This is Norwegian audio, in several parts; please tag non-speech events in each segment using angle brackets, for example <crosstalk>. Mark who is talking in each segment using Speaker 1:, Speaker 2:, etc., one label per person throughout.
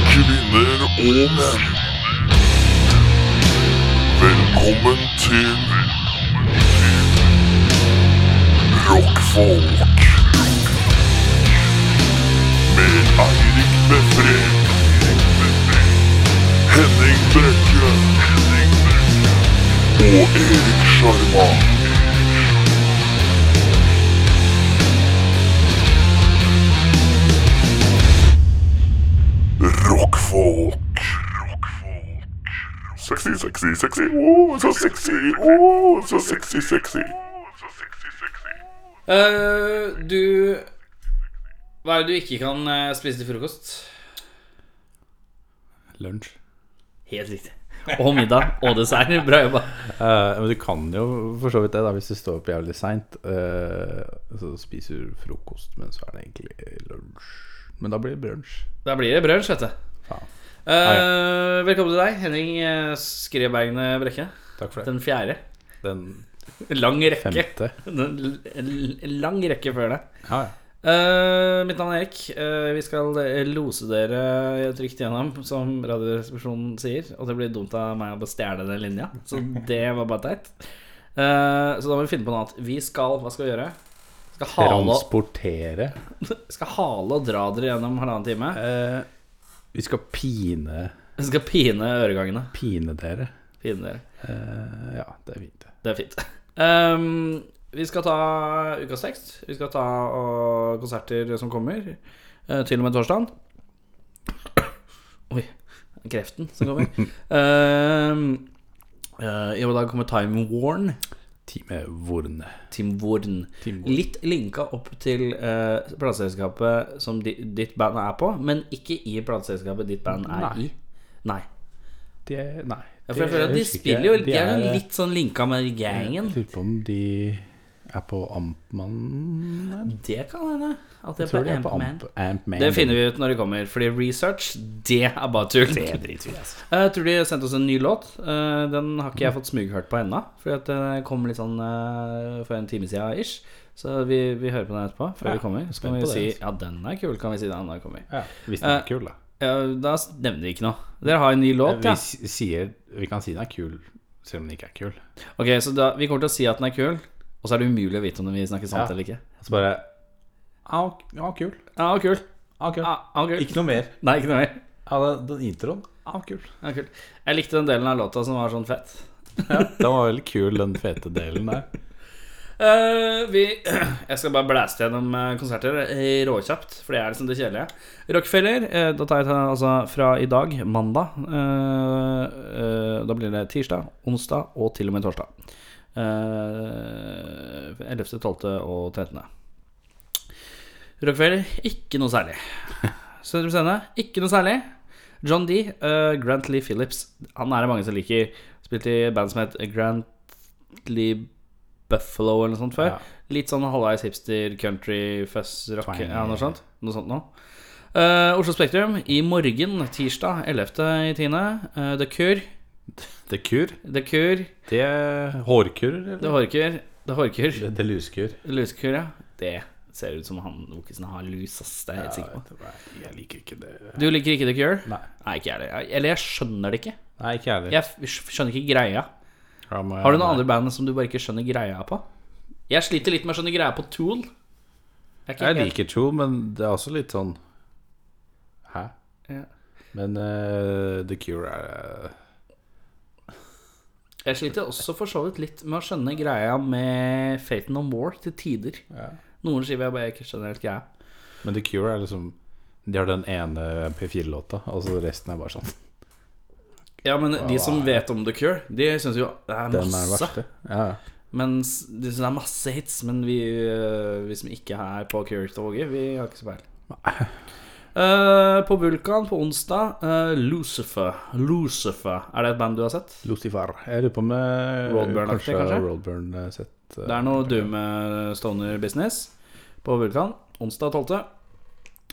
Speaker 1: Kvinner og menn. Velkommen til Rockfolk. Med Eirik Befre. Henning Brekke. Og Erik Sjarma. Rockfolk. Sexy, sexy, sexy. Åh, så sexy. Åh, så sexy, sexy.
Speaker 2: Eh, du Hva er det du ikke kan eh, spise til frokost?
Speaker 3: Lunsj.
Speaker 2: Helt <laughs> riktig. Og middag og dessert. Bra jobba.
Speaker 3: Eh, men du kan jo for så vidt det, da, hvis du står opp jævlig seint. eh, så spiser du frokost, men så er det egentlig lunsj. Men da blir det brunsj.
Speaker 2: Da blir det brunsj, vet du.
Speaker 3: Faen.
Speaker 2: Eh, velkommen til deg, Henning eh, Skrebergne Brekke.
Speaker 3: Takk for det.
Speaker 2: Den fjerde.
Speaker 3: Den
Speaker 2: Lang rekke.
Speaker 3: femte.
Speaker 2: Den l- l- lang rekke før det.
Speaker 3: Ja, ja.
Speaker 2: Eh, mitt navn er Erik. Eh, vi skal eh, lose dere trygt gjennom, som Radioresepsjonen sier. Og det blir dumt av meg å bare stjele den linja, så det var bare teit. Eh, så da må vi finne på noe annet. Vi skal Hva skal vi gjøre? Skal hale, og-
Speaker 3: Transportere.
Speaker 2: skal hale og dra dere gjennom halvannen time.
Speaker 3: Eh, vi skal pine
Speaker 2: Vi skal pine øregangene.
Speaker 3: pine dere.
Speaker 2: Pine dere.
Speaker 3: Eh, ja, det er fint, det.
Speaker 2: Det er fint. Ehm, vi skal ta ukas tekst. Vi skal ta og, konserter som kommer. eh, til og med torsdagen. Oi. Kreften som <laughs> kommer. Ehm, eh, I og med da kommer Time Warn.
Speaker 3: Time Vorn.
Speaker 2: Tim Warn.
Speaker 3: Tim Warn.
Speaker 2: Litt linka opp til uh, plateselskapet som di, ditt band er på, men ikke i plateselskapet ditt band er
Speaker 3: Nei.
Speaker 2: i. Nei.
Speaker 3: De er Nei.
Speaker 2: Ja, for jeg føler at de spiller jo De er jo litt sånn linka med
Speaker 3: Jeg
Speaker 2: gangen.
Speaker 3: lurer på om de er på Ampmann
Speaker 2: Det kan hende. At det
Speaker 3: Jeg tror
Speaker 2: ble
Speaker 3: de er på
Speaker 2: Amp-Man.
Speaker 3: Amp, Amp-Man.
Speaker 2: Det finner vi ut når det kommer, fordi research, det er bare tull.
Speaker 3: altså.
Speaker 2: Jeg tror de sendte oss en ny låt. Eh, Den har ikke jeg fått smughørt på ennå, fordi at det kom litt sånn eh, for en time siden ish. Så vi, vi hører på den etterpå, før
Speaker 3: Ja,
Speaker 2: vi kommer. Så kan
Speaker 3: spent
Speaker 2: vi
Speaker 3: på
Speaker 2: si
Speaker 3: det, altså.
Speaker 2: ja, den er kul, kan vi si den når vi kommer.
Speaker 3: Ja, hvis den er
Speaker 2: Eh,
Speaker 3: kul, da.
Speaker 2: Ja, da s- nevner vi ikke noe. Dere har en ny låt,
Speaker 3: vi,
Speaker 2: ja.
Speaker 3: s- sier, vi kan si den er kul, selv om den ikke er kul.
Speaker 2: Ok, så da, vi kommer til å si at den er kul, og så er det umulig å vite om vi snakker sant
Speaker 3: Ja.
Speaker 2: eller ikke.
Speaker 3: Og så bare Ja, ok- ja, kul.
Speaker 2: Ja, kul.
Speaker 3: Ja, kul.
Speaker 2: Ja, kul.
Speaker 3: Ikke noe mer.
Speaker 2: Nei, ikke noe mer.
Speaker 3: Ja, den, den introen. Ja, kul.
Speaker 2: Ja, kul. Jeg likte den delen av låta som var sånn fett.
Speaker 3: Ja, <laughs> den var veldig kul, den fete delen der.
Speaker 2: Eh, vi, <clears throat> jeg skal bare blæste gjennom eh, konserter eh, råkjapt, for det er liksom det kjedelige. Rockefeller, eh, da tar jeg ta- altså fra i dag, mandag. eh, eh, da blir det tirsdag, onsdag og til og med torsdag. Eh, 11., 12. og 13. Rockefeller, ikke noe
Speaker 3: <laughs>
Speaker 2: særlig. Sentrum Scene, ikke noe særlig. John D, eh, Grant Lee Phillips. Han er det mange som liker. Spilte i et band som het Grant Lee Buffalo eller noe sånt før.
Speaker 3: Ja.
Speaker 2: Litt sånn halvveis hipster, country, fuzz, rock
Speaker 3: Twang.
Speaker 2: ja, noe sånt. Noe sånt nå. Eh, Oslo Spektrum i morgen, tirsdag 11. i tiende. Eh, The Cure.
Speaker 3: Det er kur.
Speaker 2: The Cure.
Speaker 3: Det er hårkur, eller?
Speaker 2: The Horkur. The Horkur.
Speaker 3: Det er luskur.
Speaker 2: Lusekur, ja. Det ser ut som han vokisen har lus, ass. Det er jeg helt sikker på.
Speaker 3: Jeg liker ikke det.
Speaker 2: Du liker ikke The Cure?
Speaker 3: Nei,
Speaker 2: Nei, ikke jeg heller. Jeg- Eller jeg skjønner det ikke.
Speaker 3: Nei ikke jeg heller.
Speaker 2: Jeg f- skjønner ikke greia. Har du noen andre band som du bare ikke skjønner greia på? Jeg sliter litt med å skjønne greia på Tool. Jeg, er ikke
Speaker 3: Jeg
Speaker 2: helt-
Speaker 3: liker Tool, men det er også litt sånn Hæ?
Speaker 2: Ja.
Speaker 3: Men eh, The Cure er eh,
Speaker 2: jeg sliter også for så vidt litt med å skjønne greia med Fate No More til tider. Noen skiver jeg bare ikke skjønner helt greia.
Speaker 3: Men The Cure er liksom De har den ene P4-låta, og så resten er bare sånn.
Speaker 2: Ja, men de som vet om The Cure, de syns jo det er
Speaker 3: Den er den
Speaker 2: masse.
Speaker 3: verste. Ja.
Speaker 2: Mens de syns det er masse hits, men vi, øh, vi som ikke er på Cure-toget, vi har ikke så peiling. Eh, på Vulkan på onsdag, eh, Lucifer. Lucifer. Er det et band du har sett?
Speaker 3: Lucifer. Jeg lurer på om eh,
Speaker 2: Roadburn-aktig, kanskje?
Speaker 3: Roadburn eh, sett eh,
Speaker 2: Det er noe doom eh, stoner-business på Vulkan. Onsdag 12.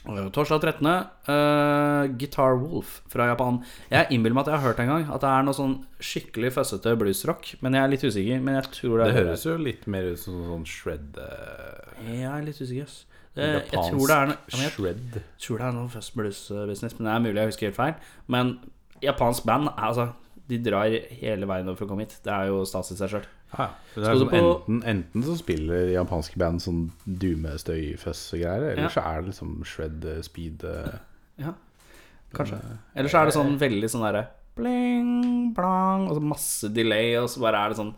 Speaker 2: Eh, Torsdag 13. eh, Guitar Wolf fra Japan. Jeg innbiller meg at jeg har hørt en gang at det er noe sånn skikkelig føssete bluesrock. Men jeg er litt usikker. Men jeg tror det
Speaker 3: Det
Speaker 2: er
Speaker 3: høres jo litt mer ut som sånn shred eh,
Speaker 2: Jeg er litt usikker, ass. Eh, jeg
Speaker 3: Japansk
Speaker 2: tror det er noe ja, men jeg
Speaker 3: shred.
Speaker 2: tror det er noe First Blues-business, men det er mulig jeg husker helt feil. Men japansk band, er- altså, de drar hele veien over for å komme hit. Det er jo stas i seg sjøl.
Speaker 3: Ja, det
Speaker 2: Skal
Speaker 3: er
Speaker 2: du
Speaker 3: som
Speaker 2: på-
Speaker 3: enten, enten så spiller japanske band sånn dumestøy, føss og greier, eller
Speaker 2: Ja.
Speaker 3: så er det liksom shred, eh, speed eh,
Speaker 2: Ja, kanskje. Eller så er det sånn veldig sånn derre bling, blang, og så masse delay, og så bare er det sånn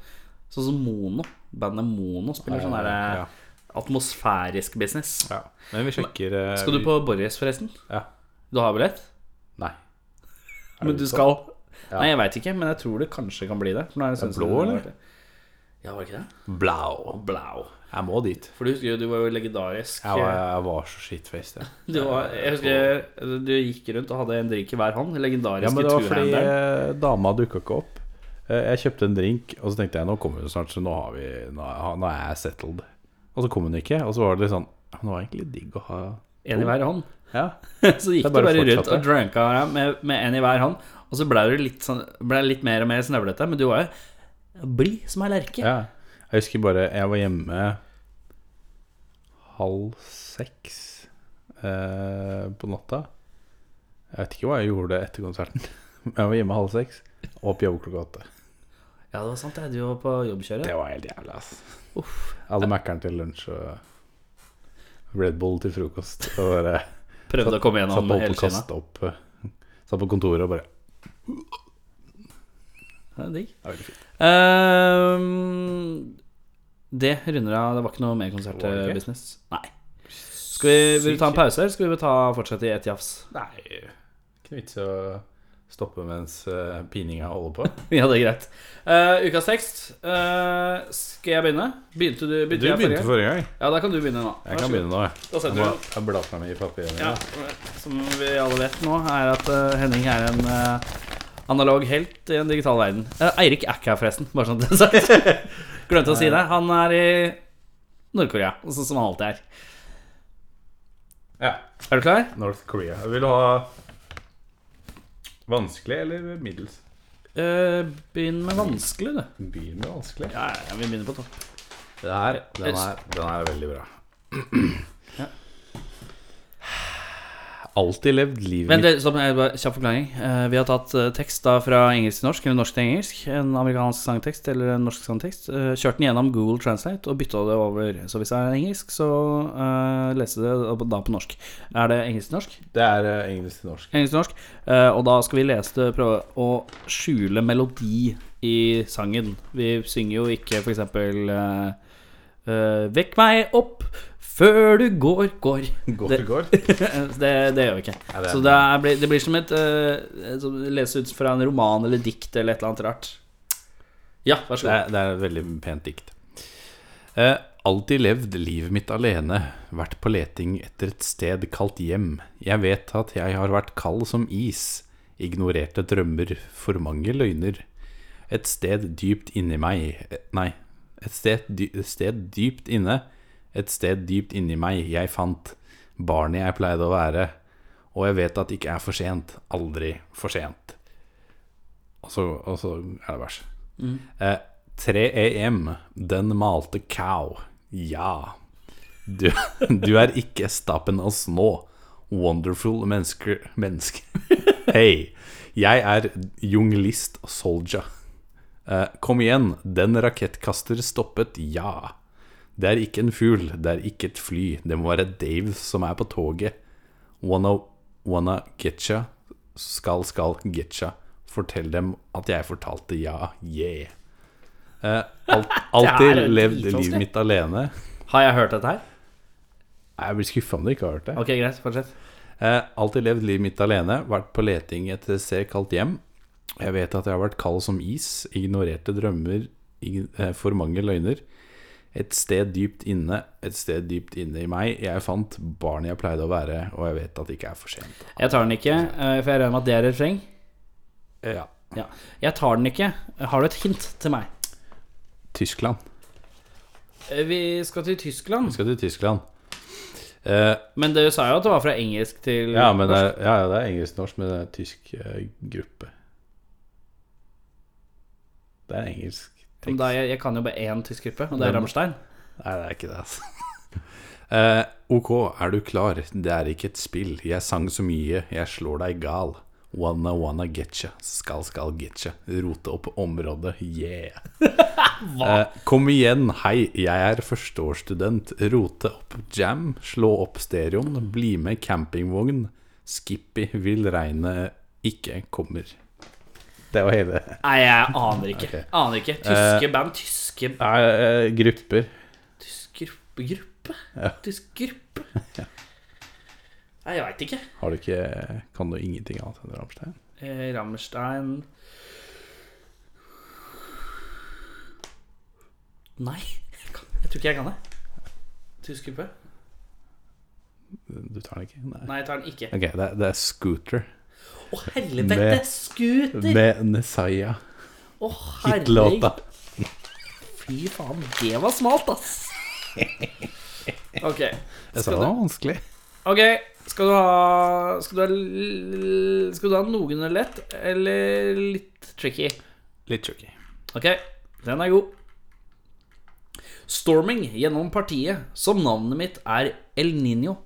Speaker 2: Sånn som Mono. Bandet Mono spiller sånn derre
Speaker 3: ja.
Speaker 2: atmosfærisk business.
Speaker 3: ja. Men vi sjekker eh,
Speaker 2: Skal du
Speaker 3: vi-
Speaker 2: på Borges, forresten?
Speaker 3: Ja.
Speaker 2: Du har billett?
Speaker 3: Nei. Er
Speaker 2: Men
Speaker 3: det
Speaker 2: du
Speaker 3: så-
Speaker 2: skal Nei, jeg veit ikke, men jeg tror det kanskje kan bli det. For nå er det
Speaker 3: blå, eller?
Speaker 2: Ja, var det ikke det?
Speaker 3: Blau.
Speaker 2: Blau.
Speaker 3: Jeg må dit.
Speaker 2: For du husker jo, du var jo legendarisk. eh,
Speaker 3: Jeg var, jeg var så shitfaced, jeg.
Speaker 2: Du, var, jeg husker, eh, du gikk rundt og hadde en drink i hver hånd.
Speaker 3: Ja,
Speaker 2: Legendariske
Speaker 3: men det var fordi
Speaker 2: two-handeren.
Speaker 3: eh, dama dukka ikke opp. Eh, Jeg kjøpte en drink, og så tenkte jeg nå kommer hun snart, så nå, har vi, nå, er- nå er jeg settled. Og så kom hun ikke, og så var det litt sånn Nå var det egentlig digg å ha
Speaker 2: En i hver hånd. <laughs>
Speaker 3: Ja,
Speaker 2: Så gikk
Speaker 3: Det
Speaker 2: du
Speaker 3: er
Speaker 2: bare
Speaker 3: bare å
Speaker 2: rundt
Speaker 3: fortsette.
Speaker 2: og dranka ja, med, med en i hver hånd. Og så ble du litt, sånn, ble litt mer og mer snøvlete, men du var jo blid som ei lerke.
Speaker 3: ja. Jeg husker bare jeg var hjemme halv seks eh, på natta. Jeg vet ikke hva jeg gjorde etter konserten, <laughs> men jeg var hjemme halv seks og opp jobb klokka åtte.
Speaker 2: Ja, det var sant, jeg. Du var på jobbkjøret.
Speaker 3: Det var helt jævlig, ass.
Speaker 2: Uff.
Speaker 3: Jeg hadde Mækkern til lunsj og Red Bull til frokost. Og bare
Speaker 2: Prøvde å komme
Speaker 3: satt
Speaker 2: gjennom
Speaker 3: på
Speaker 2: hele
Speaker 3: å
Speaker 2: skinna.
Speaker 3: kaste opp. eh, Satt på kontoret og bare
Speaker 2: Det er digg.
Speaker 3: Det er veldig fint.
Speaker 2: Ehm, det runder av. Det var ikke noe mer
Speaker 3: Var det
Speaker 2: konsertbusiness. Nei. Skal vi, vil du ta en pause, eller skal vi ta, fortsette i ett jafs?
Speaker 3: Nei, ikke noe vits i å stoppe mens eh, pininga holder på.
Speaker 2: <laughs> Ja, det er greit. Eh, ukas tekst. Eh, skal jeg begynne? Begynte du? Begynte
Speaker 3: Du
Speaker 2: jeg
Speaker 3: begynte
Speaker 2: forrige?
Speaker 3: forrige gang.
Speaker 2: Ja, da kan du begynne nå. Vær
Speaker 3: Jeg
Speaker 2: så
Speaker 3: kan
Speaker 2: god.
Speaker 3: begynne nå.
Speaker 2: Da
Speaker 3: Jeg
Speaker 2: setter
Speaker 3: må-
Speaker 2: du
Speaker 3: Jeg blar frem i papirene.
Speaker 2: Ja, som vi alle vet nå, er at eh, Henning er en eh, analog helt i en digital verden. Eh, Eirik er ikke her, forresten. Bare sånn at det <laughs> er sagt. Glemte å si det. Han er i Nord-Korea, sånn som han alltid er.
Speaker 3: Ja.
Speaker 2: Er du klar?
Speaker 3: North Korea. Vil du ha vanskelig eller middels?
Speaker 2: Eh, begynn med vanskelig, du.
Speaker 3: Begynn med vanskelig.
Speaker 2: Ja, ja, vi begynner på topp.
Speaker 3: Det her, den er, den er veldig bra.
Speaker 2: <clears throat> Ja.
Speaker 3: Alltid levd livet
Speaker 2: Men det, stopp, jeg bare, kjapp forklaring. Eh, vi har tatt eh, tekst da fra engelsk til norsk, eller norsk til engelsk. En amerikansk sangtekst eller en norsk sangtekst. eh, kjørt den gjennom Google Translate og bytta det over. Så hvis det er engelsk, så uh, leste det da- da på norsk. Er det engelsk til norsk?
Speaker 3: mitt. Det er eh, engelsk til norsk.
Speaker 2: Engelsk til norsk. Eh, og da skal vi lese det, prøve å skjule melodi i sangen. Vi synger jo ikke f.eks. Uh, eh, Vekk meg opp før du går, går.
Speaker 3: Går
Speaker 2: Det-
Speaker 3: til går.
Speaker 2: <laughs> det, det gjør vi ikke.
Speaker 3: Ja, det er-
Speaker 2: Så det, er, blir- det blir som et eh, som å lese ut fra en roman eller dikt eller et eller annet rart. Ja, vær så
Speaker 3: Det
Speaker 2: god.
Speaker 3: er, det er et veldig pent dikt. Eh, alltid levd livet mitt alene, vært på leting etter et sted kalt hjem. Jeg vet at jeg har vært kald som is, ignorerte drømmer, for mange løgner. Et sted dypt inni meg eh, Nei, et sted, dy, et sted dypt inne, et sted dypt inni meg jeg fant barnet jeg pleide å være. Og jeg vet at det ikke er for sent. Aldri for sent. Og så, og så er det vers. Eh, 3 AM, den malte cow. Ja. Du, <laughs> du er ikke stappen oss nå. Wonderful mennesker Menneske. <laughs> Hei. Jeg er junglist og soldier. Eh, kom igjen, den rakettkaster stoppet, ja. Det er ikke en fugl, det er ikke et fly, det må være Dave som er på toget. Wanna, wanna getcha, skal, skal getcha. Fortell dem at jeg fortalte ja, yeah. Eh,
Speaker 2: <laughs>
Speaker 3: alt,
Speaker 2: Det er
Speaker 3: alltid
Speaker 2: jo
Speaker 3: levd
Speaker 2: dritvanskelig.
Speaker 3: livet mitt alene.
Speaker 2: Har jeg hørt dette her?
Speaker 3: Nei, Jeg blir skuffa om du ikke har hørt det.
Speaker 2: Ok, greit. Fortsett.
Speaker 3: Eh, alltid levd livet mitt alene, vært på leting etter et sted kalt hjem. Jeg vet at jeg har vært kald som is, ignorerte drømmer, ig- eh, for mange løgner. Et sted dypt inne, et sted dypt inne i meg. Jeg fant barnet jeg pleide å være, og jeg vet at det ikke er for sent.
Speaker 2: Jeg tar den ikke, eh, for jeg regner med at det er refreng.
Speaker 3: Eh, Ja.
Speaker 2: Ja. Jeg tar den ikke. Har du et hint til meg?
Speaker 3: Tyskland.
Speaker 2: Eh, Vi skal til Tyskland.
Speaker 3: Skal til Tyskland. Eh,
Speaker 2: Men du sa jo at det var fra engelsk til
Speaker 3: ja, men det
Speaker 2: norsk.
Speaker 3: er, ja, ja, det er engelsk-norsk, men det er en tysk eh, gruppe. Det er en engelsk
Speaker 2: Men da, jeg, jeg kan jo bare én tysk gruppe, og det
Speaker 3: Men-
Speaker 2: er Rammstein.
Speaker 3: Nei, det er ikke det, altså. <laughs> Eh, ok, er du klar? Det er ikke et spill. Jeg sang så mye, jeg slår deg gal. Wanna wanna getcha, skal skal getcha. Rote opp området, <laughs> yeah. Eh, kom igjen, hei, jeg er førsteårsstudent. Rote opp jam, slå opp stereoen, bli med campingvogn. Skippy vil regnet ikke kommer. Det var hele
Speaker 2: Nei, jeg aner ikke.
Speaker 3: Ok. Eh,
Speaker 2: Aner ikke. Tyske band. Tyske,
Speaker 3: Nei, eh, grupper.
Speaker 2: tysk gruppe. gruppe.
Speaker 3: Ja.
Speaker 2: Tysk
Speaker 3: <laughs>
Speaker 2: gruppe. Nei, jeg veit ikke.
Speaker 3: Har du ikke Kan du ingenting annet enn Rammstein?
Speaker 2: Eh, Rammstein Nei, jeg kan- jeg tror ikke jeg kan det. Tysk gruppe?
Speaker 3: Du tar den ikke? Nei.
Speaker 2: Nei, jeg tar den ikke.
Speaker 3: Ok, det, er- det er Scooter
Speaker 2: Å, helvete!
Speaker 3: Med-
Speaker 2: Scooter!
Speaker 3: med Nesaya.
Speaker 2: Å,
Speaker 3: Hitlåta.
Speaker 2: herregud. Fy faen, det var smalt, ass. Ok.
Speaker 3: Jeg sa
Speaker 2: Skal
Speaker 3: det
Speaker 2: du,
Speaker 3: var vanskelig.
Speaker 2: ok, skal du ha Skal du ha, l- skal du ha noenlunde lett eller litt tricky?
Speaker 3: Litt tricky.
Speaker 2: Ok, den er god. Storming gjennom partiet, som navnet mitt er El Niño.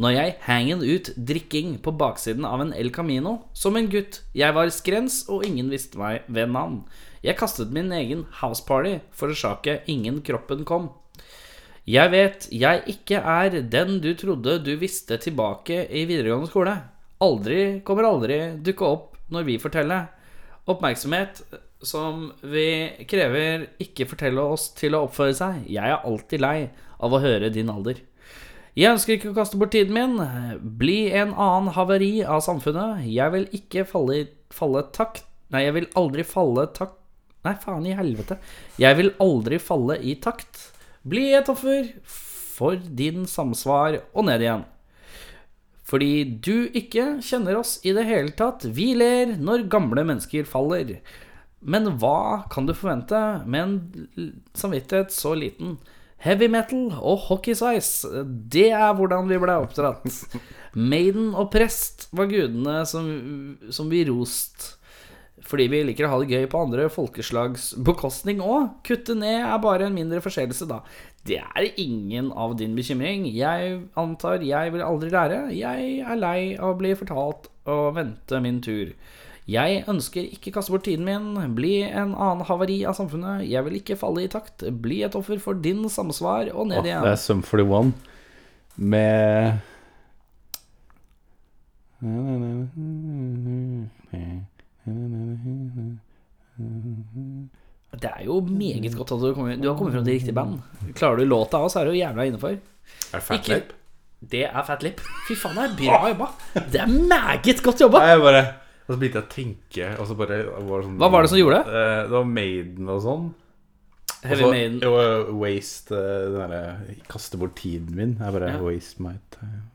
Speaker 2: Når jeg hangen ut drikking på baksiden av en El Camino, som en gutt. Jeg var skrens, og ingen visste meg ved navn. Jeg kastet min egen houseparty for å sjake ingen kroppen kom. Jeg vet jeg ikke er den du trodde du visste tilbake i videregående skole. Aldri kommer aldri dukke opp når vi forteller. Oppmerksomhet som vi krever ikke fortelle oss til å oppføre seg. Jeg er alltid lei av å høre din alder. Jeg ønsker ikke å kaste bort tiden min. Bli en annen havari av samfunnet. Jeg vil ikke falle, i- falle takk... Nei, jeg vil aldri falle takk... Nei, faen i helvete. Jeg vil aldri falle i takt. Bli et offer for din samsvar og ned igjen. Fordi du ikke kjenner oss i det hele tatt. Vi ler når gamle mennesker faller. Men hva kan du forvente med en l- samvittighet så liten? Heavy metal og hockeysveis, det er hvordan vi ble oppdratt. Maiden og prest var gudene som, som vi rost. Fordi vi liker å ha det gøy på andre folkeslags bekostning òg. Kutte ned er bare en mindre forseelse, da. Det er ingen av din bekymring. Jeg antar jeg vil aldri lære. Jeg er lei av å bli fortalt og vente min tur. Jeg ønsker ikke kaste bort tiden min, bli en annen havari av samfunnet, jeg vil ikke falle i takt, bli et offer for din samsvar og
Speaker 3: Åh,
Speaker 2: ned
Speaker 3: det
Speaker 2: igjen.
Speaker 3: er Sum 41 med
Speaker 2: Det er jo meget
Speaker 3: Mm.
Speaker 2: godt at du, kommer, du har kommet frem til riktig band. Klarer du låta òg, så er du jævla innafor.
Speaker 3: Er det
Speaker 2: Ikke- Lip? Det er Fat Lip. Fy faen, det er bra jobba. Det er meget godt jobba.
Speaker 3: Nei, jeg bare Og så begynte jeg å tenke, og så bare var det sånn,
Speaker 2: Hva var det som gjorde det?
Speaker 3: Eh, Det var Maiden og sånn.
Speaker 2: Heavy
Speaker 3: og så,
Speaker 2: Maiden.
Speaker 3: Jo, waste eh, den derre Kaste bort tiden min. Jeg bare
Speaker 2: Ja.
Speaker 3: Waste my time.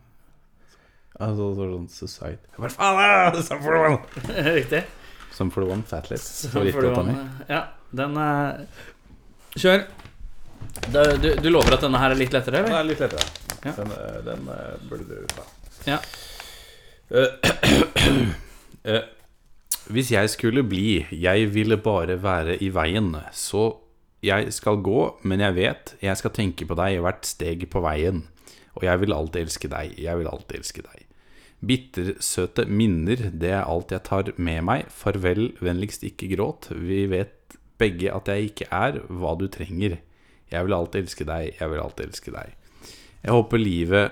Speaker 3: Altså så, var det sånn Society Jeg bare faen, ah, Sum 41!
Speaker 2: <laughs> Riktig.
Speaker 3: Sum 41, Fat Lip.
Speaker 2: Så
Speaker 3: Var
Speaker 2: får du
Speaker 3: riktig,
Speaker 2: en- Ja, den er Kjør. Du, du, du lover at denne her er litt lettere,
Speaker 3: Den
Speaker 2: eller?
Speaker 3: er litt lettere.
Speaker 2: Ja.
Speaker 3: Den, eh, den eh, burde du ta.
Speaker 2: Ja.
Speaker 3: Eh, <clears throat> eh, Hvis jeg skulle bli, jeg ville bare være i veien, så jeg skal gå, men jeg vet, jeg skal tenke på deg hvert steg på veien, og jeg vil alltid elske deg, jeg vil alltid elske deg. Bittersøte minner, det er alt jeg tar med meg, farvel, vennligst ikke gråt, vi vet begge at jeg ikke er hva du trenger. Jeg vil alltid elske deg, jeg vil alltid elske deg. Jeg håper livet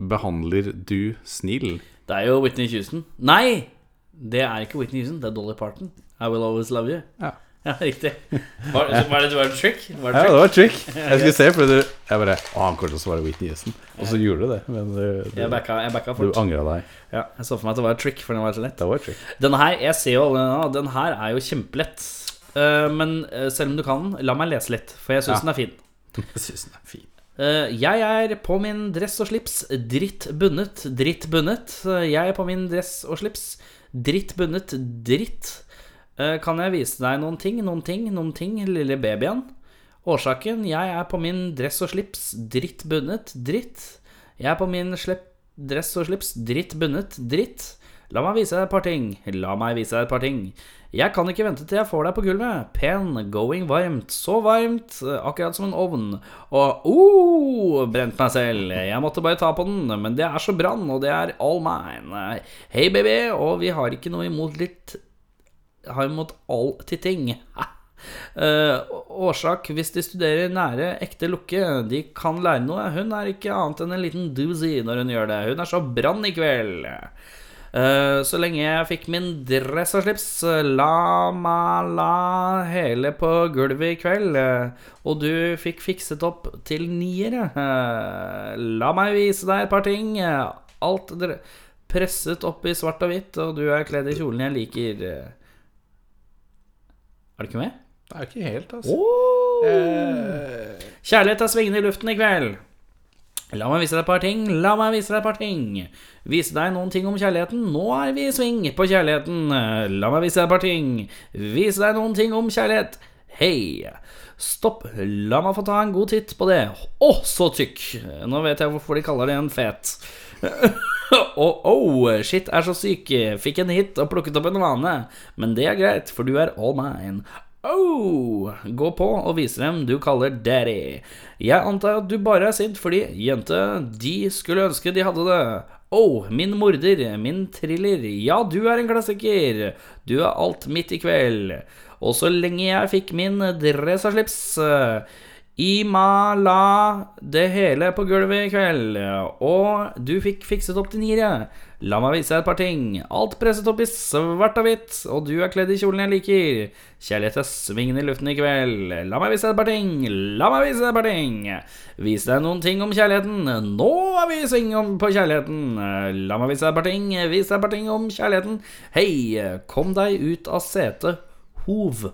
Speaker 3: behandler du snill.
Speaker 2: Det er jo Whitney Houston. Nei! Det er ikke Whitney Houston, det er Dolly Parton. I Will Always Love You.
Speaker 3: Ja.
Speaker 2: <laughs> Ja, riktig. Var, var det, var det trick? Var det
Speaker 3: <laughs> Ja,
Speaker 2: trick?
Speaker 3: det var et trick. Jeg skulle se, for du Jeg bare Å, han kommer til å svare Whitney Houston. Og så gjorde du det, men du,
Speaker 2: Jeg
Speaker 3: du,
Speaker 2: backa, jeg backa
Speaker 3: du
Speaker 2: fort.
Speaker 3: angra deg.
Speaker 2: Ja, jeg så for meg at det var et trick, for den var så lett.
Speaker 3: Det var et trick.
Speaker 2: Denne her, jeg ser jo alle denne, den her er jo kjempelett. Eh, men eh, selv om du kan den, la meg lese litt, for jeg syns
Speaker 3: Ja.
Speaker 2: den er fin.
Speaker 3: Jeg syns den er fin.
Speaker 2: Eh, jeg er på min dress og slips, dritt bundet, dritt bundet. Eh, jeg er på min dress og slips, dritt bundet, dritt. Eh, kan jeg vise deg noen ting, noen ting, noen ting, lille babyen? Årsaken, jeg er på min dress og slips, dritt bundet, dritt. Jeg er på min slipp, dress og slips, dritt bundet, dritt. La meg vise deg et par ting, la meg vise deg et par ting. Jeg kan ikke vente til jeg får deg på gulvet. Pen, going varmt, så varmt, eh, akkurat som en ovn. Og oh, brent meg selv. Jeg måtte bare ta på den, men det er så brann, og det er all mine. Hei, baby, og vi har ikke noe imot litt Har imot all titting. <laughs> Eh, årsak hvis de studerer nære ekte lukke. De kan lære noe. Hun er ikke annet enn en liten doozy når hun gjør det. Hun er så brann i kveld. Eh, så lenge jeg fikk min dress og slips, eh, la meg la hele på gulvet i kveld. eh, Og du fikk fikset opp til niere. Eh, la meg vise deg et par ting. eh, Alt dre presset opp i svart og hvitt, og du er kledd i kjolen jeg liker. eh. Er du ikke med?
Speaker 3: Det er ikke helt, altså.
Speaker 2: Oh.
Speaker 3: Eh,
Speaker 2: Kjærlighet er svingende i luften i kveld. La meg vise deg et par ting, la meg vise deg et par ting. Vise deg noen ting om kjærligheten, nå er vi i sving på kjærligheten. Eh, La meg vise deg et par ting. Vise deg noen ting om kjærlighet. Hei. Stopp, la meg få ta en god titt på det. Å, så tykk. Eh, Nå vet jeg hvorfor de kaller det en fet. <laughs> Oh, oh, shit er så syk. Fikk en hit og plukket opp en vane. Men det er greit, for du er all mine. Oh, gå på og vise dem du kaller daddy. Jeg antar at du bare er sint fordi, jente, de skulle ønske de hadde det. Oh, min morder, min thriller, ja, du er en klassiker. Du er alt mitt i kveld. Og så lenge jeg fikk min dress og slips i ma la det hele på gulvet i kveld, og du fikk fikset opp til niere. La meg vise deg et par ting. Alt presset opp i svart og hvitt, og du er kledd i kjolen jeg liker. Kjærlighet er svingende i luften i kveld. La meg vise deg et par ting. La meg vise deg et par ting. Vise deg noen ting om kjærligheten. Nå er vi i sving om på kjærligheten. La meg vise deg et par ting. Vise deg et par ting om kjærligheten. Hei, kom deg ut av setet. Hov.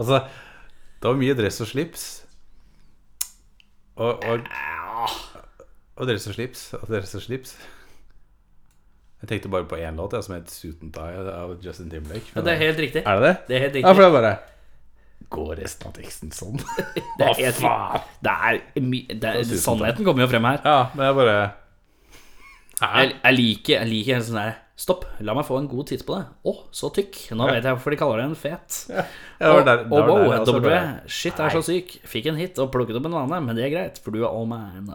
Speaker 3: altså, det var mye dress og slips. Og, og, og dress og slips og dress og slips. Jeg tenkte bare på én låt, jeg, som het 'Suit and Tie' av Justin Timberlake.
Speaker 2: Ja, det er helt riktig.
Speaker 3: Er det det?
Speaker 2: Det er helt riktig.
Speaker 3: Ja, for det er bare Går resten av teksten sånn?
Speaker 2: Det er helt faen? Det er my det er,
Speaker 3: tusen
Speaker 2: sannheten kommer jo frem her.
Speaker 3: Ja, men jeg bare
Speaker 2: Jeg, jeg liker jeg liker en sånn der Stopp, la meg få en god titt på det. Å, så tykk. Nå vet jeg hvorfor de kaller det en fet.
Speaker 3: det var der-
Speaker 2: og
Speaker 3: det var
Speaker 2: og wow,
Speaker 3: der, altså,
Speaker 2: W.
Speaker 3: bare-
Speaker 2: Shit, er så syk. Fikk en hit og plukket opp en vane, men det er greit, for du er all man.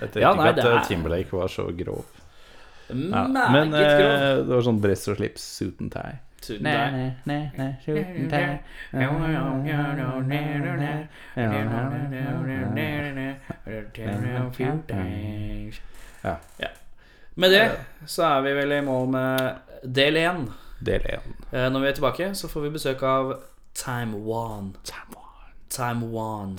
Speaker 3: Jeg tenkte
Speaker 2: Ja, nei,
Speaker 3: ikke
Speaker 2: det
Speaker 3: at eh,
Speaker 2: er-
Speaker 3: Timberlake var så grov. Ja. Men
Speaker 2: Meget
Speaker 3: eh,
Speaker 2: grov.
Speaker 3: det var sånn dress og slips, suit and tie.
Speaker 2: Tusen takk.
Speaker 3: Ja.
Speaker 2: Ja. Med det så er vi vel i mål med del én.
Speaker 3: Del én.
Speaker 2: Eh, Når vi er tilbake, så får vi besøk av Time One. Time One. <laughs>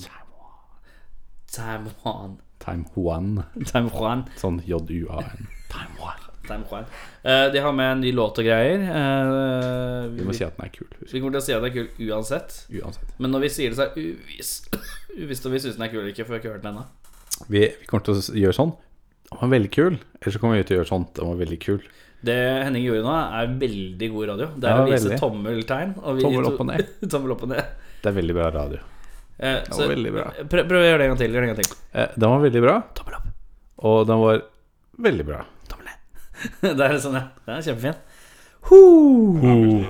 Speaker 2: Time One.
Speaker 3: Time Juan.
Speaker 2: Time One.
Speaker 3: Sånn J-U-A-N. Time Juan.
Speaker 2: Time One. Eh, De har med en ny låt og greier. Eh,
Speaker 3: Vi må
Speaker 2: Vi
Speaker 3: si at den er kul. husk.
Speaker 2: vi kommer til å si at det er kult uansett.
Speaker 3: Uansett.
Speaker 2: Men når vi sier det, så er det uvisst <coughs> uvisst om vi syns den er kul eller ikke, for vi har ikke hørt den ennå.
Speaker 3: Vi, vi kommer til å s- gjøre sånn. Den var veldig kul. Eller så kommer vi til å gjøre sånn. Den var veldig kul.
Speaker 2: Det Henning gjorde nå, er veldig god radio. Det er
Speaker 3: Ja,
Speaker 2: å vise
Speaker 3: veldig.
Speaker 2: tommeltegn. Og vi-
Speaker 3: Tommel opp og ned.
Speaker 2: <laughs> tommel opp og ned.
Speaker 3: Det er veldig bra radio.
Speaker 2: Eh,
Speaker 3: Den
Speaker 2: så
Speaker 3: var veldig bra.
Speaker 2: prøv, prøv å gjøre det en gang til. Gjør det en gang til. <laughs>
Speaker 3: Eh, Den var veldig bra,
Speaker 2: Tommel opp.
Speaker 3: og den var veldig bra.
Speaker 2: Det er sånn, ja. Den er kjempefin.
Speaker 3: Uh.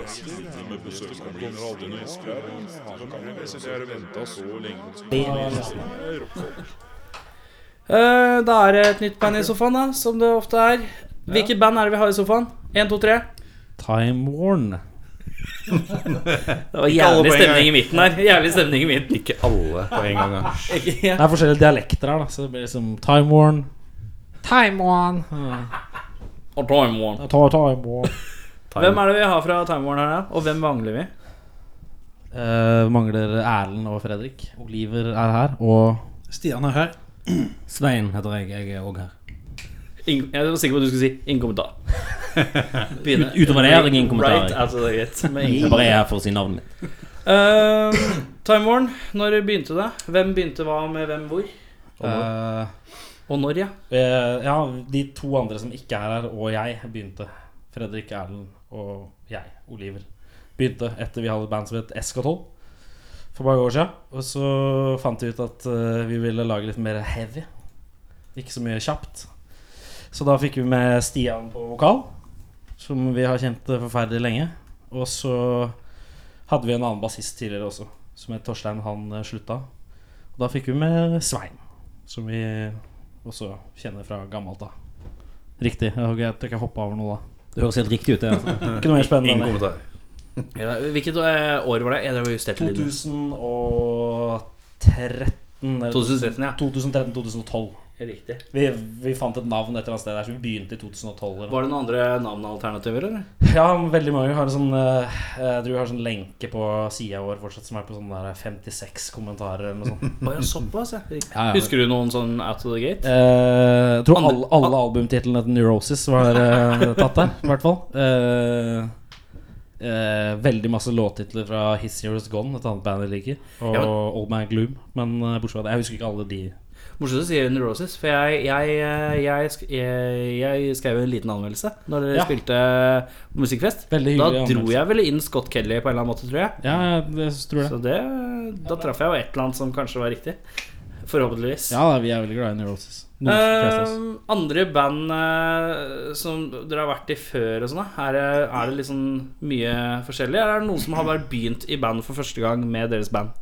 Speaker 2: Eh, Da er det et nytt band i sofaen, da, som det ofte er. Hvilket band er det vi har i sofaen? Én, to, tre.
Speaker 4: Time Warn.
Speaker 2: Det var jævlig stemning i midten
Speaker 3: <laughs>
Speaker 2: her. Jævlig stemning i midten.
Speaker 3: Ikke alle på en gang. da.
Speaker 2: Ikke-
Speaker 4: Det er forskjellige dialekter her, da, så det blir liksom Time Warn. Time Warn.
Speaker 2: Og Time Warn.
Speaker 4: Jeg tar Time Warn.
Speaker 3: Time-
Speaker 2: Hvem er det vi har fra Time Warn her, da? Og hvem mangler vi?
Speaker 4: Eh, mangler Erlend og Fredrik. Oliver er her, og Stian er her. Svein heter jeg. Jeg er òg her.
Speaker 2: Ingen, jeg var sikker på at du skulle si 'ingen <laughs> kommentar'. Begynne.
Speaker 4: Ut- utover det er det ingen kommentarer.
Speaker 2: Right altså, out of the gate. <laughs> Med
Speaker 4: Jeg
Speaker 2: ingen
Speaker 4: bare er her for å si navnet mitt.
Speaker 2: Eh, Time Warn, når begynte det? Hvem begynte hva med hvem hvor?
Speaker 4: Eh,
Speaker 2: Og når, ja.
Speaker 4: ja, de to andre som ikke er her, og jeg, begynte. Fredrik, Erlend og jeg, Oliver, begynte etter vi hadde et band som het SK12 for mange år siden. Og så fant vi ut at eh, vi ville lage litt mer heavy. Ikke så mye kjapt. Så da fikk vi med Stian på vokal, som vi har kjent eh, forferdelig lenge. Og så hadde vi en annen bassist tidligere også, som het Torstein. Han eh, slutta. Og da fikk vi med Svein, som vi også kjenner fra gammelt av. Riktig. Jeg håper jeg ikke hoppa over noe, da.
Speaker 5: Det høres helt riktig ut, det. Altså.
Speaker 4: <laughs> Ikke noe mer spennende. enn det.
Speaker 3: kommentar.
Speaker 2: Ja, hvilket eh, år var det? Ja, Det var jo Steffen Liden.
Speaker 4: 2013 eller
Speaker 2: 2013, ja.
Speaker 4: 2013-2012.
Speaker 2: Riktig.
Speaker 4: Vi, vi fant et navn et eller annet sted der, så vi begynte i 2012. Eller.
Speaker 2: Var det noen andre navnealternativer, eller?
Speaker 4: Ja, veldig mange har en sånn eh, Jeg tror vi har sånn lenke på sida vår fortsatt som er på sånn der 56 kommentarer eller noe sånt.
Speaker 2: Å ja, såpass, ja. Riktig.
Speaker 4: Ja, ja.
Speaker 2: Husker du noen sånn out of the gate?
Speaker 4: Eh, jeg tror alle, alle albumtitlene til Neurosis var eh,
Speaker 2: <laughs>
Speaker 4: tatt der, i hvert fall. Eh, eh, veldig masse låttitler fra His Heroes Gone, et annet band jeg liker. Og
Speaker 2: Ja, men-
Speaker 4: Old Man Gloom. Men eh, bortsett fra det, jeg husker ikke alle de.
Speaker 2: Morsomt du sier Neurosis, for jeg, jeg, eh, jeg, sk- jeg, jeg skrev en liten anmeldelse når dere
Speaker 4: Ja.
Speaker 2: spilte på Musikkfest.
Speaker 4: Veldig
Speaker 2: Da
Speaker 4: hyggelig
Speaker 2: dro jeg vel inn Scott Kelly på en eller annen måte, tror jeg.
Speaker 4: Ja, det tror jeg.
Speaker 2: Så det, da traff jeg jo et eller annet som kanskje var riktig. Forhåpentligvis.
Speaker 4: Ja, da, vi er veldig glad i Neurosis. Noen flest av oss.
Speaker 2: Eh, andre band eh, som dere har vært i før og sånn, da, er, det- er det liksom mye forskjellig? Eller er det noen som har bare begynt i band for første gang med deres band?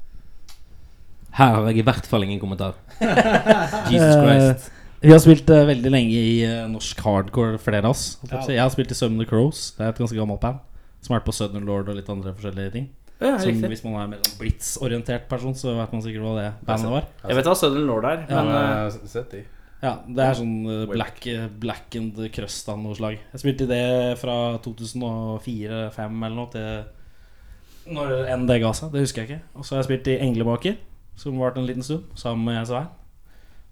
Speaker 5: Her har jeg i hvert fall ingen
Speaker 2: <laughs>
Speaker 5: kommentar. Jesus Christ.
Speaker 4: Eh, Vi har spilt eh, veldig lenge i eh, norsk hardcore, flere av oss. holdt jeg på å si. Jeg har spilt i Summon the Crows. Det er et ganske gammelt band. Som har vært på Southern Lord og litt andre forskjellige ting.
Speaker 2: Ja,
Speaker 4: Som,
Speaker 2: riktig.
Speaker 4: hvis man er en mer sånn blitz-orientert person, så vet man sikkert hva det bandet var.
Speaker 2: Jeg vet hva Southern Lord er,
Speaker 4: Ja,
Speaker 2: men eh,
Speaker 3: Sett de.
Speaker 4: Ja, Det er sånn eh, black, eh, black and crust av noe slag. Jeg spilte i det fra 2004-2005 eller noe til når enn det ga seg. Det husker jeg ikke. Og så har jeg spilt i Englebaker, som varte en liten stund, sammen med Svein.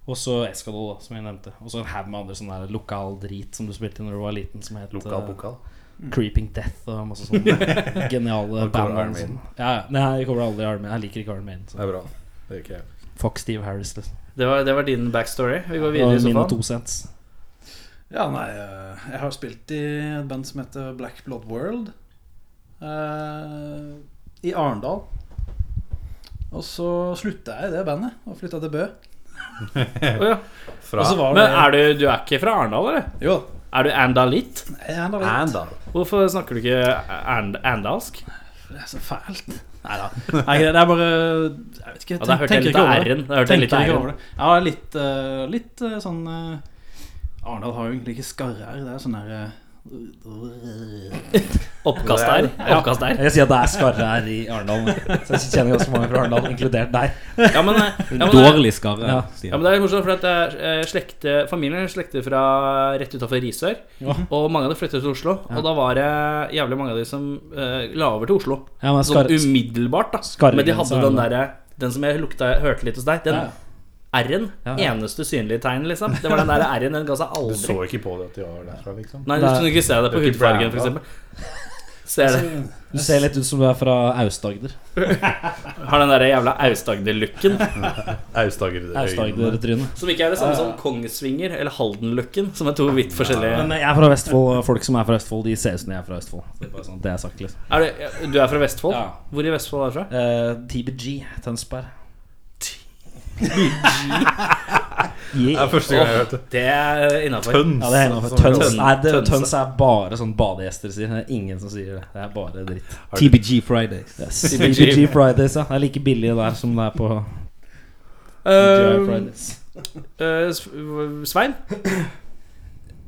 Speaker 4: Og så Eskadol, da, som jeg nevnte. Og så en haug med andre sånn der lokal drit som du spilte når du var liten, som het
Speaker 3: Lokal
Speaker 4: eh,
Speaker 3: pokal.
Speaker 4: Creeping Death og masse
Speaker 2: <laughs>
Speaker 4: sånne geniale
Speaker 3: Og
Speaker 4: band.
Speaker 3: Cover Iron
Speaker 4: og
Speaker 3: Maiden.
Speaker 4: sånn. Ja, ja. Nei, jeg kommer aldri i Armin. Jeg liker ikke Armin.
Speaker 3: Det er bra. Det gjør ikke jeg.
Speaker 4: Fuck Steve Harris, liksom.
Speaker 2: det var, det var din backstory. Vi går videre i
Speaker 4: Og
Speaker 2: så
Speaker 4: mine
Speaker 2: fall.
Speaker 4: to cents.
Speaker 6: Ja, nei, eh, jeg har spilt i et band som heter Black Blood World. eh, I Arendal. Og så slutta jeg i det bandet og flytta til Bø.
Speaker 2: Å <laughs> ja.
Speaker 3: Fra
Speaker 6: Og så var
Speaker 2: Men
Speaker 6: det
Speaker 2: er du, du er ikke fra Arendal, eller?
Speaker 6: Jo,
Speaker 2: Er du andalitt?
Speaker 6: jeg er da litt-
Speaker 3: Andal.
Speaker 2: Hvorfor snakker du ikke and andalsk?
Speaker 6: Det er så fælt. Nei da. Nei, det er bare Jeg vet ikke.
Speaker 2: Ja, da
Speaker 6: tenk-
Speaker 2: hørte jeg
Speaker 6: tenker
Speaker 2: litt
Speaker 6: ikke
Speaker 2: av
Speaker 6: over det.
Speaker 2: r-en. Da hørte jeg
Speaker 6: Tenkte
Speaker 2: litt
Speaker 6: jeg
Speaker 2: av
Speaker 6: ikke
Speaker 2: r-en.
Speaker 6: over det. Ja, litt, eh, litt eh, sånn eh, Arendal har jo egentlig ikke skarre-r. Det er sånn der eh,
Speaker 2: Oppkast der. Oppkast der.
Speaker 4: Jeg sier at det er skarre her i Arendal. Så jeg kjenner ganske mange fra Arendal, inkludert deg.
Speaker 2: <laughs> Ja, men, eh, ja, men, eh,
Speaker 5: Dårlig skarre.
Speaker 4: Ja.
Speaker 5: sier
Speaker 2: Ja, men
Speaker 5: han.
Speaker 2: det er morsomt, for at det er eh, slekte, familien er slekter fra rett utenfor Risør. Og mange av dem flyttet til Oslo. Og da var det jævlig mange av de som eh, la over til Oslo.
Speaker 4: Ja, men
Speaker 2: Sånn
Speaker 4: skar,
Speaker 2: umiddelbart, da.
Speaker 4: Skarre
Speaker 2: Men de
Speaker 4: grenser
Speaker 2: hadde
Speaker 4: er
Speaker 2: den
Speaker 4: det.
Speaker 2: derre Den som jeg lukta, hørte litt hos deg, den
Speaker 4: Ja.
Speaker 2: r-en. Eneste synlige tegn, liksom. Det var den der r-en. Den ga seg
Speaker 3: Du
Speaker 2: aldri.
Speaker 3: så ikke på det at de var derfra, liksom?
Speaker 2: Nei, du kunne ikke se det på
Speaker 3: Det er ikke
Speaker 2: hudfargen,
Speaker 3: brand, da.
Speaker 2: f.eks. Ser det.
Speaker 4: du ser litt ut som du er fra Aust-Agder.
Speaker 2: Har den der jævla Aust-Agder-looken.
Speaker 3: Aust-Agder.
Speaker 4: Aust-Agder-trynet.
Speaker 2: Som ikke er det samme som Kongsvinger eller Halden-looken, som er to vidt forskjellige
Speaker 4: Men jeg er fra Vestfold, og folk som er fra Østfold, de ser ut som de er fra Østfold. Det er bare sånn, det er sagt, liksom.
Speaker 2: er det, Du er fra Vestfold?
Speaker 4: Ja.
Speaker 2: Hvor i Vestfold er du fra?
Speaker 4: Eh, TBG, Tønsberg. <laughs>
Speaker 3: Det er første gang jeg hørte
Speaker 2: Det er innafor.
Speaker 3: Tøns.
Speaker 4: Ja, det er noe.
Speaker 3: som-
Speaker 4: Tøns,
Speaker 2: Tønse.
Speaker 4: nei, det, tøns
Speaker 2: Tønse.
Speaker 4: er bare sånn badegjester sier. Det er ingen som sier det. Det er bare dritt.
Speaker 5: TBG Fridays.
Speaker 4: TBG Fridays, ja. Det er like billig der som det er på
Speaker 2: Eh,
Speaker 5: Um,
Speaker 4: TBG Fridays.
Speaker 2: Svein?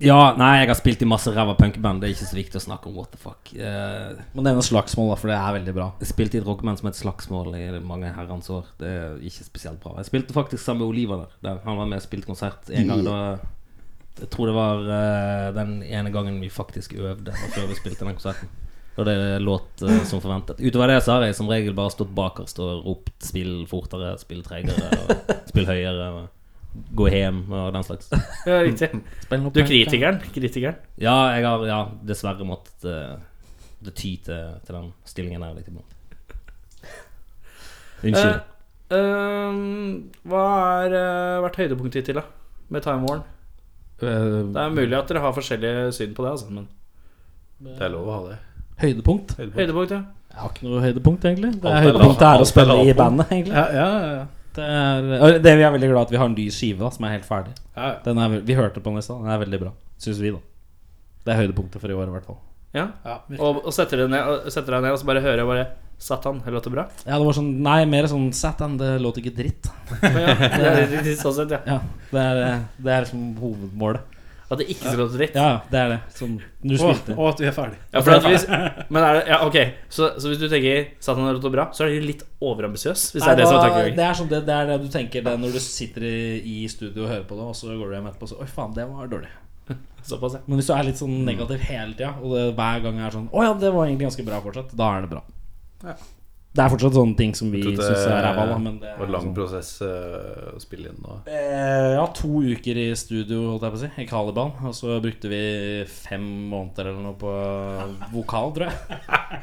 Speaker 5: Ja, nei, jeg har spilt i masse ræva punkeband. Det er ikke så viktig å snakke om what the fuck. Eh,
Speaker 4: Må nevne slagsmål, da, for det er veldig bra.
Speaker 5: Jeg spilte i et rockeband som het Slagsmål i mange herrens år. Det er ikke spesielt bra. Jeg spilte faktisk sammen med Oliver der. der han var med og spilte konsert en gang. Da, jeg tror det var eh, den ene gangen vi faktisk øvde og før vi spilte den konserten. Og det låt eh, som forventet. Utover det så har jeg som regel bare stått bakerst og ropt 'spill fortere', 'spill tregere', og 'spill høyere', og 'gå hjem' og den slags.
Speaker 2: Ja, riktig.
Speaker 5: Spill noe
Speaker 2: Du er
Speaker 5: punk, da.
Speaker 2: kritikeren. kritikeren.
Speaker 5: Ja, jeg har ja, dessverre måttet eh, det ty til, til den stillingen der litt iblant. Unnskyld.
Speaker 2: Eh, ehm, hva har eh, vært høydepunktet hittil, da? Med Time Warn? Det er mulig at dere har forskjellige syn på det, altså, men
Speaker 3: Det er lov å ha det.
Speaker 4: Høydepunkt?
Speaker 3: Høydepunkt.
Speaker 2: høydepunkt, ja.
Speaker 4: Jeg har ikke noe høydepunkt, egentlig. Det
Speaker 3: Alt
Speaker 4: er
Speaker 3: er
Speaker 4: høydepunktet
Speaker 3: lav-
Speaker 4: er å
Speaker 3: alt er
Speaker 4: spille i
Speaker 3: lavpunkt.
Speaker 4: bandet, egentlig.
Speaker 6: Ja, ja, ja.
Speaker 4: Det, er, og det vi er veldig glad at vi har en ny skive da, som er helt ferdig.
Speaker 6: ja.
Speaker 4: Den er, vel- vi hørte på den i stad. Den er veldig bra, syns vi, da. Det er høydepunktet for i år, i hvert fall.
Speaker 2: Ja.
Speaker 6: Ja, virkelig.
Speaker 2: Og, og setter deg ned, og setter deg ned og så bare hører jeg bare Satan, det låter bra.
Speaker 4: Ja, det var sånn Nei, mer sånn Satan, det låter ikke dritt.
Speaker 2: Men ja, det er, det er sånn sett, ja.
Speaker 4: Ja, Det er, det er liksom hovedmålet.
Speaker 2: At det ikke skal låte dritt.
Speaker 4: Ja, ja, det er det. Som du
Speaker 6: Og,
Speaker 4: spilte.
Speaker 6: og at vi er ferdig.
Speaker 2: Ja, for at hvis, men er det, ja, ok så, så hvis du tenker Satan det låter bra, så er du litt overambisiøs. Hvis det er det som er
Speaker 4: Nei, da-
Speaker 2: tankegangen.
Speaker 4: det er sånn det, det er det du tenker det, er når du sitter i, i studio og hører på det, og så går du hjem etterpå og så Oi, faen, det var dårlig.
Speaker 2: <laughs> Såpass, ja. Mm.
Speaker 4: Men hvis du er litt sånn negativ hele tida, og det, hver gang er sånn Å ja, det var egentlig ganske bra fortsatt, da er det bra.
Speaker 6: Ja.
Speaker 4: Det er fortsatt sånne ting som vi
Speaker 3: Jeg tror det
Speaker 4: syns er ræva, da, men det
Speaker 3: Det
Speaker 4: er
Speaker 3: var en lang
Speaker 4: sånn.
Speaker 3: prosess eh, å spille inn. Og...
Speaker 4: Eh, Ja, to uker i studio, holdt jeg på å si, i Caliban. Og så brukte vi fem måneder eller noe på vokal, tror jeg.
Speaker 6: <laughs>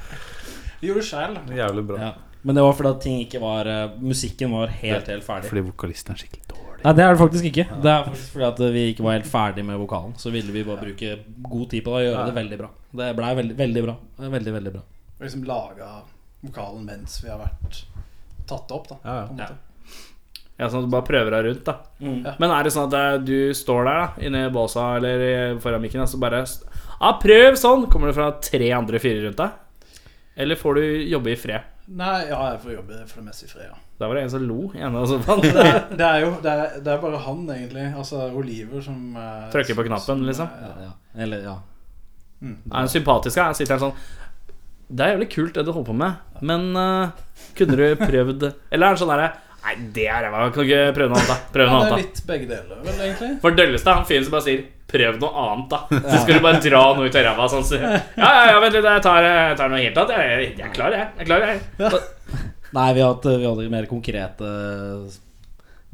Speaker 6: Vi gjorde det sjæl.
Speaker 3: Jævlig bra.
Speaker 4: Ja. Men det var fordi at ting ikke var eh, Musikken var helt, helt ferdig.
Speaker 3: Fordi vokalisten er skikkelig dårlig.
Speaker 4: Nei, det er det faktisk ikke. Det er faktisk fordi at vi ikke var helt ferdig med vokalen. Så ville vi bare bruke god tid på det og gjøre det veldig bra. Det blei veldig, veldig bra. Det er Veldig, veldig bra.
Speaker 6: Og liksom laga vokalen mens vi har vært tatt opp, da.
Speaker 3: Ja, ja.
Speaker 6: på en måte.
Speaker 2: ja. Sånn at du bare prøver deg rundt, da.
Speaker 6: Ja.
Speaker 2: Men er det sånn at det er, du står der da inne i båsa eller i- foran mikken, og så bare Ja, prøv sånn! Kommer det fra tre andre fyrer rundt deg? Eller får du jobbe i fred?
Speaker 6: Nei, ja, jeg får jobbe for det meste i fred, <laughs> ja.
Speaker 2: Der var det en som lo i enden av sofaen.
Speaker 6: Men Det
Speaker 4: <laughs>
Speaker 6: er, det er jo det er, det er bare han, egentlig. Altså Oliver som eh,
Speaker 2: Trykker på knappen,
Speaker 6: som, eh,
Speaker 2: liksom.
Speaker 6: Ja.
Speaker 4: Ja. Eller, ja.
Speaker 2: Er han sympatisk? Han sitter her sånn Det er jævlig kult, det du holder på med, men eh, kunne du prøvd <laughs> Eller er han sånn derre Nei, det er ræva. Kan du ikke prøve noe annet, da. Prøv
Speaker 6: Ja,
Speaker 2: noe
Speaker 6: det er
Speaker 2: annet, da.
Speaker 6: litt begge deler, vel, egentlig.
Speaker 2: For dølleste er han fyren som bare sier 'prøv noe annet', da. Så skal du bare dra noe ut av ræva. Sånn, så, ja, ja, ja, vent litt, jeg tar, jeg tar noe helt annet. Jeg, jeg, jeg er klar, jeg. jeg, er klar, jeg.
Speaker 4: Nei, vi hadde, vi hadde mer konkrete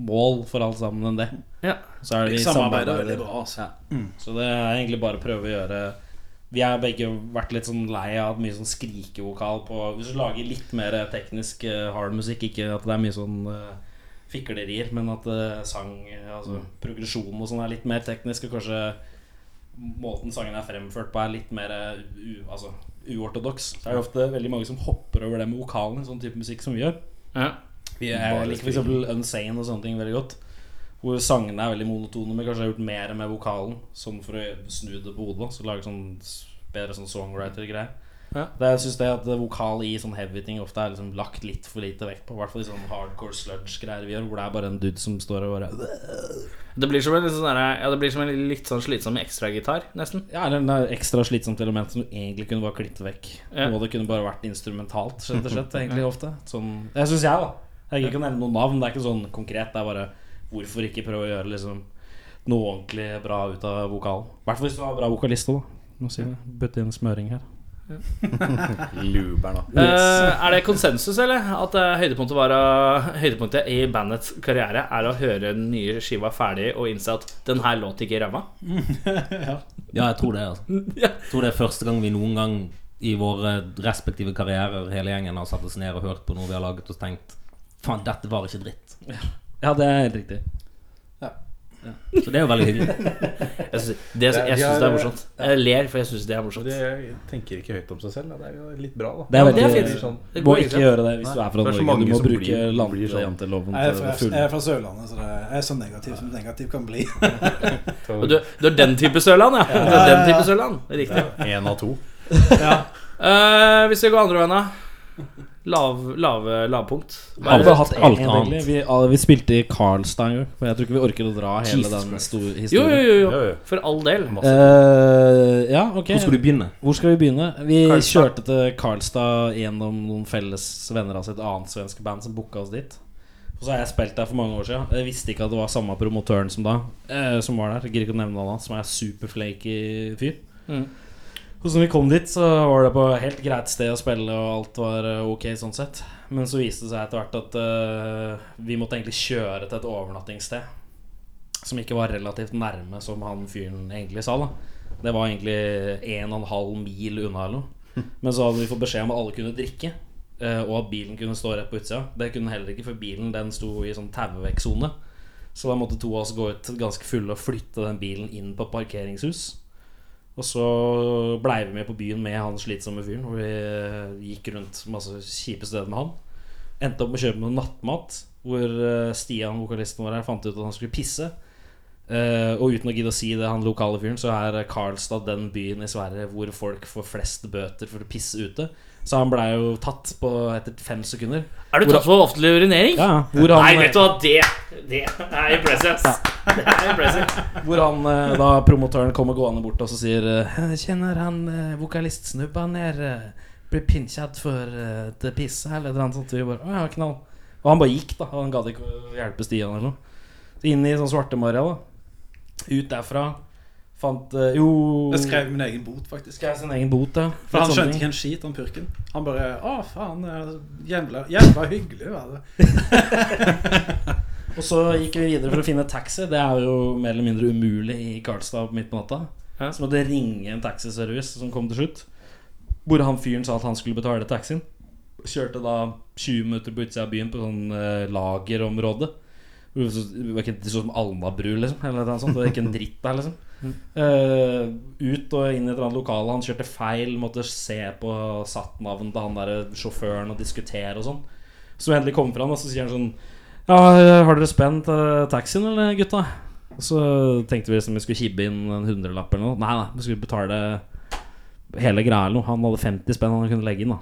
Speaker 4: mål for alt sammen enn det.
Speaker 2: Ja.
Speaker 4: Så er det Mm. vi
Speaker 6: Samarbeidet er
Speaker 4: samarbeider.
Speaker 6: veldig bra, altså.
Speaker 4: Ja. Så det er egentlig bare å prøve å gjøre Vi har begge vært litt sånn lei av mye sånn skrikevokal på Hvis du lager litt mer teknisk eh, hard musikk, ikke at det er mye sånn eh, fiklerier, men at eh, sang, eh, altså progresjonen og sånn er litt mer teknisk, og kanskje måten sangen er fremført på, er litt mer eh, u, altså, uortodoks, så er det ofte veldig mange som hopper over det med vokalen, sånn type musikk som vi gjør.
Speaker 2: Ja.
Speaker 4: Vi er, jeg liker for eksempel Unsane og sånne ting veldig godt. Hvor sangene er veldig monotone, men kanskje har gjort mer med vokalen. Sånn for å snu det på hodet. Så lage sånn s- bedre sånn songwriter-greier.
Speaker 2: Ja.
Speaker 4: Det Jeg synes det at vokal i sånn heavy ting ofte er liksom lagt litt for lite vekt på. I hvert fall i sånn hardcore sludge-greier vi gjør, hvor det er bare en dude som står og bare
Speaker 2: Det blir som en, litt sånn derre- ja, det blir som en litt sånn slitsom ekstragitar, nesten.
Speaker 4: Ja, eller en ekstra slitsomt element som egentlig kunne bare klippet vekk.
Speaker 2: Ja.
Speaker 4: Og det kunne bare vært instrumentalt, rett
Speaker 3: <laughs>
Speaker 4: og slett, egentlig ofte. Sånn, det syns jeg, da. Jeg kan ikke nevne noen navn, det er ikke sånn konkret. Det er bare hvorfor ikke prøve å gjøre liksom noe ordentlig bra ut av vokalen. I hvert fall hvis du har bra vokalist òg, da. Må si det. Bøtte inn smøring her.
Speaker 3: Luber, da.
Speaker 2: Eh, er det konsensus, eller? At eh, høydepunktet, var, å- høydepunktet i bandets karriere er å høre den nye skiva ferdig og innse at den her låt ikke i ræva?
Speaker 5: Ja, jeg tror det. altså Jeg tror det er første gang vi noen gang i våre respektive karrierer hele gjengen har satt oss ned og hørt på noe vi har laget og tenkt Faen, dette var ikke dritt.
Speaker 4: Ja, det er helt riktig.
Speaker 5: Så det er jo veldig hyggelig.
Speaker 2: Jeg syns det, jeg
Speaker 3: Ja, de
Speaker 2: synes
Speaker 3: har-
Speaker 2: det er morsomt. Jeg ler, for jeg syns det er morsomt.
Speaker 3: De tenker ikke høyt om seg selv. Da. Det er jo litt bra, da.
Speaker 4: Det er veldig
Speaker 2: det er fint.
Speaker 3: blir sånn,
Speaker 4: Du
Speaker 2: Det
Speaker 4: må
Speaker 2: går
Speaker 4: ikke
Speaker 2: ikke.
Speaker 4: gjøre det hvis du er fra
Speaker 3: Det er så
Speaker 4: Norge.
Speaker 3: mange
Speaker 4: Du må
Speaker 3: som
Speaker 4: bruke
Speaker 3: blir-
Speaker 4: land-
Speaker 3: blir sånn.
Speaker 4: janteloven
Speaker 6: Jeg er,
Speaker 4: til
Speaker 6: fra,
Speaker 4: det
Speaker 6: jeg
Speaker 4: fulle.
Speaker 6: er fra Sørlandet, så det er, jeg er så negativ som negativ kan <laughs> bli.
Speaker 2: Og Du, du er den type Sørland, ja. Du er den type Sørland. Riktig.
Speaker 3: Én av to.
Speaker 2: Eh, hvis vi går andre veien, da. Lav, lave, lavpunkt.
Speaker 4: Vi har bare hatt alt
Speaker 5: alt
Speaker 4: annet. Vi, ah, vi spilte i Karlstad en gang, men jeg tror ikke vi orker å dra hele den store
Speaker 2: Jo,
Speaker 4: historien.
Speaker 2: jo, jo,
Speaker 3: Jo,
Speaker 2: jo.
Speaker 3: jo.
Speaker 2: For all del.
Speaker 4: Eh, ja, ok.
Speaker 5: Hvor skal du begynne?
Speaker 4: Hvor skal vi begynne? Vi
Speaker 2: Karlstad.
Speaker 4: kjørte til Karlstad gjennom noen felles venner av sitt annet svensk band som booka oss dit. Og så har jeg spilt der for mange år siden. Jeg visste ikke at det var samme promotøren som da eh, Som var der. Jeg Gidder ikke å nevne navnet hans, som er superflaky fyr.
Speaker 2: Mm.
Speaker 4: Og så når vi kom dit, så var det på helt greit sted å spille, og alt var eh, ok sånn sett. Men så viste det seg etter hvert at eh, vi måtte egentlig kjøre til et overnattingssted. Som ikke var relativt nærme, som han fyren egentlig sa. da Det var egentlig en og en halv mil unna eller noe. Men så hadde vi fått beskjed om at alle kunne drikke. eh, Og at bilen kunne stå rett på utsida. Det kunne den heller ikke, for bilen den sto i sånn tauevekksone. Så da måtte to av oss gå ut ganske fulle og flytte den bilen inn på et parkeringshus. Og så blei vi med på byen med han slitsomme fyren. Hvor vi eh, gikk rundt masse kjipe steder med han. Endte opp med å kjøpe noe nattmat. Hvor eh, Stian, vokalisten vår her, fant ut at han skulle pisse. Eh, og uten å gidde å si det, han lokale fyren, så er Karlstad den byen i Sverige hvor folk får flest bøter for å pisse ute. Så han blei jo tatt på etter fem sekunder.
Speaker 2: Er du tatt for offentlig urinering?
Speaker 4: Hvor han,
Speaker 2: Nei, vet du hva, det, det er impressive. ass. Det er impressive.
Speaker 4: Hvor han eh, da promotøren kommer gående bort og så sier eh, «Jeg Kjenner han eh, vokalistsnubba ned eh, Blir pinsjet for eh, det pisset eller et eller annet sånt. Og vi bare Å ja, knall. Og han bare gikk, da. Han gadd ikke å hjelpe Stian eller noe. Så inn i sånn svartemarja, da. Ut derfra. Fant eh, Jo
Speaker 6: <laughs> Jeg skrev min egen bot, faktisk.
Speaker 4: skrev sin egen bot, ja.
Speaker 6: For han skjønte ikke en skit om purken. Han bare Å, faen. eh, Jævla, jævla hyggelig, var det.
Speaker 4: Og så gikk vi videre for å finne taxi. Det er jo mer eller mindre umulig i Karlstad midt på natta.
Speaker 2: Ja.
Speaker 4: Så måtte jeg ringe en taxiservice som kom til slutt. Hvor han fyren sa at han skulle betale taxien. Kjørte da 20 minutter på utsida av byen på sånn eh, lagerområde. Hvor Det så- det var ikke det så ut som Alnabru, liksom. Eller noe sånt. Det var ikke en dritt der, liksom. Eh, ut og inn i et eller annet lokale. Han kjørte feil, måtte se på satt-navn til han der sjåføren og diskutere og sånn. Så endelig kom fram, og så sier han sånn ja, har dere spent eh, taxien, eller gutta? Og Så tenkte vi liksom vi skulle kibbe inn en hundrelapp eller noe. Nei, nei, vi skulle betale hele greia eller noe. Han hadde 50 spenn han kunne legge inn, da.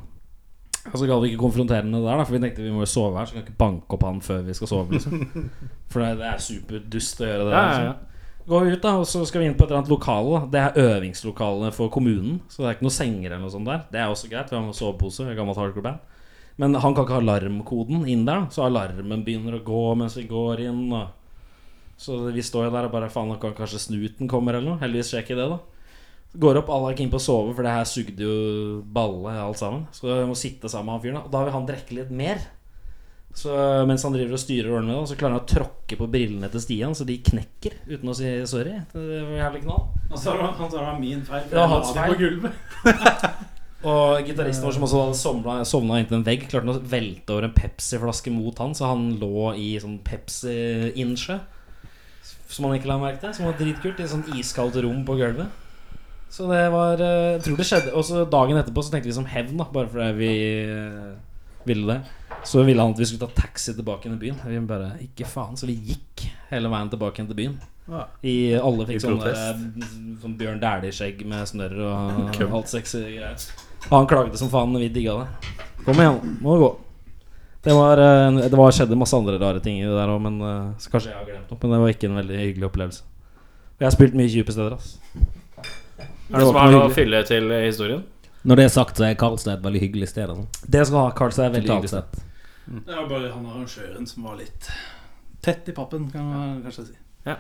Speaker 4: Og så gadd vi ikke konfrontere ham med det der, da, for vi tenkte vi må jo sove her. Så kan vi ikke banke opp han før vi skal sove, liksom.
Speaker 2: <laughs>
Speaker 4: For det, det er superdust å gjøre det.
Speaker 2: Ja, ja, ja.
Speaker 4: Liksom. Går vi ut, da, og så skal vi inn på et eller annet lokale. da. Det er øvingslokalet for kommunen, så det er ikke noen senger eller noe sånt der. Det er også greit, for han har sovepose, gammelt hardcore band. Men han kan ikke ha alarmkoden inn der, da. så alarmen begynner å gå mens vi går inn. Og... Så vi står jo der og bare faen, nå kan kanskje snuten kommer eller noe. Heldigvis skjer ikke det, da. Går opp, alle er keen på å sove, for det her sugde jo balle alt sammen. Så vi må sitte sammen med han fyren, da. Og da vil han drikke litt mer. Så mens han driver og styrer årene med det, så klarer han å tråkke på brillene til Stian, så de knekker uten å si sorry. Det var jævlig knall.
Speaker 6: Han sa det var- han sa det var min feil. for
Speaker 4: Det var
Speaker 6: jeg la
Speaker 4: hans
Speaker 6: det
Speaker 4: feil.
Speaker 6: På gulvet.
Speaker 4: Og gitaristen vår som også hadde somla, sovna inntil en vegg, klarte han å velte over en Pepsi-flaske mot han, så han lå i sånn Pepsi-innsjø. Som han ikke la merke til. Som var dritkult. I et sånn iskaldt rom på gulvet. Så det var eh, Jeg tror det skjedde. Og så dagen etterpå så tenkte vi som hevn, da, bare fordi vi eh, ville det. Så ville han at vi skulle ta taxi tilbake inn i byen. Vi bare Ikke faen. Så vi gikk hele veien tilbake inn til byen.
Speaker 6: Ja.
Speaker 4: I alle fikk
Speaker 3: I
Speaker 4: sånne
Speaker 3: protest.
Speaker 4: eh, sånn Bjørn Dæhlie-skjegg med snørr og alt sexy greier. Og han klagde som faen, og vi digga det. Kom igjen, må gå. Det var, eh, det var skjedde masse andre rare ting i det der òg, men eh, så kanskje jeg har glemt noe. Men det var ikke en veldig hyggelig opplevelse. Jeg har spilt mye kjipe steder, ass.
Speaker 2: Er det noe som har noe å fylle til i historien?
Speaker 5: Når det er sagt, så er Karlstad et veldig hyggelig sted. Altså.
Speaker 4: Det skal ha Karlstad er veldig
Speaker 5: Totalt
Speaker 4: hyggelig.
Speaker 5: sett.
Speaker 6: Det var bare han arrangøren som var litt tett i pappen, kan man kanskje si.
Speaker 2: Ja.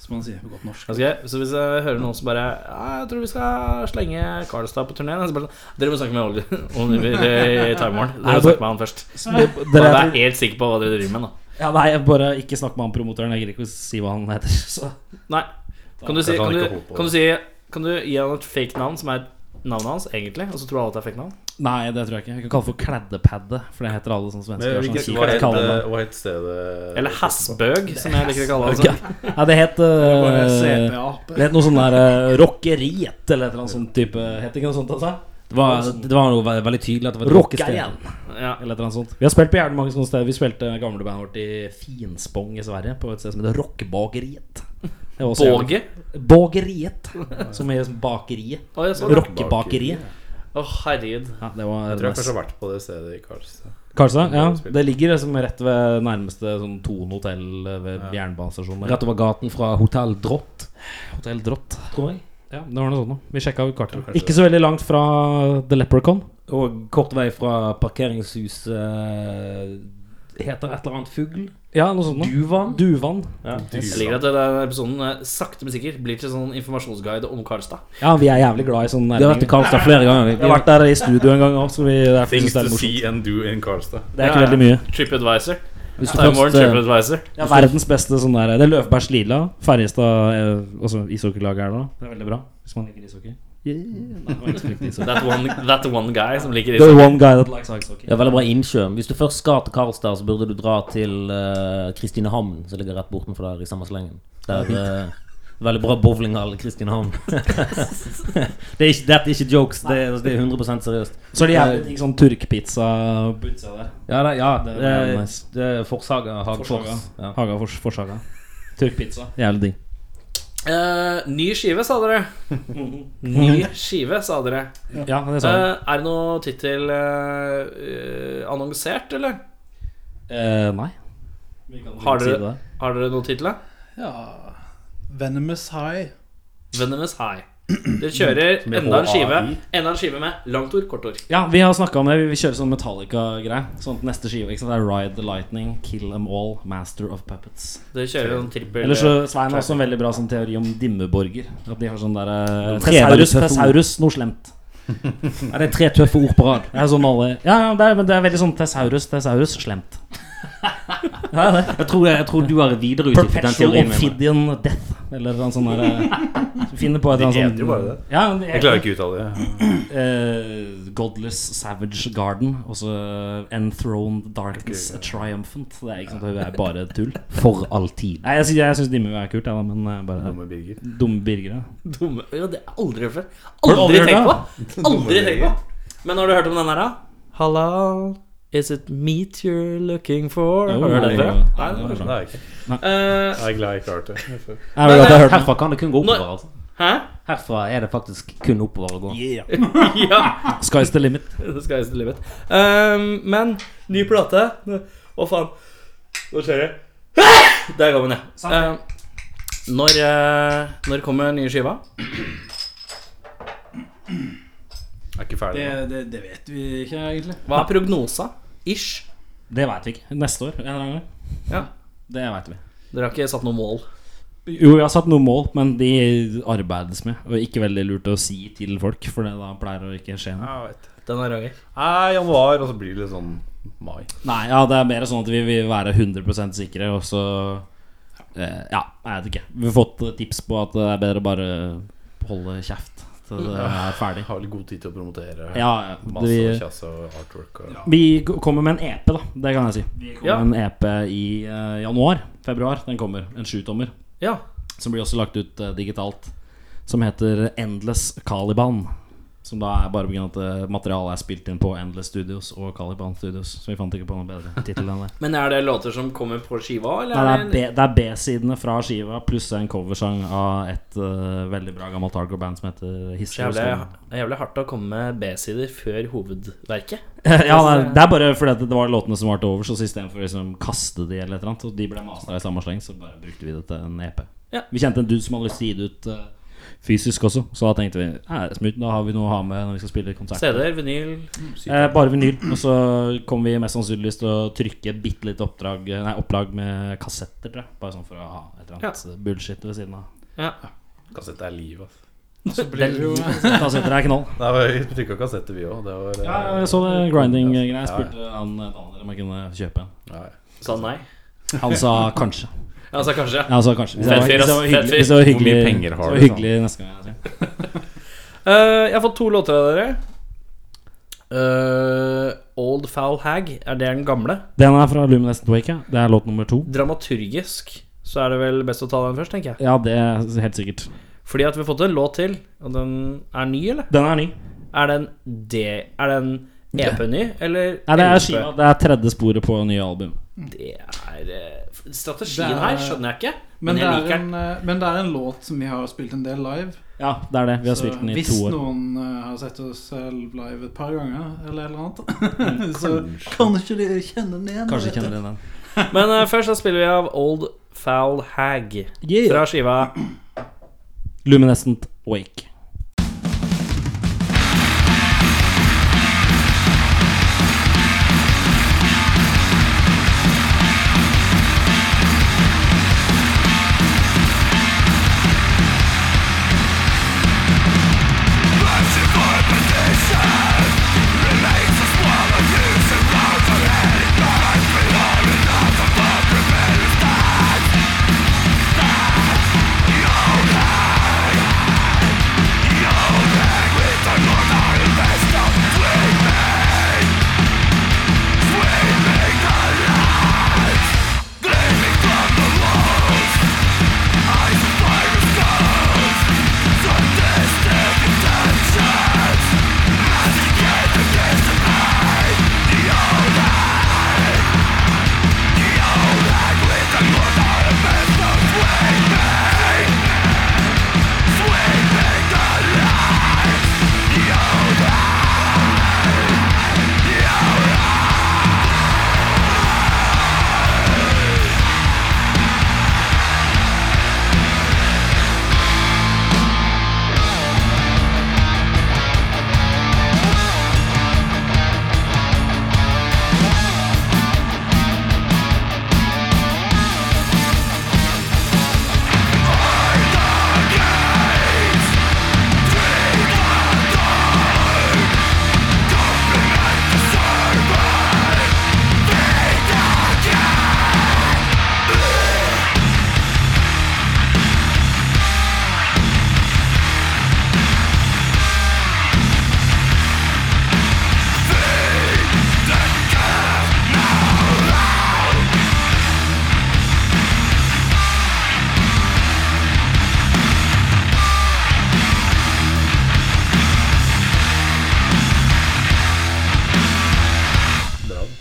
Speaker 6: Som man sier på godt norsk.
Speaker 2: Ok, Så hvis Altså, jeg hører noen som bare ja, 'Jeg tror vi skal slenge Karlstad på turneen', så bare sånn Dere må snakke med <laughs> Oli- Oliver i Timehorn. Dere
Speaker 4: Nei,
Speaker 2: må
Speaker 4: du-
Speaker 2: snakke med han først.
Speaker 4: Dere
Speaker 2: Bare
Speaker 4: er,
Speaker 2: vær helt sikker på hva dere driver med, da.
Speaker 4: ja, nei, bare ikke snakk med han promotøren. Jeg gidder ikke å si hva han heter. <laughs> Så.
Speaker 2: Nei. Kan du, si,
Speaker 3: Kanskje han
Speaker 2: kan,
Speaker 3: ikke
Speaker 2: du,
Speaker 3: holdt på.
Speaker 2: kan, du si, kan du gi han et fake navn som er navnet hans, egentlig? Og så tror alle at det er fake navn?
Speaker 4: Nei, det tror jeg ikke. Vi kan kalle det for Kladdepadde, for det heter alle sånne svensker. har sånn
Speaker 3: Hvilket-
Speaker 4: sikkert kallenavn.
Speaker 3: hva het stedet
Speaker 2: Eller Hassbøg, som jeg liker å kalle det. Altså.
Speaker 4: Nei, det het
Speaker 6: Bare
Speaker 4: eh,
Speaker 6: CP-ape.
Speaker 4: Det het noe sånn der eh, Rockeriet eller et eller annet sånt type Het ikke noe sånt, altså?
Speaker 5: Det var, det var noe ve- veldig tydelig at det var et rockested.
Speaker 4: Rockeriet.
Speaker 2: Ja.
Speaker 4: Eller et eller annet sånt. Vi har spilt på jævlig mange sånne steder. Vi spilte gamle bandet vårt i Finspong i Sverige, på et sted som heter Rockbageriet. Det var også jævlig-
Speaker 2: Båge?
Speaker 4: Bageriet. Som er sånn bakeriet.
Speaker 2: Å, jeg så det.
Speaker 4: Rockebakeriet.
Speaker 2: Å, herregud.
Speaker 4: Ja, det var
Speaker 3: Jeg tror jeg kanskje har vært på det stedet i Karlstad.
Speaker 4: Karlstad? Ja. Det ligger liksom rett ved nærmeste sånn Thon hotell ved jernbanestasjonen.
Speaker 5: Rett over gaten fra Hotell Drott,
Speaker 4: hotell Drott.
Speaker 5: tror jeg.
Speaker 4: Ja, det var noe sånt noe. Vi sjekka ut kartet.
Speaker 3: kanskje
Speaker 4: Ikke så veldig langt fra The Leprechaun.
Speaker 5: Og kort vei fra parkeringshuset eh, Heter et eller annet fugl?
Speaker 4: Ja, noe sånt noe.
Speaker 5: Duvan?
Speaker 4: Duvan.
Speaker 5: Ja.
Speaker 2: Jeg liker at denne episoden eh, sakte, men sikkert blir til sånn informasjonsguide om Karlstad.
Speaker 4: Ja, vi er jævlig glad i sånne
Speaker 5: Vi har vært i
Speaker 4: næringer.
Speaker 5: Karlstad flere ganger.
Speaker 4: Vi har vært der i studio en gang òg, så vi det er,
Speaker 3: Things
Speaker 4: faktisk- det
Speaker 3: to
Speaker 4: er, morsomt.
Speaker 3: see and do in Karlstad.
Speaker 4: det er
Speaker 2: Ja,
Speaker 4: ikke
Speaker 2: ja.
Speaker 4: veldig mye.
Speaker 2: TripAdvisor.
Speaker 5: Hvis du
Speaker 2: Timehorn
Speaker 5: først, eh,
Speaker 2: TripAdvisor.
Speaker 4: Det er verdens beste sånn der Det er Løfbergs Lila. Ferjestad eh, Altså ishockeylaget her nå. Det er veldig bra hvis man liker ishockey.
Speaker 2: That one, that one guy som liker
Speaker 4: The
Speaker 2: ishockey.
Speaker 4: one guy that likes ishockey.
Speaker 5: ja, veldig bra innsjø. Hvis du først skal til Karlstad, så burde du dra til eh, Kristinehamn, som ligger rett bortenfor der i samme slengen. <laughs> Der, eh, veldig bra bowlinghall i Kristinehamn. det er ikke, dette er ikke jokes, det, er- det er 100 seriøst. Eh,
Speaker 4: Så er det jævlig digg sånn turkpizza på utsida der.
Speaker 5: Ja, det, ja,
Speaker 4: Det
Speaker 5: det,
Speaker 4: er
Speaker 5: det,
Speaker 4: nice.
Speaker 5: Forshaga Hagfors.
Speaker 4: Forshaga.
Speaker 5: Ja.
Speaker 4: Haga Fors, Forshaga. Tørkpizza.
Speaker 5: Jævlig digg.
Speaker 2: Eh, ny skive, sa <laughs> dere. Ny skive, sa dere.
Speaker 4: Ja, det sa hun.
Speaker 2: Eh, er det noe tittel eh, eh, annonsert, eller?
Speaker 4: Eh, nei.
Speaker 2: Har
Speaker 4: Si det
Speaker 2: dere,
Speaker 4: der.
Speaker 2: har dere noen tittel? da?
Speaker 6: Ja Venomous High.
Speaker 2: Venomous
Speaker 4: <clears throat>
Speaker 2: High. Dere kjører enda en skive Enda en skive med langt ord, kort ord.
Speaker 4: Ja, vi har snakka om det. Vi vil kjøre sånn Metallica-greie. Sånn at neste skive ikke sant? det er Ride the Lightning, Kill Them All, Master of Puppets.
Speaker 2: Dere kjører en trippel
Speaker 4: Eller så Svein har også en veldig bra sånn teori om dimmeborger. At de har sånn derre Thesaurus,
Speaker 5: Tesaurus,
Speaker 4: Thesaurus, noe <laughs> slemt.
Speaker 5: Nei, det er tre tøffe ord på rad.
Speaker 4: Det er sånn alle Ja, ja, det er, men det er veldig sånn Thesaurus, Thesaurus, slemt.
Speaker 5: Jeg tror, jeg tror du har videreutviklet den
Speaker 4: Perpetual
Speaker 5: teorien. min.
Speaker 4: Ophidian Death, eller noe sånt der. <laughs> Du finner på et eller annet sånn- sånt.
Speaker 3: det.
Speaker 4: Ja, men det
Speaker 3: Jeg klarer ikke å uttale det.
Speaker 4: Eh, Godless Savage Garden, og så Enthroned Darkness Triumphant. Det er ikke sant,
Speaker 2: <laughs>
Speaker 4: det er bare tull.
Speaker 5: For all tid.
Speaker 4: Nei, jeg, sy- jeg syns dimmer er kult, jeg, da, men eh, bare
Speaker 3: Dumme Birger.
Speaker 4: dumme Birger. da.
Speaker 2: dumme Ja, det har jeg aldri hørt før.
Speaker 4: Har du
Speaker 2: Aldri
Speaker 4: aldri
Speaker 2: tenkt på! <laughs>
Speaker 4: hørt
Speaker 2: Aldri tenkt på! Men har du hørt om den her, da? Halal, is it meat you're looking for?
Speaker 4: Jo,
Speaker 2: Har du hørt den
Speaker 4: jo,
Speaker 2: før?
Speaker 4: jo.
Speaker 2: Nei,
Speaker 4: Ja,
Speaker 2: det
Speaker 4: det
Speaker 2: var
Speaker 4: var
Speaker 2: bra.
Speaker 3: Det er jeg ikke.
Speaker 2: Eh,
Speaker 3: Jeg er glad jeg ikke har hørt det.
Speaker 5: Jeg vil at jeg hørte Herfra kan det kun gå
Speaker 2: Når-
Speaker 5: oppover. altså
Speaker 2: Hæ? <laughs>
Speaker 5: Herfra er det faktisk kun oppover å gå.
Speaker 2: Ja!
Speaker 4: Sky's the limit.
Speaker 2: Det skal jeg til livet. Ehm, men ny plate Å, faen. Nå skjer det. Der kom den, ja. Ehm, når, eh, når kommer nye skiva?
Speaker 3: Jeg er ikke ferdig
Speaker 6: Det,
Speaker 3: nå.
Speaker 6: det, det vet vi ikke egentlig.
Speaker 2: Hva er prognosa? Ish.
Speaker 4: Det veit vi ikke. Neste år. en eller annen gang.
Speaker 2: Ja.
Speaker 4: Det veit vi.
Speaker 2: Dere har ikke satt noe mål?
Speaker 4: Jo, jeg har satt noen mål, men de arbeides med. Og ikke veldig lurt å si til folk, for det da pleier å ikke skje noe.
Speaker 3: Ja, jeg vet.
Speaker 2: Den har Roger.
Speaker 3: Nei, januar, og så blir det litt sånn mai.
Speaker 4: Nei, ja, det er mer sånn at vi vil være 100 sikre, og så eh, Ja, jeg vet ikke. Vi har fått tips på at det er bedre å bare holde kjeft til det er ferdig.
Speaker 3: Har litt god tid til å promotere.
Speaker 4: Ja, ja, det,
Speaker 3: Masse
Speaker 4: vi,
Speaker 3: tjass og artwork og
Speaker 4: vi kommer med en EP, da. Det kan jeg si. Vi kommer
Speaker 2: Ja.
Speaker 4: med en EP i eh, januar. Februar. Den kommer. En sjutommer.
Speaker 2: Ja.
Speaker 4: Som blir også lagt ut eh, digitalt Som heter Endless Caliban Som da er bare på grunn av at eh, materialet er spilt inn på Endless Studios og Caliban Studios Så vi fant ikke på noen bedre titel enn det
Speaker 2: Men er det låter som kommer på skiva, eller?
Speaker 4: Nei, det er
Speaker 2: en-
Speaker 4: B- det er B-sidene fra skiva Pluss en coversang av et eh, veldig bra gammelt hardcore band som heter
Speaker 2: Så
Speaker 4: History of
Speaker 2: jævlig,
Speaker 4: Stone.
Speaker 2: det er jævlig hardt å komme med B-sider før hovedverket.
Speaker 4: <laughs> ja, det er, det er bare fordi at det var låtene som var til over Så i stedet for å liksom kaste de eller et eller annet Og de ble masteret i samme sleng Så bare brukte vi det til en EP
Speaker 2: Ja.
Speaker 4: Vi kjente en dude som hadde lyst til å gi det ut eh, fysisk også Så da tenkte vi, "Nei, det er smooth, da har vi noe å ha med når vi skal spille konsert
Speaker 2: CD-er, vinyl
Speaker 4: eh, Bare vinyl Og så kommer vi mest sannsynligvis til å trykke et bitte litt oppdrag eh, Nei, opplag med kassetter, tror jeg Bare sånn for å ha et eller annet bullshit ved siden av
Speaker 2: Ja.
Speaker 3: Kassett er liv, altså.
Speaker 6: Så blir det jo
Speaker 4: Kassetter er knall
Speaker 3: Nei, vi trykka kassetter, vi òg. Det var eh,
Speaker 4: Ja, jeg så det grinding-greia Jeg
Speaker 3: Ja, ja.
Speaker 4: spurte han eh, Daniel om jeg kunne kjøpe en
Speaker 3: Ja, ja.
Speaker 2: Sa nei?
Speaker 4: Han sa kanskje
Speaker 2: Ja, så kanskje.
Speaker 4: Ja, altså kanskje Hvis det
Speaker 2: Fett
Speaker 4: var,
Speaker 2: fyr,
Speaker 4: hvis det
Speaker 2: ass.
Speaker 4: var
Speaker 2: Fett fyr.
Speaker 4: hyggelig, hvis det
Speaker 3: Hvor mye
Speaker 4: var hyggelig
Speaker 3: penger har
Speaker 4: det var
Speaker 3: du,
Speaker 4: Hyggelig neste gang jeg sier.
Speaker 2: Eh, jeg har fått to låter av dere. Eh, Old Foul Hag, er det den gamle?
Speaker 4: Den er fra Luminescent Wake ja. Det er låt nummer to
Speaker 2: Dramaturgisk så er det vel best å ta den først, tenker jeg.
Speaker 4: Ja, det er helt sikkert
Speaker 2: Fordi at vi har fått en låt til, og den er ny, eller?
Speaker 4: Den er ny
Speaker 2: Er den D... Er den EP ny, eller?
Speaker 4: Nei, det er skiva Det er tredje sporet på nye album
Speaker 2: Det er eh, Strategien
Speaker 6: Det er-
Speaker 2: her skjønner jeg ikke, men,
Speaker 6: men, det
Speaker 2: jeg
Speaker 6: er
Speaker 2: liker
Speaker 6: en,
Speaker 2: den.
Speaker 6: eh, men det er en låt som vi har spilt en del live.
Speaker 4: Ja, det er det Vi har
Speaker 6: Så
Speaker 4: spilt den i
Speaker 6: hvis
Speaker 4: to år
Speaker 6: noen eh, har sett oss selv live et par ganger, eller et eller <laughs> annet, så Mm, kanskje de kjenner den igjen.
Speaker 4: Kanskje
Speaker 6: vet
Speaker 4: kjenner
Speaker 6: du.
Speaker 4: du den
Speaker 2: Men eh, først så spiller vi av Old Foul Hag fra skiva
Speaker 4: Luminescent Wake
Speaker 7: Thank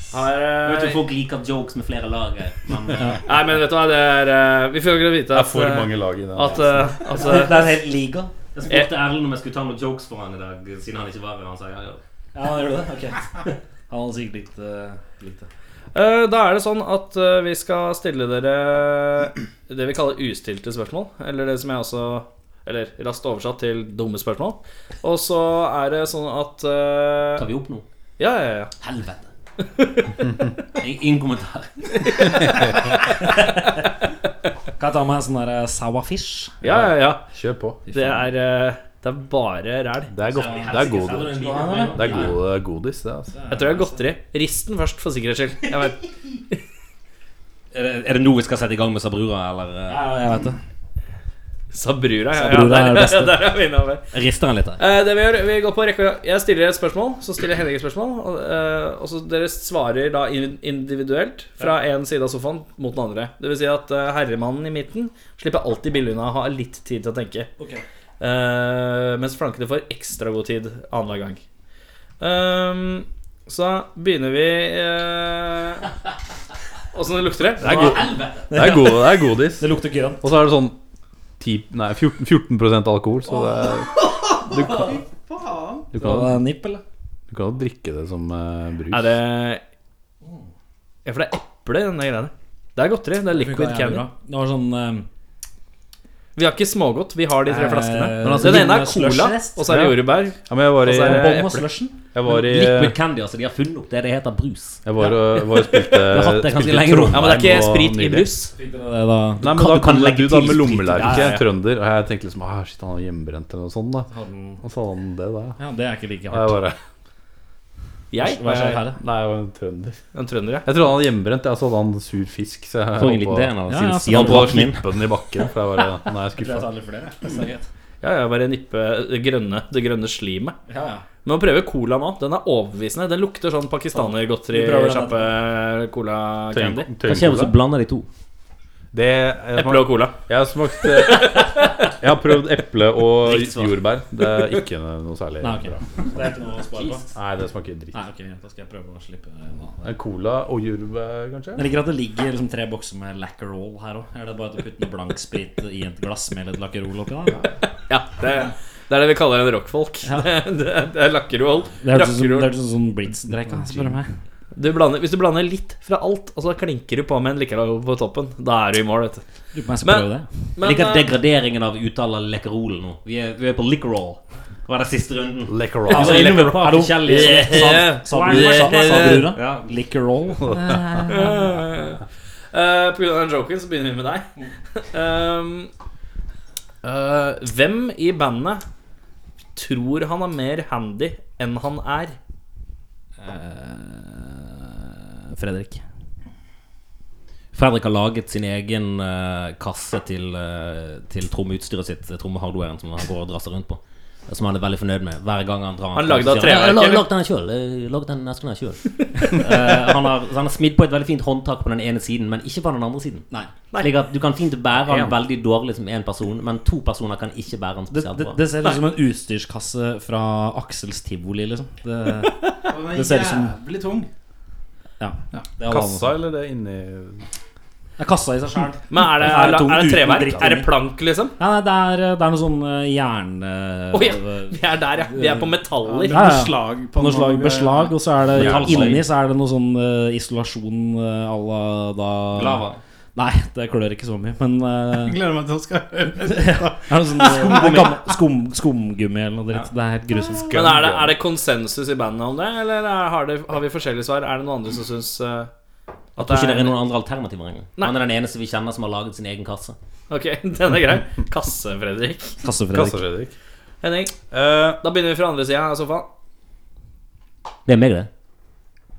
Speaker 2: Har, eh,
Speaker 5: Jeg vet jo folk liker jokes med flere lag her, men eh,
Speaker 2: Nei, men vet du hva, det er eh, Vi får jo vite
Speaker 3: Det
Speaker 2: at
Speaker 3: er for
Speaker 2: eh,
Speaker 3: mange lag i den.
Speaker 2: At, eh, at eh,
Speaker 5: Det er en hel liga. Jeg spurte Erlend om jeg skulle ta noen jokes for han i dag, siden han ikke var her. og Han sa ja, ja.
Speaker 4: Ja, gjør du det? Ok. <laughs> Han hadde sikkert likt, eh, likt det.
Speaker 2: Eh, Da er det sånn at eh, vi skal stille dere det vi kaller ustilte spørsmål. Eller det som jeg også Eller raskt oversatt til dumme spørsmål. Og så er det sånn at eh,
Speaker 5: Tar vi opp nå?
Speaker 2: Ja, ja, ja.
Speaker 5: Helvete. Ingen ingen kommentar.
Speaker 4: Kan jeg ta med en sånn der eh, sour fish?
Speaker 2: ja, ja, ja.
Speaker 3: Kjør på.
Speaker 2: Det er, eh, det er bare ræl.
Speaker 3: Det er, godt. Det er, god,
Speaker 5: Helvete.
Speaker 3: det er gode godis, det. altså
Speaker 2: Jeg tror det er godteri. Rist den først, for sikkerhets skyld. Jeg vet.
Speaker 5: Er det, er det nå vi skal sette i gang med Sabrura, eller? eh?
Speaker 4: Ja, jeg vet det.
Speaker 2: Sabrura. Ja, ja,
Speaker 4: Sabrura er
Speaker 2: der,
Speaker 4: det beste.
Speaker 2: der er vi innover.
Speaker 5: Jeg rister den litt her.
Speaker 2: Eh, det vi gjør, vi går på rekke Jeg stiller et spørsmål, så stiller Henrik et spørsmål. Og, eh, og så Dere svarer da in- individuelt fra én side av sofaen mot den andre. Det vil si at eh, herremannen i midten slipper alltid billig unna og har litt tid til å tenke. Eh, mens flankene får ekstra god tid annenhver gang. Ehm, så da begynner vi uh, Åssen det lukter det?
Speaker 3: Det er, god, det er, god, det er godis.
Speaker 4: Det lukter grønt.
Speaker 3: Og så er det sånn 10, nei, 14, 14 alkohol, så det er Du kan du
Speaker 4: Skal
Speaker 3: kan,
Speaker 4: det nipp, eller?
Speaker 3: du kan jo drikke det som eh, brus.
Speaker 2: Er det Ja, for det er eple i denne greia. Det er godteri. Det er liquid candy.
Speaker 4: Det var sånn eh,
Speaker 2: Vi har ikke smågodt, vi har de tre
Speaker 4: Eh,
Speaker 2: flaskene.
Speaker 4: men altså,
Speaker 2: den ene er
Speaker 4: Jonas
Speaker 2: cola,
Speaker 4: Lush-rest.
Speaker 2: og så er det
Speaker 3: Ja.
Speaker 2: jordbær.
Speaker 3: Ja, men jeg var i,
Speaker 2: Altså, er det
Speaker 4: Bong og
Speaker 3: eple.
Speaker 4: sånn slushen.
Speaker 3: jeg var i,
Speaker 5: Liquid candy, altså. De har funnet opp det. Det heter brus.
Speaker 3: jeg var, og- var og <laughs> spilte,
Speaker 5: har hatt det ganske
Speaker 3: spilte
Speaker 5: lenge
Speaker 2: Ja,
Speaker 5: nå.
Speaker 2: Men det er ikke
Speaker 3: og
Speaker 2: sprit i
Speaker 3: nylig.
Speaker 2: brus.
Speaker 4: Fikk dere det da?
Speaker 3: Nei, men
Speaker 5: Kan-
Speaker 3: da
Speaker 5: du kan
Speaker 3: kom det
Speaker 5: legge
Speaker 3: du da med
Speaker 5: til sprit.
Speaker 3: lommelerke,
Speaker 2: Ja, ja, ja.
Speaker 3: trønder. Og jeg tenkte liksom ah, shit, han er hjemmebrent eller noe sånt. da
Speaker 4: Hadde den-
Speaker 3: Og så hadde han det, da.
Speaker 4: Ja, det er ikke like
Speaker 3: Og jeg
Speaker 4: hardt.
Speaker 3: bare
Speaker 2: Jeg?
Speaker 4: Hva skjer her, da?
Speaker 3: Nei, jeg var en trønder.
Speaker 2: En trønder, ja.
Speaker 3: Jeg trodde han hadde hjemmebrent, ja, så hadde han sur fisk. Så jeg
Speaker 5: Får en liten
Speaker 3: holdt
Speaker 5: del
Speaker 3: på-
Speaker 5: av
Speaker 4: Ja,
Speaker 5: sin
Speaker 4: ja,
Speaker 5: siden
Speaker 3: holdt på å
Speaker 5: av min.
Speaker 3: slippe den i bakken. For jeg bare Nei, jeg er
Speaker 4: Jeg tror jeg
Speaker 3: skuffa.
Speaker 4: tar litt flere. jeg. Så det er greit.
Speaker 2: Ja, ja, bare nippe det grønne, det grønne slimet.
Speaker 4: Ja, ja.
Speaker 2: Men å prøve cola nå, den er overbevisende. Den lukter sånn eh,
Speaker 4: Vi prøver den.
Speaker 2: pakistaner-godteri-sjappe cola-candy.
Speaker 5: Hva skjer hvis du blander de to?
Speaker 3: Det jeg,
Speaker 2: Eple og cola.
Speaker 3: jeg har smakt eh, Jeg har prøvd eple og
Speaker 5: Riktig svar.
Speaker 3: jordbær. Det er ikke noe særlig
Speaker 4: Nei, ok.
Speaker 3: bra.
Speaker 4: Det er ikke noe å spare på.
Speaker 3: Nei, det smaker dritt.
Speaker 4: Nei, ok, greit. Da skal jeg prøve å slippe eh, unna.
Speaker 3: En Cola og jordbær, kanskje?
Speaker 4: Jeg liker at det ligger liksom tre bokser med Lacquerol her òg. Er det bare å putte noe blank sprit i et glass med litt Lacquerol oppi da?
Speaker 2: Ja, det, det er det vi kaller en rockfolk. <laughs> Det, det, det er lakkerol.
Speaker 4: Det høres ut som,
Speaker 2: Rock'n'roll.
Speaker 4: det hørtes ut som Blitz-drikka, spør du meg.
Speaker 2: Du blander, hvis du blander litt fra alt, og så klinker du på med en likevel på toppen, da er du i mål, vet du.
Speaker 4: Lurer på om jeg skal
Speaker 2: Men-
Speaker 4: prøve det.
Speaker 5: Jeg liker
Speaker 2: eh,
Speaker 5: degraderingen av uttale av Leckerol nå. Vi er, vi er på Lickerol. Det var den siste runden.
Speaker 3: Leckerol.
Speaker 5: Altså,
Speaker 2: Leckerol.
Speaker 5: innom et par
Speaker 4: Hallo.
Speaker 5: forskjellige
Speaker 2: Yeah.
Speaker 4: Sa du det? Sa du det?
Speaker 5: Ja.
Speaker 4: Lickerol?
Speaker 2: Eh, på grunn av den joken så begynner vi med deg. Um, eh, hvem i bandet tror han er mer handy enn han er?
Speaker 5: Fredrik. Fredrik har laget sin egen eh, kasse til, uh, til trommeutstyret sitt, eh, trommehardwaren som han går og drar seg rundt på. eh, Som han er veldig fornøyd med hver gang han drar
Speaker 2: Han
Speaker 5: fram,
Speaker 2: lagde
Speaker 5: så
Speaker 2: av
Speaker 5: sier han,
Speaker 2: treverk,
Speaker 5: «Ja, Jeg
Speaker 2: eller?»
Speaker 5: har lagd den sjøl. Lagd Eh, den esken <laughs> her sjøl. Eh, han har, så han har smidd på et veldig fint håndtak på den ene siden, men ikke på den andre siden.
Speaker 4: Nei.
Speaker 5: Slik at Du kan fint bære
Speaker 2: Ja.
Speaker 5: han veldig dårlig som én person, men to personer kan ikke bære han
Speaker 4: Det,
Speaker 5: spesielt
Speaker 4: det,
Speaker 5: bra.
Speaker 4: det ser ut som en utstyrskasse fra Aksels tivoli, liksom. Det,
Speaker 6: Den
Speaker 4: Det
Speaker 6: er
Speaker 4: ser ut som-
Speaker 6: jævlig tung.
Speaker 4: ja. det
Speaker 5: <laughs>
Speaker 4: er
Speaker 3: Kassa eller det inni
Speaker 4: Det er kassa i seg sjøl.
Speaker 2: Men er det,
Speaker 4: Er
Speaker 2: er
Speaker 4: det
Speaker 2: det,
Speaker 4: tung
Speaker 2: er det
Speaker 4: uten
Speaker 2: treverk?
Speaker 4: dritt?
Speaker 2: Er det plank, liksom?
Speaker 4: Ja, nei, det er, det er noe sånn eh, jern... eh,
Speaker 2: Å ja, vi er der, ja. Vi er på metaller.
Speaker 4: Ja, ja.
Speaker 6: Beslag på
Speaker 4: Noe slag beslag, og så er det liksom
Speaker 5: Metallslag.
Speaker 4: inni så er det noe sånn eh, isolasjon eh, à la da
Speaker 5: Lava.
Speaker 4: Nei, det klør ikke så mye, men eh,
Speaker 6: Jeg gleder meg til å skal <laughs> høre det.
Speaker 4: er det
Speaker 5: <laughs>
Speaker 4: sånn, eh, gammel- skum, Skumgummi eller noe dritt. Det er helt grusomt.
Speaker 2: Men er det, er det konsensus i bandet om det, eller er, har, det, har vi forskjellige svar? Er det noen andre som syns eh, at
Speaker 5: Jeg tror ikke det er
Speaker 2: noe
Speaker 5: noen andre alternativer engang.
Speaker 2: Nei.
Speaker 5: Han er den eneste vi kjenner som har laget sin egen kasse.
Speaker 2: Ok, <laughs> den er grei. Kasse, Fredrik.
Speaker 4: Kassefredrik.
Speaker 3: Kassa-Fredrik?
Speaker 2: Henning,
Speaker 3: Eh,
Speaker 2: da begynner vi fra andre sida av sofaen.
Speaker 5: Det er meg, det.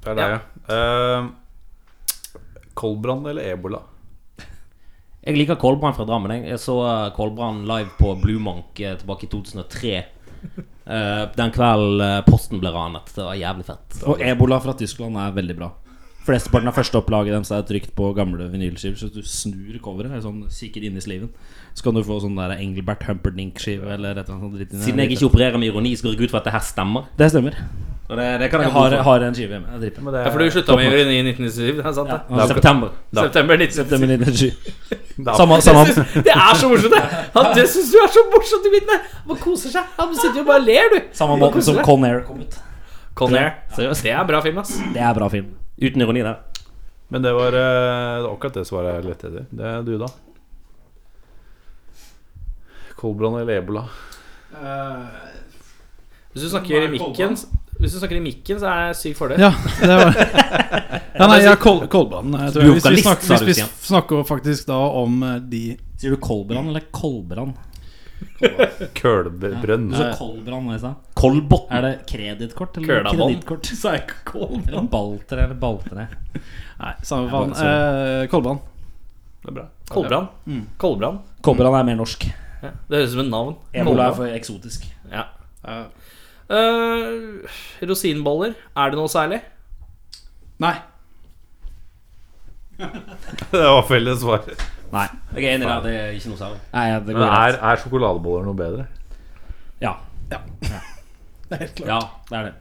Speaker 3: det er deg, ja. Eh, Koldbrann eller ebola?
Speaker 5: Jeg liker Kolbrand fra Drammen. Jeg, jeg så eh, Kolbrand live på Blue Monk eh, tilbake i 2003. Eh, den kvelden eh, Posten ble ranet. Det var jævlig fett.
Speaker 4: Og ebola fra Tyskland er veldig bra. Flesteparten av førsteopplaget deres er trykt på gamle vinylskiver. Så hvis du snur coveret, eller sånn kikker inn i sliven, så kan du få sånn der Engelbert Humperdinck-skive eller et eller annet sånt dritt. inni
Speaker 5: Siden jeg
Speaker 4: der.
Speaker 5: ikke opererer med ironi, skal jeg gå ut fra at det her stemmer.
Speaker 4: Det stemmer.
Speaker 5: Og det, det kan jeg
Speaker 4: Jeg
Speaker 5: ha
Speaker 4: har,
Speaker 5: behov for.
Speaker 4: har en skive hjemme. Jeg dripper.
Speaker 2: Ja, for du slutta med heroin i 1997? Det er sant, det.
Speaker 5: Ja, September.
Speaker 3: Da-
Speaker 2: September 1997.
Speaker 4: Stemmer inn en skive.
Speaker 3: Da-
Speaker 4: Samme, samme.
Speaker 2: Jeg synes- Det er så morsomt, det! Han, det syns du er så morsomt, du Midtne! Man koser seg. Han sitter jo bare og ler, du.
Speaker 4: Samme måten som Con Air kom ut.
Speaker 2: Con Air. Seriøst, det er bra film, ass.
Speaker 4: Det er bra film.
Speaker 5: Uten ironi der.
Speaker 3: Men det var eh, det var akkurat det svaret jeg lette etter. Det er du, da. Kolbrann eller ebola? <laughs>
Speaker 6: Eh,
Speaker 2: Hvis du snakker i mikken, hvis du snakker i mikken så er det syk fordel.
Speaker 6: Ja,
Speaker 2: <laughs>
Speaker 6: det var ja,
Speaker 2: Altså,
Speaker 6: Nei, ja, Kol Kolbanen. jeg tror jeg. Hvis vi,
Speaker 5: Lokalist,
Speaker 6: snakker,
Speaker 5: sa du,
Speaker 6: hvis vi
Speaker 5: Stian.
Speaker 6: snakker faktisk da om eh, de
Speaker 5: Sier du Kolbrand eller Kolbrand?
Speaker 3: Kølbrønn.
Speaker 5: Du
Speaker 4: Eh.
Speaker 5: sa Kolbrand hva jeg sa. Kolbotn. Er det kredittkort eller
Speaker 2: Kølabånd.
Speaker 5: kredittkort? <laughs> Sa jeg Kolbrand? Eller Balter eller Baltere.
Speaker 6: Nei, samme faen. Eh, Kolbanen.
Speaker 3: Det er bra. <laughs>
Speaker 2: Kolbrand. Kolbrand.
Speaker 4: Kobran er mer norsk.
Speaker 2: Ja. Det høres ut som et navn.
Speaker 4: Ebola er for eksotisk.
Speaker 2: Ja. Eh, rosinboller. Er det noe særlig?
Speaker 6: Nei.
Speaker 3: Det var felles svar.
Speaker 4: Nei.
Speaker 5: Jeg er enig der, det er ikke noe særlig.
Speaker 4: Nei, det
Speaker 3: Men
Speaker 4: går greit.
Speaker 3: er, er sjokoladeboller noe bedre?
Speaker 4: Ja.
Speaker 5: Ja, det er det.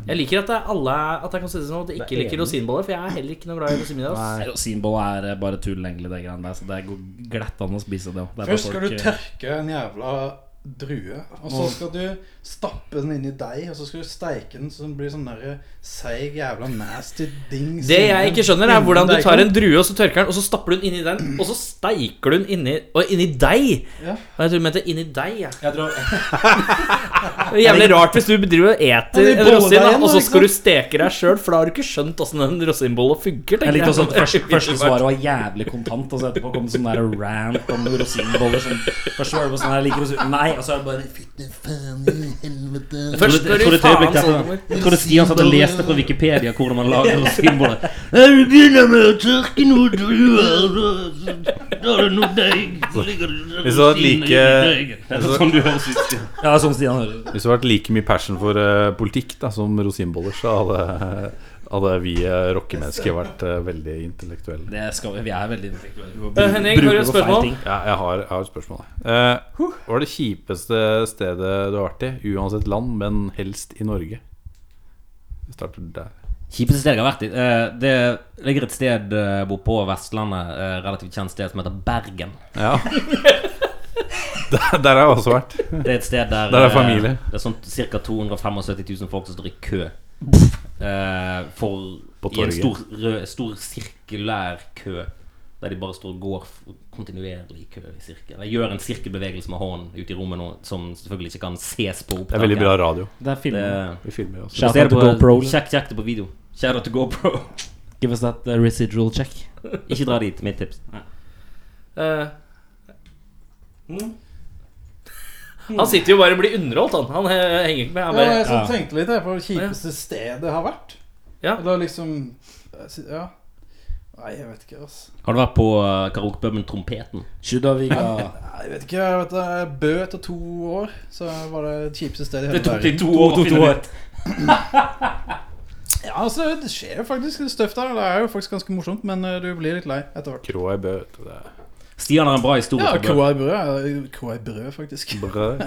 Speaker 2: Jeg liker at det er alle At jeg kan si det sånn at jeg ikke liker rosinboller, for jeg er heller ikke noe glad i rosinmiddag. ass.
Speaker 4: Rosinbolle er eh, bare tull, egentlig, det greiene der. Så det går glatt an å spise det. det er bare
Speaker 7: Først skal
Speaker 4: folk,
Speaker 7: du
Speaker 4: eh,
Speaker 7: tørke en jævla drue, og så skal du stappe den inn i deig, og så skal du steike den så den blir sånn derre seig jævla nasty dings.
Speaker 2: Det jeg ikke skjønner,
Speaker 6: Mm,
Speaker 2: er hvordan du tar en drue og så tørker den, og så stapper du den inni den, og så steiker du den inni Og inni deg!
Speaker 7: Ja.
Speaker 2: Og jeg tror du mente inni deg. Ja.
Speaker 4: Jeg tror
Speaker 2: <laughs> Det er jævlig rart hvis du bedriver og
Speaker 7: Ja,
Speaker 2: eter
Speaker 7: de
Speaker 2: en
Speaker 7: boller
Speaker 2: rosin,
Speaker 7: deg
Speaker 2: da,
Speaker 7: igjen,
Speaker 2: og så
Speaker 7: liksom.
Speaker 2: skal du steke deg sjøl, for da har du ikke skjønt åssen en rosinbolle funker. tenker
Speaker 4: Jeg likte også at
Speaker 2: Det er
Speaker 4: første, første
Speaker 2: veldig <laughs>
Speaker 4: svaret var jævlig kontant, og så etterpå kom det sånn der rant om rosinboller som Først var det bare sånn her liker rosin... Nei, og så er det bare Fytti faen i helvete.
Speaker 2: Først skal
Speaker 5: Jeg trodde
Speaker 2: du
Speaker 5: et
Speaker 2: faen
Speaker 5: øyeblikk der-
Speaker 2: sånn
Speaker 5: Jeg trodde Stian satt og leste på Wikipedia hvordan man lager rosinboller. Jeg begynner med å tørke noen druer Da er det noe deig så ligger det
Speaker 3: Hvis du hadde
Speaker 5: rosiner
Speaker 3: like-
Speaker 5: i deigen. Det er sånn du høres ut, Stian.
Speaker 4: Ja, sånn Stian hører.
Speaker 3: Hvis det hadde vært like mye passion for eh, politikk da, som rosinboller, så hadde, hadde vi eh, rockemennesker vært eh, veldig intellektuelle.
Speaker 4: Det skal vi. Vi er veldig intellektuelle. Vi må
Speaker 2: Eh, Henning, har du et
Speaker 4: bruke på feil
Speaker 2: spørsmål?
Speaker 4: ting.
Speaker 3: Ja, jeg har, jeg har et spørsmål. jeg. Eh, hva er det kjipeste stedet du har vært i? Uansett land, men helst i Norge. Vi starter der. <laughs>
Speaker 5: Kjipeste sted jeg har vært i eh, Det ligger et sted eh, bort på Vestlandet, eh, relativt kjent sted, som heter Bergen.
Speaker 3: Ja. der, der har jeg også vært.
Speaker 5: Det er et sted der
Speaker 3: Der er
Speaker 5: eh,
Speaker 3: familie.
Speaker 5: Det er sånn ca. 275 000 folk som står i kø. eh, for
Speaker 3: På
Speaker 5: I en
Speaker 3: torget.
Speaker 5: stor, rød, stor sirkulær kø. Der de bare står og går f- kontinuerlig i kø i sirkel. De gjør en sirkelbevegelse med hånden ute i rommet nå, som selvfølgelig ikke kan ses på opptaket.
Speaker 3: Det er veldig bra radio.
Speaker 4: Det er film.
Speaker 5: Det-
Speaker 3: Vi filmer jo også.
Speaker 4: Shout out
Speaker 5: Sjekk
Speaker 4: to GoPro.
Speaker 5: sjekk- sjekk det på video. Shout out to GoPro. <laughs>
Speaker 4: Give us that eh, residual check.
Speaker 5: Ikke dra dit, mitt tips.
Speaker 2: Eh. Han sitter jo bare og blir underholdt, han. Han eh, henger ikke med. Han
Speaker 7: ja,
Speaker 2: bare,
Speaker 7: Jeg sånn tenkte litt jeg, på det kjipeste stedet jeg har vært.
Speaker 2: Ja.
Speaker 7: Og da liksom Ja. Nei, jeg vet ikke, altså.
Speaker 5: Har du vært på eh, karaokepuben Trompeten?
Speaker 4: Sjudaviga.
Speaker 7: Nei, Jeg vet ikke, jeg vet, jeg bø etter to år, så var det det kjipeste stedet i hele verden.
Speaker 5: to
Speaker 4: år å finne ut.
Speaker 7: Ja, altså, det skjer jo faktisk litt støft der. Det er jo faktisk ganske morsomt, men eh, du blir litt lei etter hvert.
Speaker 3: Kroa i Bø. vet du, det er
Speaker 5: Stian har en bra historie.
Speaker 7: Ja,
Speaker 5: på brød.
Speaker 7: kroa i brød. er- Kroa i brød, faktisk. <laughs>
Speaker 3: Brød.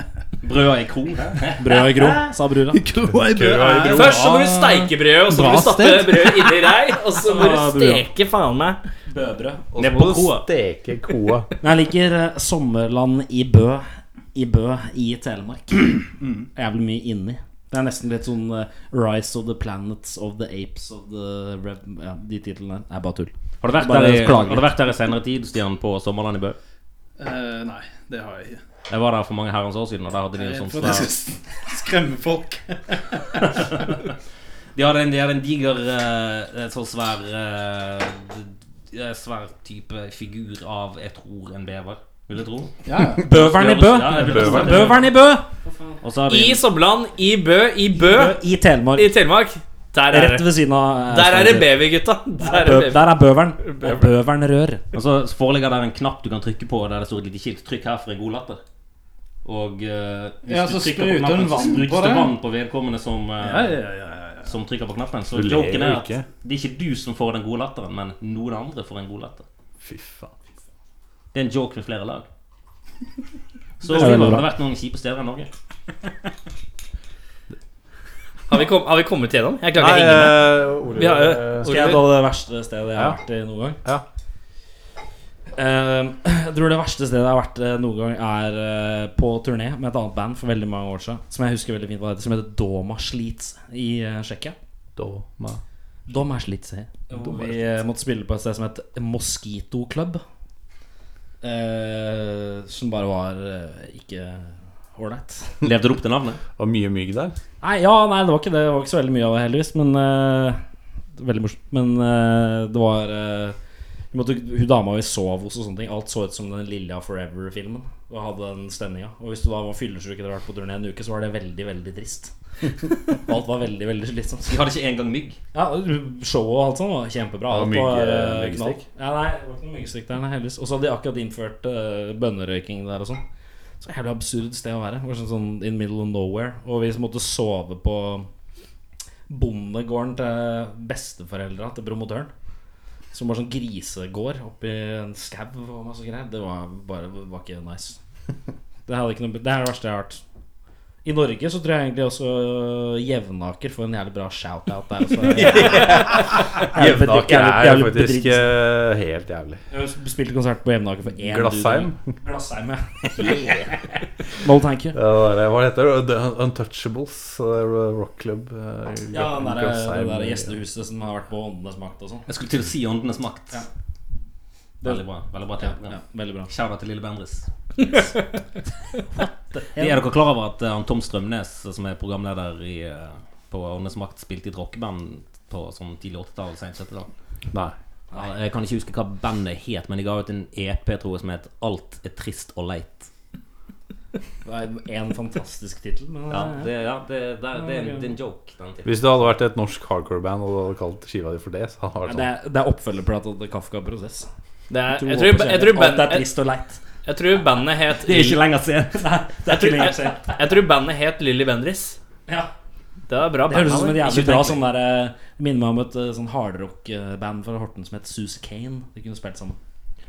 Speaker 5: Brøda i kro.
Speaker 4: Brød i gro, sa brura.
Speaker 7: Kroa i
Speaker 3: Kroa i
Speaker 7: brød.
Speaker 2: Først så må du steike brødet, og så må
Speaker 6: Bra
Speaker 2: du stappe
Speaker 6: sted.
Speaker 2: brødet inni deg, og så må du
Speaker 4: Ja, du, ja.
Speaker 2: steke faen meg.
Speaker 4: Bøbrød.
Speaker 3: Og så må du steke koa. <laughs>
Speaker 4: Jeg liker eh, sommerland i Bø I Bø i Telemark Jævlig mye inni Det er nesten litt sånn eh, Rise of the Planets of the Apes of the Rev ja, De titlene der er bare tull
Speaker 5: Har du vært
Speaker 4: Bare
Speaker 5: der i,
Speaker 4: klager.
Speaker 5: har du vært der i senere tid, Stian, på Sommerland i Bø?
Speaker 7: Eh, nei, det har jeg ikke.
Speaker 5: Jeg var der for mange herrens år siden, og der hadde de
Speaker 7: Jeg er redd
Speaker 5: en sånn
Speaker 7: for at jeg
Speaker 5: svær
Speaker 7: skal <laughs> s- skremme folk.
Speaker 5: De hadde en, de hadde en diger eh, En sånn svær eh, d- eh, Svær type figur av Jeg tror en bever, vil jeg tro
Speaker 7: Ja, ja.
Speaker 4: Bøveren i Bø
Speaker 5: Ja, jeg vil tro det.
Speaker 4: Bøveren i Bø
Speaker 5: Og så har de
Speaker 2: I Sommerland, i Bø, i Bø,
Speaker 4: Bø I Telemark
Speaker 2: i Telemark. Der er
Speaker 4: Rett
Speaker 2: det.
Speaker 4: ved siden av eh,
Speaker 2: Der er det baby, gutta. Der er
Speaker 4: Bø,
Speaker 2: det baby.
Speaker 4: Der er Bøveren Og Bøveren rør
Speaker 5: Og så foreligger der en knapp du kan trykke på Der det står et lite skilt Trykk her for en god latter Og eh, hvis
Speaker 7: Ja,
Speaker 5: du
Speaker 7: så
Speaker 5: trykker
Speaker 7: spruter
Speaker 5: på
Speaker 7: den
Speaker 5: knappen
Speaker 7: vann
Speaker 5: Så
Speaker 7: på
Speaker 5: spruter det
Speaker 7: det.
Speaker 5: vann på vedkommende som, eh,
Speaker 7: Ja, ja, ja, ja, ja.
Speaker 5: som trykker på knappen Så
Speaker 3: Du ler
Speaker 5: joken er
Speaker 3: jo
Speaker 5: at
Speaker 3: ikke.
Speaker 5: det er ikke du som får den gode latteren Men noen andre får en god latter
Speaker 3: Fy faen.
Speaker 5: Det er en joke med flere lag. Så
Speaker 4: Det er veldig
Speaker 5: har det
Speaker 4: bra.
Speaker 5: vært noen kjipe steder i Norge.
Speaker 2: vi, kom, har vi kommet gjennom? Jeg klarer
Speaker 4: Nei,
Speaker 2: ikke å henge med.
Speaker 4: eh, Oliver,
Speaker 2: Vi har, eh,
Speaker 4: eh, skal jeg ta det verste stedet jeg har
Speaker 3: Ja.
Speaker 4: vært i noen gang?
Speaker 3: Ja.
Speaker 4: Eh, <clears throat> jeg tror det verste stedet jeg har vært eh, noen gang, er eh, på turné med et annet band for veldig mange år siden. Som jeg husker veldig fint hva heter. Som heter Doma Slits i eh, Tsjekkia.
Speaker 3: Doma.
Speaker 4: Doma Slits eh. Hvor vi eh, måtte spille på et sted som het Mosquito Club. Eh, som bare var eh, ikke ålreit.
Speaker 5: Levde du opp til navnet?
Speaker 3: Og mye mygg der.
Speaker 4: Nei, ja, nei, det var ikke det. Det var ikke så veldig mye av det, heldigvis. Men eh, det var Veldig morsomt. Men eh, det var eh, vi måtte, Hun dama vi sov hos og sånne ting, alt så ut som den Lilja Forever-filmen. Og hadde den stemninga. Og hvis du da var fyllesyk etter å ha vært på turné en uke, så var det veldig, veldig trist. alt var veldig, veldig slitsomt.
Speaker 5: Vi hadde ikke engang mygg.
Speaker 4: Ja, Showet og alt sånt var kjempebra.
Speaker 3: Ja,
Speaker 4: Alt
Speaker 3: mygg-
Speaker 4: var eh,
Speaker 3: myggstikk.
Speaker 4: knall. Ja, nei, det var ikke noe myggstikk der, nei, heldigvis. Og så hadde de akkurat innført eh, bønnerøyking der og sånn. Så jævlig absurd sted å være. Det var sånn, sånn in middle of nowhere. Og vi som måtte sove på bondegården til besteforeldra til promotøren. Som var sånn grisegård oppi en skau og masse greier. Det var bare det var ikke nice. Det, hadde ikke noe, det er det verste jeg har hørt. I Norge så tror jeg egentlig også øh, Jevnaker får en jævlig bra shout-out
Speaker 3: <laughs>
Speaker 4: der. Også.
Speaker 3: Jevnaker
Speaker 4: Jævlig-
Speaker 3: er
Speaker 4: jævlig
Speaker 3: faktisk
Speaker 4: bedritt.
Speaker 3: eh, helt jævlig.
Speaker 4: Jeg spilte konsert på Jevnaker for én
Speaker 3: Glassheim?
Speaker 4: dude.
Speaker 3: <laughs>
Speaker 4: Glassheim, ja. No thank you.
Speaker 3: Det var det- Hva det heter det? The Untouchables eh, Rock Club. eh,
Speaker 4: Ja, den der,
Speaker 3: Glassheim. eh,
Speaker 4: det der gjestehuset som har vært på Åndenes makt og sånn.
Speaker 5: Jeg skulle til å si Åndenes makt. Veldig bra. veldig bra
Speaker 4: Ja,
Speaker 5: tema.
Speaker 4: ja, veldig bra.
Speaker 5: Kjære til Lille Bendris.
Speaker 4: <laughs>
Speaker 5: er dere klar over at eh, han Tom Strømnes, som er programleder i, eh, på Åndenes makt, spilte i et rockeband på sånn tidlig 80-tall, sent 70-tall?
Speaker 3: Nei.
Speaker 5: Ja, jeg kan ikke huske hva bandet het, men de ga ut en EP tror jeg, som het 'Alt er trist og leit'.
Speaker 4: Det er en fantastisk tittel,
Speaker 3: <laughs>
Speaker 4: men
Speaker 5: Ja, det, ja, det, det, det, er en- det er en joke. Den tiden.
Speaker 3: Hvis det hadde vært et norsk hardcore-band og du hadde kalt skiva di for det, så hadde det vært
Speaker 4: det, er, det er oppfølgerplata til Kafka-prosess.
Speaker 2: Det er, jeg, tror, jeg, tror
Speaker 4: Alt
Speaker 2: band,
Speaker 4: er
Speaker 2: jeg,
Speaker 4: trist og leit.
Speaker 2: jeg tror bandet het
Speaker 5: Det er ikke lenger
Speaker 4: <laughs>
Speaker 5: sent. Nei, det er
Speaker 2: Jeg
Speaker 5: ikke
Speaker 2: tror,
Speaker 5: lenger
Speaker 2: jeg,
Speaker 5: sent.
Speaker 2: jeg tror bandet het Lilly Bendris.
Speaker 4: Ja.
Speaker 2: Det var bra altså.
Speaker 4: Det høres ut som
Speaker 2: bandnavn.
Speaker 4: et jævlig
Speaker 5: Ikke
Speaker 4: bra
Speaker 5: utenkelig.
Speaker 4: sånn der eh, Minner meg om et eh, sånn hardrock-band fra Horten som het Susie Kane. De kunne spilt sammen.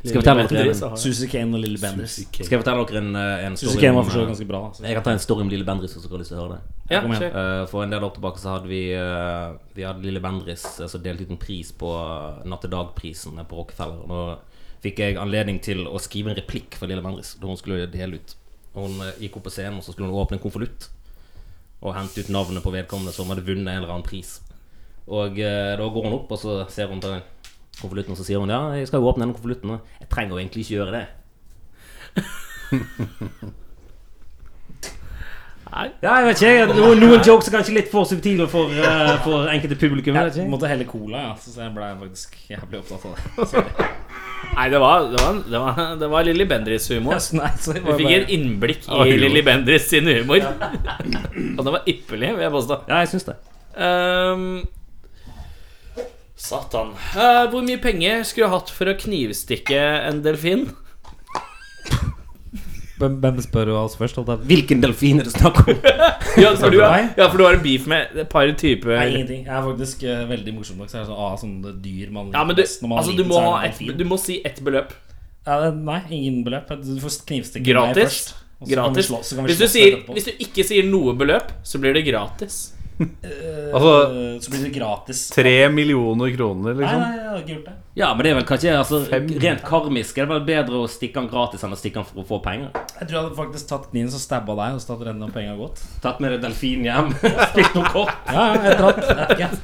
Speaker 5: Skal jeg fortelle dere en,
Speaker 4: Susie Kane og Lille Benders.
Speaker 5: skal jeg fortelle dere en, eh, en
Speaker 4: Susie
Speaker 5: story
Speaker 4: Kane var
Speaker 5: om,
Speaker 4: for så vidt
Speaker 5: eh,
Speaker 4: ganske bra. altså. da, så-
Speaker 5: Jeg kan ta en story om Lille Bendris hvis dere har lyst til å høre det.
Speaker 2: Ja,
Speaker 4: Kom igjen.
Speaker 2: kjør.
Speaker 5: Eh, For en del år tilbake så hadde vi eh, Vi hadde Lille Bendris eh, som delte ut en pris på eh, Natt og dag-prisen på Rockefeller. Og Nå fikk jeg anledning til å skrive en replikk for Lille Bendris da hun skulle dele ut. Og Hun eh, gikk opp på scenen, og så skulle hun åpne en konvolutt og hente ut navnet på vedkommende som hadde vunnet en eller annen pris. Og eh, da går hun opp, og så ser hun på den konvolutten, og så sier hun ja, jeg skal jo åpne denne konvolutten. og Jeg trenger jo egentlig ikke gjøre det.
Speaker 2: Nei.
Speaker 5: Ja, jeg vet ikke, jeg- noen, noen jokes er kanskje litt for subtile for, eh, for enkelte publikum. jeg vet
Speaker 4: Jeg
Speaker 5: ikke.
Speaker 4: måtte helle cola, ja, så jeg ble faktisk jævlig opptatt av det. <laughs>
Speaker 2: Nei, det var, det var, det var, det var Lilly Bendris-humor.
Speaker 4: Nei, så jeg
Speaker 2: Vi
Speaker 4: var
Speaker 2: fikk
Speaker 4: bare-
Speaker 2: et innblikk i Lilly Bendris sin humor. <laughs> Og den var ypperlig, vil jeg påstå.
Speaker 5: Ja, jeg syns det.
Speaker 2: Ehm, satan. Eh, hvor mye penger skulle du hatt for å knivstikke en delfin? <laughs>
Speaker 4: Hvem, hvem spør du oss først? Alt det?
Speaker 5: Hvilken delfin er det snakk om?
Speaker 2: Ja, for du har, ja, for du har en beef med et par typer
Speaker 4: Nei, ingenting. Jeg er faktisk eh, veldig morsom nok. Så er det sånn, ah, sånne dyr man
Speaker 2: Ja,
Speaker 4: liker
Speaker 2: men du,
Speaker 4: best når man er
Speaker 2: altså, du,
Speaker 4: liten,
Speaker 2: må
Speaker 4: så er
Speaker 2: ha
Speaker 4: det
Speaker 2: et,
Speaker 4: delfin.
Speaker 2: du må si ett beløp.
Speaker 4: Ja, det- Nei, ingen beløp. Du får knivstikke meg
Speaker 2: Gratis.
Speaker 4: først. og så kan vi
Speaker 2: Gratis.
Speaker 4: slå- så kan vi
Speaker 2: Hvis du,
Speaker 4: slåss
Speaker 2: sier,
Speaker 4: etterpå.
Speaker 2: hvis du ikke sier noe beløp, så blir det gratis.
Speaker 3: Altså
Speaker 4: Eh, Så blir det gratis.
Speaker 3: sånn tre millioner kroner,
Speaker 4: Nei,
Speaker 3: liksom.
Speaker 4: nei, jeg har ikke gjort det.
Speaker 5: Ja, men det er vel kanskje altså, Rent karmisk er det vel bedre å stikke han gratis enn å stikke han for å få penger.
Speaker 4: Jeg tror jeg hadde faktisk tatt kniven som stabba deg, og så tatt rennen av penga godt.
Speaker 5: Tatt med deg delfinen hjem, <laughs> spilt noe kort.
Speaker 4: Ja, ja, jeg tatt, jeg vet ikke.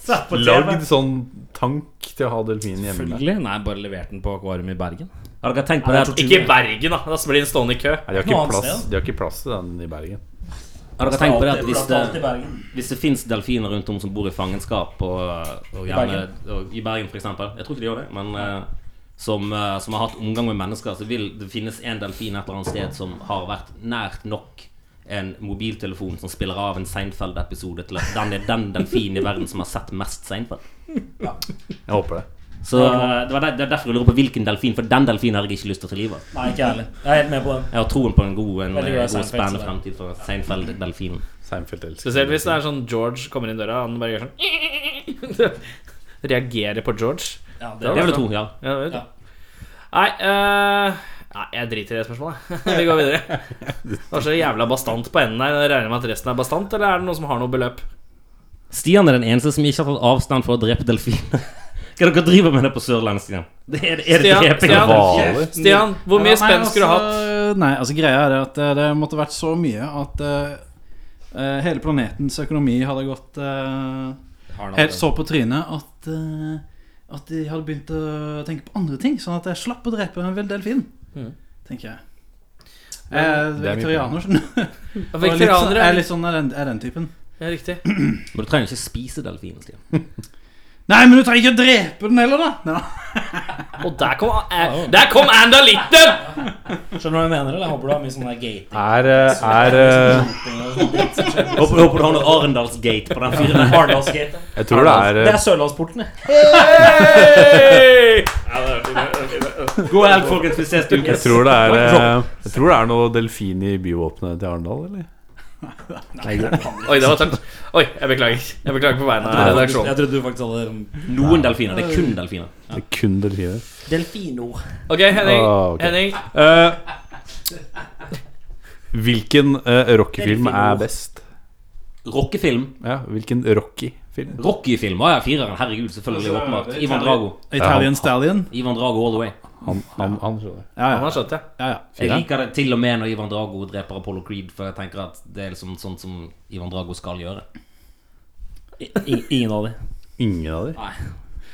Speaker 4: Satt på TV.
Speaker 3: Lagd sånn tank til å ha delfinen hjemme. der.
Speaker 4: Selvfølgelig. Nei, bare levert den på akvarium i Bergen.
Speaker 5: Har dere tenkt på det? at-
Speaker 2: Ikke i Bergen, da. Da blir den stående i kø.
Speaker 3: Nei, de har,
Speaker 4: Noe
Speaker 3: ikke
Speaker 4: annet
Speaker 3: plass,
Speaker 4: sted. altså.
Speaker 3: de har ikke plass til den i Bergen.
Speaker 5: Har dere tenkt på det at hvis
Speaker 4: Alt i
Speaker 5: det,
Speaker 4: Bergen.
Speaker 5: hvis det fins delfiner rundt om som bor i fangenskap og, og gjerne og, I Bergen, f.eks. Jeg tror ikke de gjør det, men eh, som, eh, som har hatt omgang med mennesker, så vil det finnes en delfin et eller annet sted som har vært nært nok en mobiltelefon som spiller av en Seinfeld-episode til at den er den delfinen i verden som har sett mest Seinfeld.
Speaker 3: Jeg håper det.
Speaker 5: Så eh, det var der, det er derfor jeg lurer på hvilken delfin, for den delfinen har jeg ikke lyst til å ta livet av.
Speaker 4: Nei, ikke jeg heller. Jeg er helt med på den.
Speaker 5: Jeg har troen på en god, en,
Speaker 4: Veldig bra
Speaker 5: eh, god
Speaker 4: Seinfeld, så det.
Speaker 5: spennende fremtid for Seinfeld-delfinen.
Speaker 3: Seinfeld elsker
Speaker 2: Spesielt hvis det er sånn George kommer inn døra, og han bare gjør sånn <laughs> Reagerer på George.
Speaker 4: Ja,
Speaker 5: Det
Speaker 4: det,
Speaker 5: vil jeg tro, ja.
Speaker 2: Ja, vet. du.
Speaker 4: Ja.
Speaker 2: Nei, eh, nei, jeg driter i det spørsmålet. <laughs> Vi går videre. Det var så jævla bastant på enden her. Jeg Regner med at resten er bastant, eller er det noen som har noe beløp?
Speaker 5: Stian er den eneste som ikke har tatt avstand for å drepe delfiner. <laughs> Hva er det dere driver med det på Sørlandet, Stian? Det er, er det
Speaker 2: Stian,
Speaker 5: dreping
Speaker 2: Stian.
Speaker 5: av hvaler?
Speaker 3: Hvaler?
Speaker 2: Stian, hvor mye
Speaker 6: Ja, nei,
Speaker 2: spenn skulle du hatt?
Speaker 6: altså, Nei, altså greia er det at eh, det måtte vært så mye at eh, eh, hele planetens økonomi hadde gått eh, helt så på trynet at eh, at de hadde begynt å tenke på andre ting, sånn at jeg slapp å drepe en vill delfin.
Speaker 2: Mhm.
Speaker 6: Tenker jeg. Jeg Mm. er
Speaker 3: det er mye
Speaker 6: vegetarianer, skjønner du. <laughs> Og litt sånn-
Speaker 2: Veteranere
Speaker 6: Jeg er
Speaker 2: er
Speaker 6: litt sånn er den, er den typen.
Speaker 2: Ja,
Speaker 6: <laughs>
Speaker 2: riktig.
Speaker 5: Men du trenger ikke spise delfinen, Stian.
Speaker 6: Nei, men du trenger ikke å drepe den heller, da! Nei.
Speaker 2: Og der kom, eh, der kom Anda Litten!
Speaker 4: Skjønner du hva jeg mener? eller? Jeg håper du har mye sånn der gate.
Speaker 3: Er, eh, er eh,
Speaker 5: Håper, håper du har noe Arendalsgate på den fyren. der.
Speaker 4: Arendalsgate.
Speaker 3: Jeg tror det er
Speaker 4: Det
Speaker 3: eh,
Speaker 4: er Sørlandsporten, jeg.
Speaker 2: Hey!
Speaker 5: God helg, folkens. Vi ses til uken.
Speaker 3: Jeg tror det er, eh, jeg tror det er noe delfin i byvåpenet til Arendal, eller?
Speaker 2: Oi, det var tømt. Oi, jeg beklager. Jeg beklager på vegne av
Speaker 3: Nei,
Speaker 4: Jeg
Speaker 2: redaksjonen.
Speaker 4: trodde du faktisk hadde
Speaker 5: Noen delfiner. Det er kun delfiner.
Speaker 3: Det er kun delfiner.
Speaker 4: Delfino.
Speaker 2: Ok, Henning.
Speaker 3: Ah, ok.
Speaker 2: Henning.
Speaker 3: Eh, hvilken eh, rockefilm
Speaker 4: Delfino.
Speaker 3: er best?
Speaker 5: Rockefilm.
Speaker 3: Ja, hhvilken Rocky-film?
Speaker 5: Rocky-film var ja, fireren. Herregud, selvfølgelig. Åpenbart. Ivan Drago.
Speaker 3: Ja.
Speaker 6: Italian Stallion.
Speaker 5: Ivan Drago all the way.
Speaker 3: Han, han, han tror det.
Speaker 6: Ja,
Speaker 2: Han
Speaker 6: ja.
Speaker 2: har skjønt det.
Speaker 6: ja, ja.
Speaker 5: Jeg liker det til og med når Ivan Drago dreper Apollo Creed, for jeg tenker at det er liksom sånt som Ivan Drago skal gjøre.
Speaker 4: Ingen av de.
Speaker 3: Ingen av dem.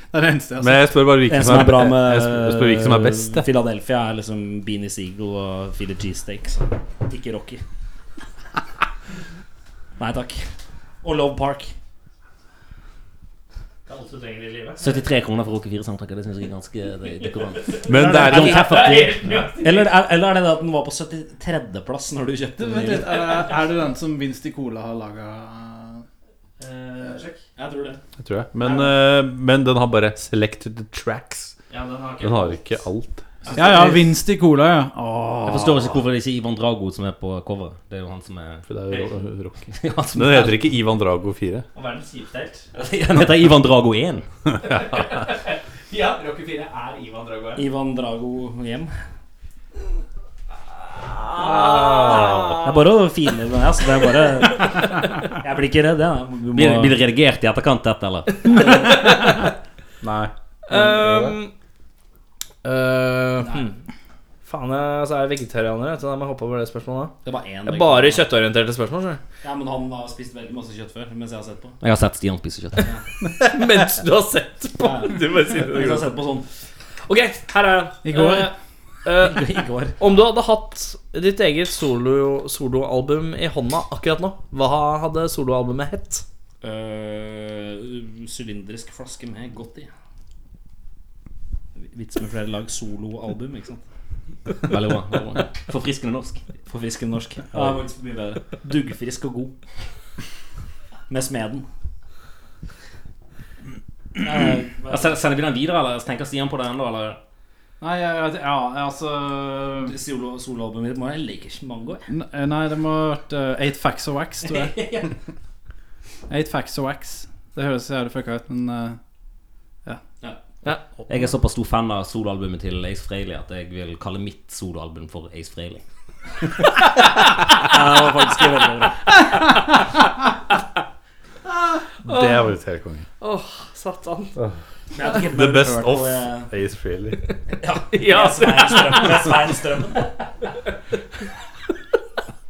Speaker 6: Det er det eneste jeg har sett.
Speaker 3: Men jeg spør bare hvilken
Speaker 4: En som er bra med
Speaker 3: eh, jeg spør, jeg spør hvilken som er best. jeg.
Speaker 4: Philadelphia er liksom Beanie Seagull og Philly Cheesesteaks. Ikke
Speaker 3: <laughs>
Speaker 4: Rocky. Nei takk. Og Love Park.
Speaker 5: 73 kroner for Rocky 4-soundtracket, det syns jeg er ganske det- dekorant.
Speaker 3: Men det er
Speaker 5: I don't have a clue.
Speaker 4: Eller, er- eller er det det at den var på 73.-plass når du kjøpte
Speaker 6: Du,
Speaker 4: den?
Speaker 6: Vent litt,
Speaker 4: Emil?
Speaker 6: er det, er det den som Vinst i Cola har laga
Speaker 4: Eh, Jeg tror det.
Speaker 3: jeg tror jeg. Men, eh, men den har bare selected the tracks.
Speaker 4: Ja, den har
Speaker 3: Den har ikke alt.
Speaker 6: Ja ja, Vinst i Cola, ja. Åh.
Speaker 5: Jeg forstår ikke hvorfor det ikke er Ivan Drago som er på coveret. Det er jo han som er <laughs>
Speaker 3: For det er jo ro- rock.
Speaker 5: Han som
Speaker 3: Den heter ikke Ivan Drago 4.
Speaker 4: Og verdens kjipeste helt.
Speaker 5: <laughs> Han heter Ivan Drago 1.
Speaker 2: Ja, Rocky 4 er Ivan Drago.
Speaker 4: Ivan Drago hjem. Det
Speaker 2: Ah.
Speaker 4: er bare å finne den her, så det er bare Jeg blir ikke redd, jeg. Du må-
Speaker 5: <laughs> Blir, blir det redigert i etterkant, dette, eller?
Speaker 3: Nei.
Speaker 2: Um, uh, hmm. Faen, jeg altså, jeg er vegetarianer, vet du, så da må jeg hoppe over det spørsmålet. da.
Speaker 4: Det var én
Speaker 2: Det er bare kjøttorienterte spørsmål. skjønner du.
Speaker 4: Ja, men han har spist veldig masse kjøtt før, mens jeg har sett på.
Speaker 5: Jeg har sett Stian spise kjøtt.
Speaker 2: <laughs> Mens du har sett på. Du bare sier
Speaker 4: Mens jeg har
Speaker 2: det.
Speaker 4: sett på sånn
Speaker 2: Ok, her er den.
Speaker 6: I går.
Speaker 2: Eh, eh,
Speaker 4: sånn <laughs> i går.
Speaker 2: om du hadde hatt ditt eget solo- soloalbum i hånda akkurat nå, hva hadde soloalbumet hett?
Speaker 4: Øh, Sylindrisk flaske med godt i. Vits med flere lag soloalbum, ikke sant?
Speaker 5: Veldig bra. veldig bra. <laughs> Forfriskende norsk.
Speaker 4: Forfriskende norsk. Ja, det er faktisk mye bedre. Duggfrisk og god. Med smeden. Eh,
Speaker 5: Ja, send- Sender vi den videre, eller tenker Stian på det ennå, eller?
Speaker 6: Nei, jeg- jeg- ja, altså
Speaker 4: Solo- Soloalbumet mitt må jeg like ikke mango. jeg.
Speaker 6: n- Nei, det må ha vært eh, Eight Facts of Wax, tror
Speaker 7: <laughs>
Speaker 6: jeg. Eight Facts of Wax. Det høres jævlig fucka ut, men eh,
Speaker 5: Jeg er såpass stor fan av soloalbumet til Ace Frehley at jeg vil kalle mitt soloalbum for Ace Frehley.
Speaker 4: Ja, det var faktisk veldig bra.
Speaker 3: Det er faktisk helt konge.
Speaker 2: Åh, satan.
Speaker 4: Men jeg hadde ikke
Speaker 3: The best
Speaker 4: hørt
Speaker 3: of
Speaker 4: på, eh,
Speaker 3: Ace Frehley.
Speaker 2: Ja,
Speaker 4: Svein Strøm- med Svein Strømmen.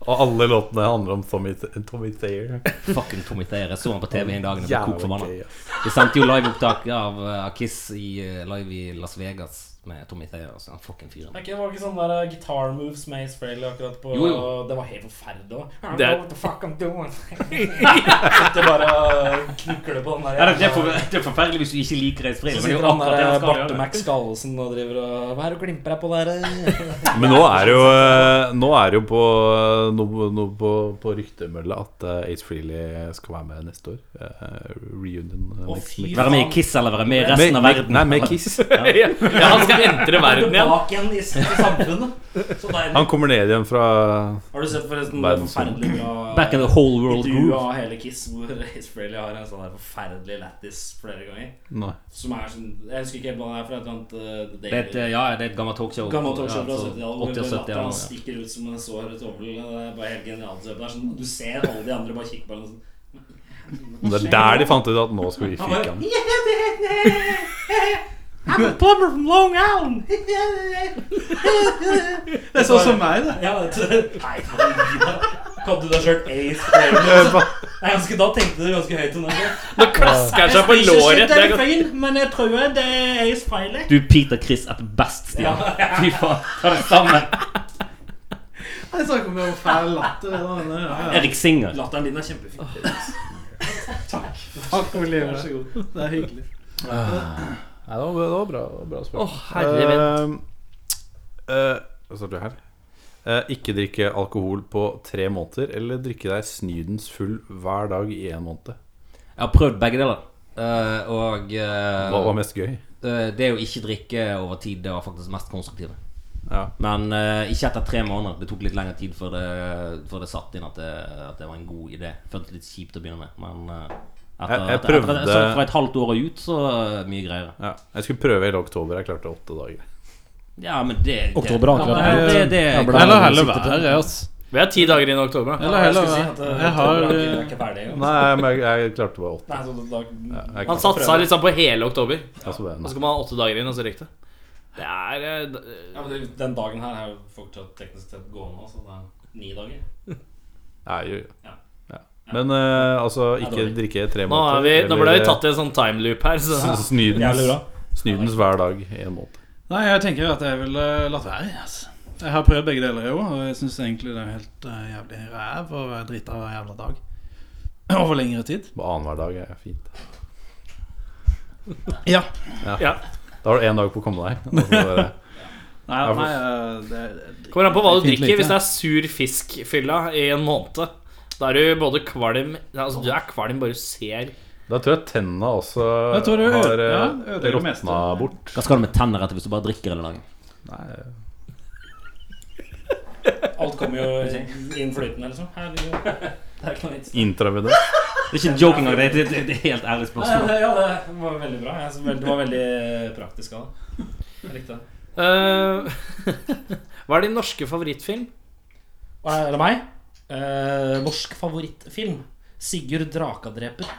Speaker 3: Og alle låtene handler om Tommy, Tommy Thayer.
Speaker 5: Fucking Tommy Thayer. Jeg så han på TV en dag. og jeg ble
Speaker 3: Jævlig
Speaker 5: kok forbanna.
Speaker 3: gøy. ass.
Speaker 5: Vi sendte jo liveopptak av eh, av Kiss i, eh, live i Las Vegas med Tommy Thayer. Altså, han fucking fyren.
Speaker 4: Det var ikke sånn der eh, guitar moves med Ace Frehley akkurat på
Speaker 5: Jo, jo.
Speaker 4: Det var helt forferdelig. da.
Speaker 2: Det er-
Speaker 4: What the fuck I'm
Speaker 5: <laughs>
Speaker 4: doing? Sitter bare og knukler på den der.
Speaker 5: Ja, det, det, er for, det er forferdelig hvis du ikke liker Ace Frehley.
Speaker 4: Så sitter
Speaker 5: Men det er jo
Speaker 4: han
Speaker 5: akkurat
Speaker 4: der
Speaker 5: det han skal
Speaker 4: Barte
Speaker 5: gjøre.
Speaker 4: Max Gallosen og driver og Hva er det du glimper deg på der? eh?»
Speaker 3: Men nå er det jo, eh, nå er det jo på, eh, nå, nå på, på ryktemølla at eh, Ace Frehley skal være med neste år. Eh, Reunion. eh,
Speaker 4: Å,
Speaker 3: next
Speaker 4: fy
Speaker 3: week.
Speaker 5: Være med i Kiss eller være med i resten
Speaker 3: Med-
Speaker 5: av verden.
Speaker 3: Nei,
Speaker 5: <laughs>
Speaker 3: med Kiss.
Speaker 2: ja, han skal entre verden igjen.
Speaker 4: Tilbake igjen i s- i samfunnet. Så deilig.
Speaker 3: Han kommer ned igjen fra
Speaker 4: Har du sett forresten det
Speaker 3: Verdens-
Speaker 4: forferdelig bra
Speaker 5: Back in the whole world
Speaker 4: intervju
Speaker 5: groove.
Speaker 4: av hele Kiss hvor Ace Frehley har en sånn der forferdelig lættis flere ganger?
Speaker 3: Nei.
Speaker 4: Som er sånn Jeg husker ikke helt hva det er for et eller annet eh, The
Speaker 5: Det er et,
Speaker 4: Daily-
Speaker 5: eh, ja, det er et gammelt talkshow.
Speaker 4: Gammelt talkshow
Speaker 5: Ja,
Speaker 4: fra
Speaker 5: så
Speaker 4: 70-tallet. hvor
Speaker 5: 80- og
Speaker 4: latteren
Speaker 5: 70-tallet. ja.
Speaker 4: stikker ut som en såret ovl. Det er bare helt genialt. Det er sånn, du ser alle de andre bare kikke på den og sånn
Speaker 3: Det er der de fant ut at nå skal vi fyke han.
Speaker 4: <laughs>
Speaker 7: Det er sånn som meg, det.
Speaker 4: Ja, vet du. Nei, faen, gi deg. Kom du deg sjøl ace
Speaker 6: <laughs>
Speaker 4: flavor? Nei, jeg husker Da tenkte du ganske høyt om det.
Speaker 2: Nå klasker han seg på låret. Det er godt.
Speaker 4: fin, men jeg tror det er ace feilet.
Speaker 5: Du Peter Chris at best, Stian. Fy faen, ta det sammen.
Speaker 7: Jeg snakker om noe fæl latter. sånn, eller noe. Ja, ja.
Speaker 5: Erik Singer.
Speaker 4: <laughs> Latteren din er kjempefin.
Speaker 7: Takk, Oliver. Vær så god. Det er hyggelig.
Speaker 3: Nei, det var, det var bra, det var bra spørsmål.
Speaker 2: Å, herre
Speaker 3: Eh, eh, Hva står det her? Eh, ikke drikke alkohol på tre måneder, eller drikke deg snydens full hver dag i én måned.
Speaker 5: Jeg har prøvd begge deler. Eh, og eh,
Speaker 3: Hva var mest gøy?
Speaker 5: eh, det å ikke drikke over tid, det var faktisk mest konstruktive.
Speaker 3: Ja.
Speaker 5: Men eh, ikke etter tre måneder. Det tok litt lengre tid før det, før det satt inn at det, at det var en god idé. Føltes litt kjipt å begynne med, men eh,
Speaker 3: Jeg- jeg
Speaker 5: etter, etter- etter-
Speaker 3: prøvde-
Speaker 5: så fra et halvt år og ut, så eh, mye greiere.
Speaker 3: Ja. Jeg skulle prøve hele oktober. Jeg klarte åtte dager.
Speaker 5: Ja, men det
Speaker 4: Oktober
Speaker 5: det,
Speaker 4: har akkurat
Speaker 5: ja, men det, det,
Speaker 4: Jeg ble-
Speaker 6: Eller heller være her, altså.
Speaker 2: Vi har ti dager inn i oktober. da.
Speaker 6: Eller heller være Jeg har
Speaker 4: Jeg eh, er
Speaker 6: eh,
Speaker 4: ikke ferdig engang.
Speaker 3: Nei, men jeg, jeg klarte bare åtte.
Speaker 4: Nei, så da, da,
Speaker 3: Jeg
Speaker 2: Han
Speaker 3: klarte
Speaker 2: satsa liksom på hele oktober.
Speaker 3: altså det,
Speaker 2: Og så
Speaker 3: nei.
Speaker 2: skal man ha åtte dager inn, og så røyk det. Det er eh, d-
Speaker 4: ja, men det, Den dagen her er jo fortsatt teknisk sett gående. Altså, det er ni dager.
Speaker 3: Nei, jo, jo.
Speaker 4: Ja.
Speaker 3: Ja. Men eh, altså, ikke
Speaker 4: dårlig.
Speaker 3: drikke tre
Speaker 2: Nå, er
Speaker 3: måneder.
Speaker 2: vi, nå ble vi
Speaker 3: eller, <laughs>
Speaker 2: tatt i en sånn timeloop her. Så.
Speaker 3: eh,
Speaker 2: <laughs>
Speaker 3: snydens,
Speaker 4: Jævlig bra.
Speaker 3: snydens hver dag i en måned.
Speaker 6: Nei, jeg tenker at jeg ville latt være. Altså. Jeg har prøvd begge deler, jo, og jeg syns egentlig det er helt eh, jævlig ræv å være drita hver jævla dag. <clears throat> Over lengre tid.
Speaker 3: På Annenhver dag er fint.
Speaker 6: Ja.
Speaker 3: Da har du én dag på å komme deg. og så
Speaker 2: <laughs>
Speaker 3: bare-
Speaker 6: Nei,
Speaker 3: Ja, for-
Speaker 6: nei eh, det, det,
Speaker 2: Kommer an på hva du
Speaker 6: Fint
Speaker 2: drikker.
Speaker 6: lite.
Speaker 2: Hvis det er sur fiskfylla i en måned, da er du både kvalm Altså, du er kvalm bare du ser
Speaker 3: Da tror jeg tennene også
Speaker 6: Jeg tror det øde-
Speaker 3: har eh,
Speaker 6: ja, ødelegger det meste.
Speaker 3: råtna bort.
Speaker 5: Hva skal du med tenner etter hvis du bare drikker hele dagen?
Speaker 4: Alt kommer <laughs> jo inn flytende, liksom. Herregud. <laughs> Det er ikke noe vits.
Speaker 3: Intravenøst.
Speaker 5: Det er ikke en joking, det, det, det, det er helt ærlig
Speaker 4: Ja,
Speaker 5: spørsmål.
Speaker 4: det, ja, det var veldig bra. Jeg, synes vel- det var veldig praktisk av deg. Jeg likte det.
Speaker 2: Eh, <laughs> Hva er din norske favorittfilm?
Speaker 4: Og er det meg? Eh, norsk favorittfilm. Sigurd Drakadreper.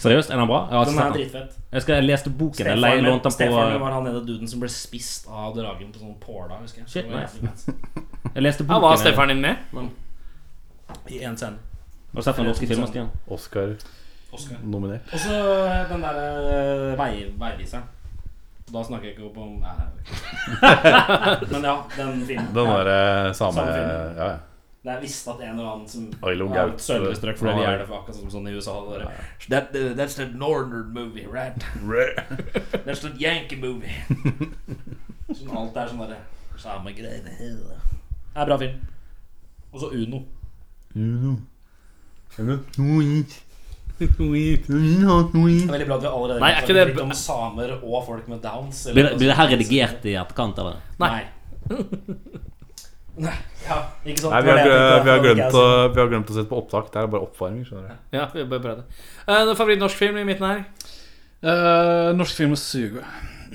Speaker 5: Seriøst, er den bra? Jeg har
Speaker 4: Den
Speaker 5: ikke
Speaker 4: er
Speaker 5: sett den.
Speaker 4: drittfett.
Speaker 5: Jeg skal jeg leste boken. Jeg leide-
Speaker 4: Stefaren min,
Speaker 5: lånte den
Speaker 4: stefaren min
Speaker 5: på
Speaker 4: var han ene duden som ble spist av dragen på sånn påla, husker jeg.
Speaker 5: Shit,
Speaker 4: Det var
Speaker 5: nice.
Speaker 4: jævlig fett.
Speaker 5: Jeg leste
Speaker 2: Ja,
Speaker 5: boken.
Speaker 2: var
Speaker 5: jeg-
Speaker 2: Stefan din med?
Speaker 4: I én scene.
Speaker 5: Har du sett den norske filmen, Stian?
Speaker 3: Oscar-nominert.
Speaker 4: Oscar. Og så den der eh, vei, veiviseren. Da snakker jeg ikke opp om nei, Men ja, den filmen.
Speaker 3: Den derre same
Speaker 4: Samme film.
Speaker 3: Ja, ja.
Speaker 4: Det er visst at en eller annen som
Speaker 3: Ailo
Speaker 4: har
Speaker 3: Gaut.
Speaker 4: et sølvere strøk, for de er det for akkurat som sånn i USA. det der. That, uh, that's the northern movie, right? that's the Yankee movie. <laughs> Sånn alt er sånn derre samme greiene. Det er bra film. Og så Uno. Det er veldig bra at vi allerede
Speaker 2: Nei, er
Speaker 4: har
Speaker 2: ikke det-
Speaker 4: snakket litt om samer og folk med downs. eller
Speaker 5: Blir det,
Speaker 4: noe
Speaker 5: blir det her
Speaker 4: sånt.
Speaker 5: redigert i etterkant, eller?
Speaker 4: Nei. <laughs> Nei, ja, ikke sant?
Speaker 3: Nei, vi har, gl- vi, har glemt
Speaker 4: altså.
Speaker 3: å, vi har glemt å sette på opptak. Det er bare oppvarming. skjønner du
Speaker 2: Ja, vi bare prøvde. Uh, favoritt norsk film i midten her?
Speaker 6: Eh, norsk film suger.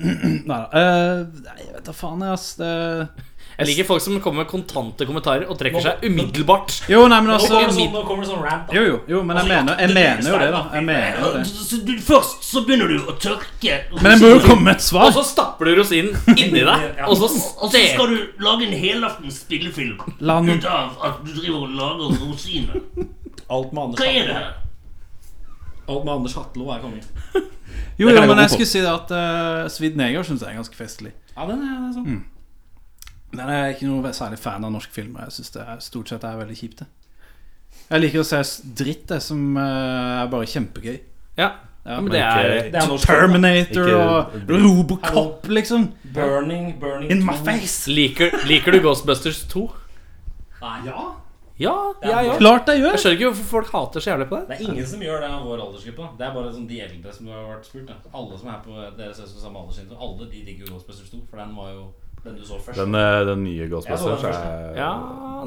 Speaker 6: <clears throat> Nei da. eh, nei, jeg vet da faen, jeg, ass. Det...
Speaker 2: Jeg liker folk som kommer med kontante kommentarer og trekker seg umiddelbart.
Speaker 6: Jo, nei, men
Speaker 4: Nå
Speaker 6: altså
Speaker 4: kommer det sånn, nå kommer det sånn rant.
Speaker 6: Jo, jo, jo men jeg
Speaker 5: Altså,
Speaker 6: mener, jeg mener jo det, da. Jeg mener jo det.
Speaker 5: Først så begynner du å tørke,
Speaker 6: Men jeg må jo komme med et
Speaker 2: Og
Speaker 6: svar.
Speaker 2: så stapper du rosinen inni deg, og så steker
Speaker 5: du lage en helaftens spillefilm
Speaker 6: La noen
Speaker 5: av at du driver og lager rosiner.
Speaker 4: Alt med Anders Hatlo. Alt med Anders Hatlo er kongen.
Speaker 6: Jo, jo,
Speaker 5: Det kan jeg gå
Speaker 6: men jeg
Speaker 5: på.
Speaker 6: skulle si det at eh, Svidd neger syns jeg er ganske festlig.
Speaker 4: Ja, den er, den er sånn.
Speaker 6: Men jeg er ikke noe særlig fan av norsk film. og Jeg syns det er, stort sett er veldig kjipt. Det. Jeg liker å se s- dritt det som eh, er bare kjempegøy.
Speaker 2: Ja,
Speaker 6: Ja,
Speaker 2: men det er
Speaker 3: ikke-
Speaker 4: Det er norsk.
Speaker 6: Terminator
Speaker 3: Ikke-
Speaker 6: og Robocop, liksom.
Speaker 4: Mm. Burning, burning
Speaker 6: In my
Speaker 4: 2.
Speaker 6: face!
Speaker 2: Liker, liker du Ghostbusters 2?
Speaker 4: Nei.
Speaker 2: Ja, jeg òg.
Speaker 6: Klart jeg
Speaker 2: Jeg
Speaker 6: gjør!
Speaker 2: skjønner ikke hvorfor folk hater så jævlig på det.
Speaker 4: Det er ingen som gjør det av vår aldersgruppe. da. Det er bare sånn de eldre som har vært spurt. Da. Alle som er på deres søster samme aldersgruppe, alle de digger jo Ghostbusters 2, for den var jo den du så først.
Speaker 3: Den, eh, den nye Ghostbusters
Speaker 4: Jeg så den
Speaker 3: er
Speaker 2: Ja,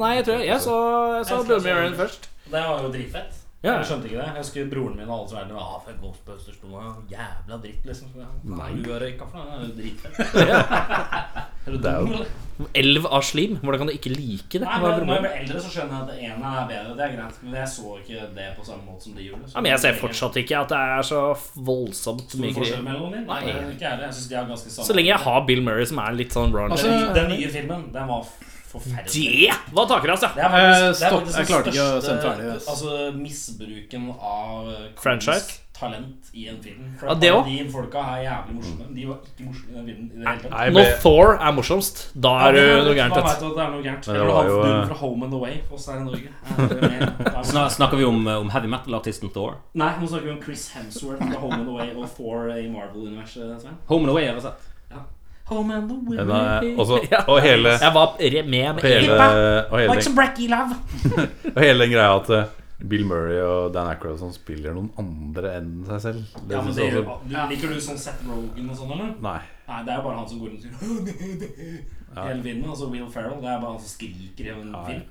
Speaker 2: Nei, jeg tror jeg, jeg så, jeg så
Speaker 4: Jeg skal
Speaker 2: Blood
Speaker 4: se
Speaker 2: Mirror
Speaker 4: den.
Speaker 2: først.
Speaker 4: Det var jo dritfett.
Speaker 2: Ja.
Speaker 4: Jeg skjønte ikke det. Jeg husker broren min og alle som er der. Ah, for
Speaker 2: <laughs>
Speaker 4: Ghostbusters 2 er jo jævla dritt, liksom. Nei, du er røyka for det. Det er jo dritfett. Er du
Speaker 2: Det er jo-
Speaker 4: dum, eller?
Speaker 2: Elv av slim? Hvordan kan du ikke like det?
Speaker 4: Nei,
Speaker 2: Hva er
Speaker 4: men Når jeg
Speaker 2: problemet?
Speaker 4: blir eldre, så skjønner jeg at det ene er bedre. Det er greit, men jeg så ikke det på samme måte som de gjorde. så-
Speaker 2: Ja, men jeg ser fortsatt ikke at det er så voldsomt
Speaker 4: Stor
Speaker 2: mye
Speaker 4: forskjell
Speaker 2: krig.
Speaker 4: mellom dem? Nei,
Speaker 2: Nei.
Speaker 4: ikke er det. Jeg synes de er ganske samme.
Speaker 2: Så lenge jeg har Bill Murray som er litt sånn brown
Speaker 6: Altså,
Speaker 4: Den- Den nye filmen, den var forferdelig.
Speaker 2: Det var takrass, ja!
Speaker 4: Det er faktisk-
Speaker 6: Eh,
Speaker 4: det er
Speaker 6: stopp,
Speaker 4: faktisk
Speaker 6: jeg
Speaker 4: den
Speaker 6: klarte ikke å
Speaker 4: største,
Speaker 6: sende ferdig, yes.
Speaker 4: Altså misbruken av eh, komisk
Speaker 2: Franchise?
Speaker 4: talent i en film. For
Speaker 2: Ja, det
Speaker 4: alle De folka er jævlig morsomme. De var ikke morsomme i den filmen i det hele tatt.
Speaker 3: Nei,
Speaker 2: Når
Speaker 3: men-
Speaker 2: Thor er morsomst, da er du noe gærent.
Speaker 4: Man
Speaker 2: vet
Speaker 4: vet at det er noe gærent.
Speaker 3: Men det
Speaker 4: Eller
Speaker 3: var
Speaker 4: han
Speaker 3: jo, eh,
Speaker 4: fyren fra Home and Away for oss her i Norge. Er det
Speaker 6: <laughs>
Speaker 4: mer? Det er-
Speaker 5: Snak- Snakker vi om, eh, om heavy metal-artisten Thor?
Speaker 4: Nei, nå snakker vi om Chris Hemsworth fra Home and Away og Thor i Marvel-universet. Svein.
Speaker 5: Home and Away, har jeg sett.
Speaker 4: Home and Away
Speaker 3: Den er
Speaker 4: <laughs>
Speaker 3: også, og, hele,
Speaker 2: Jeg var re- med med
Speaker 3: hele, og, hele,
Speaker 4: Like some Bracky Love.
Speaker 3: og hele den greia at eh, Bill Murray og Dan Aykroyd og sånn spiller noen andre enn seg selv. Det
Speaker 4: Ja, men
Speaker 3: synes
Speaker 4: det,
Speaker 3: jeg også,
Speaker 4: du, liker du sånn Seth Rogen og sånn, eller?
Speaker 3: nei.
Speaker 4: Nei, det er jo bare han som går <laughs> rundt og sier hele filmen. Altså Will Ferrell, det er bare han som skriker i en film.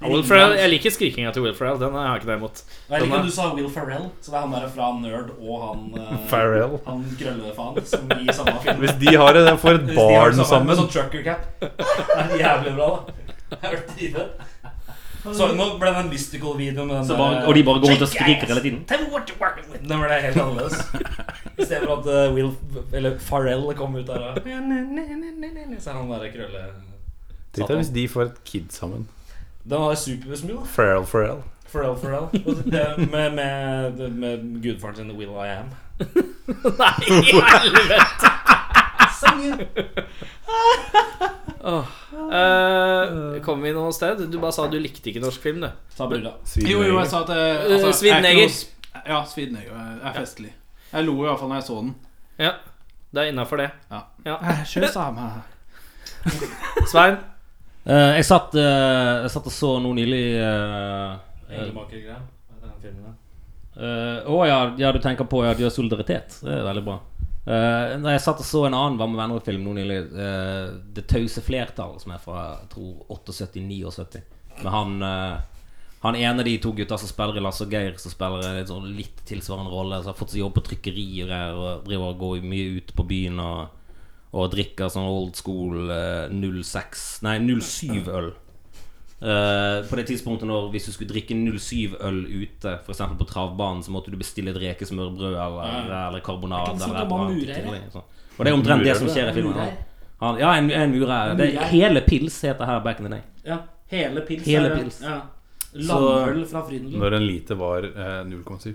Speaker 2: Will Ferrell, jeg liker skrikinga til Will Ferrell. Den har jeg ikke noe imot.
Speaker 4: Og Jeg liker
Speaker 2: den er-
Speaker 4: at du sa Will Ferrell, så det er han der fra Nerd og han eh,
Speaker 3: Farrell.
Speaker 4: Han grøllefaen som i samme film.
Speaker 3: Hvis de har det, får et
Speaker 4: Hvis de har
Speaker 3: barn
Speaker 4: det samme,
Speaker 3: sammen
Speaker 4: Sånn trucker cap. <laughs> Det er jævlig bra, da. Jeg har hørt i det. Så nå ble det en mystical-video med den
Speaker 5: Så
Speaker 4: der-
Speaker 5: bare, og de bare går rundt og skriker hele tiden.
Speaker 4: Tell me what you're working with. Den ble helt annerledes. I stedet for at eh, Will Eller Farrell kom ut der og Så er han der krølle...
Speaker 3: Tenk deg hvis de får et kid sammen.
Speaker 4: Den var supersmooth. da.
Speaker 3: Farrell, Farrell.
Speaker 4: Farrell, Farrell. Og det- Med, med, med gudfaren sin Will I Am.
Speaker 2: Nei, i helvete! Åh, eh, Kom vi noe sted? Du bare sa du likte ikke norsk film, du.
Speaker 4: Ta brilla.
Speaker 6: Jo, jo, jeg sa at jeg-
Speaker 2: Eh,
Speaker 6: altså,
Speaker 2: svidd
Speaker 6: jeg er ikke
Speaker 2: neger.
Speaker 6: noe s- Ja, svidd neger. Jeg er festlig. Jeg lo i hvert fall når jeg så den.
Speaker 2: Ja, det er innafor det.
Speaker 6: Ja.
Speaker 2: Ja.
Speaker 6: Eh, Kjør samme.
Speaker 2: Svein?
Speaker 5: Eh, jeg, satt, eh, jeg satt og så noe nylig eh, eh,
Speaker 4: Englemakergreia. Hva heter den filmen der?
Speaker 5: Eh, Å ja, ja, du tenker på ja, de har solidaritet. Det er veldig bra. Eh, Når jeg satt og så en annen Hva med venner-film nå nylig, eh, 'Det tause flertall', som er fra jeg tror 78-79. Med han eh, Han ene av de to gutta som spiller i Lasse og Geir, som spiller en litt sånn litt tilsvarende rolle, som har fått seg jobb på trykkerier her, og driver og går mye ut på byen og, og drikker sånn old school eh, 06 Nei, 07-øl. Eh, på det tidspunktet når hvis du skulle drikke 07-øl ute, f.eks. på travbanen, så måtte du bestille et rekesmørbrød eller, eller
Speaker 4: Jeg
Speaker 5: karbonade.
Speaker 4: kan
Speaker 5: Eller,
Speaker 4: snakke om
Speaker 5: et eller
Speaker 4: han
Speaker 5: annet
Speaker 4: murer,
Speaker 5: tillegg, sånn. og det er omtrent det som skjer i filmen.
Speaker 4: Murer.
Speaker 5: Han, han, ja, en, en murer. Det er hele pils heter her back in the day.
Speaker 4: Ja. Hele pils.
Speaker 5: Hele
Speaker 4: er det.
Speaker 5: pils.
Speaker 4: Ja. Landøl fra Frydenlund.
Speaker 3: Når en liter var eh, 0,7.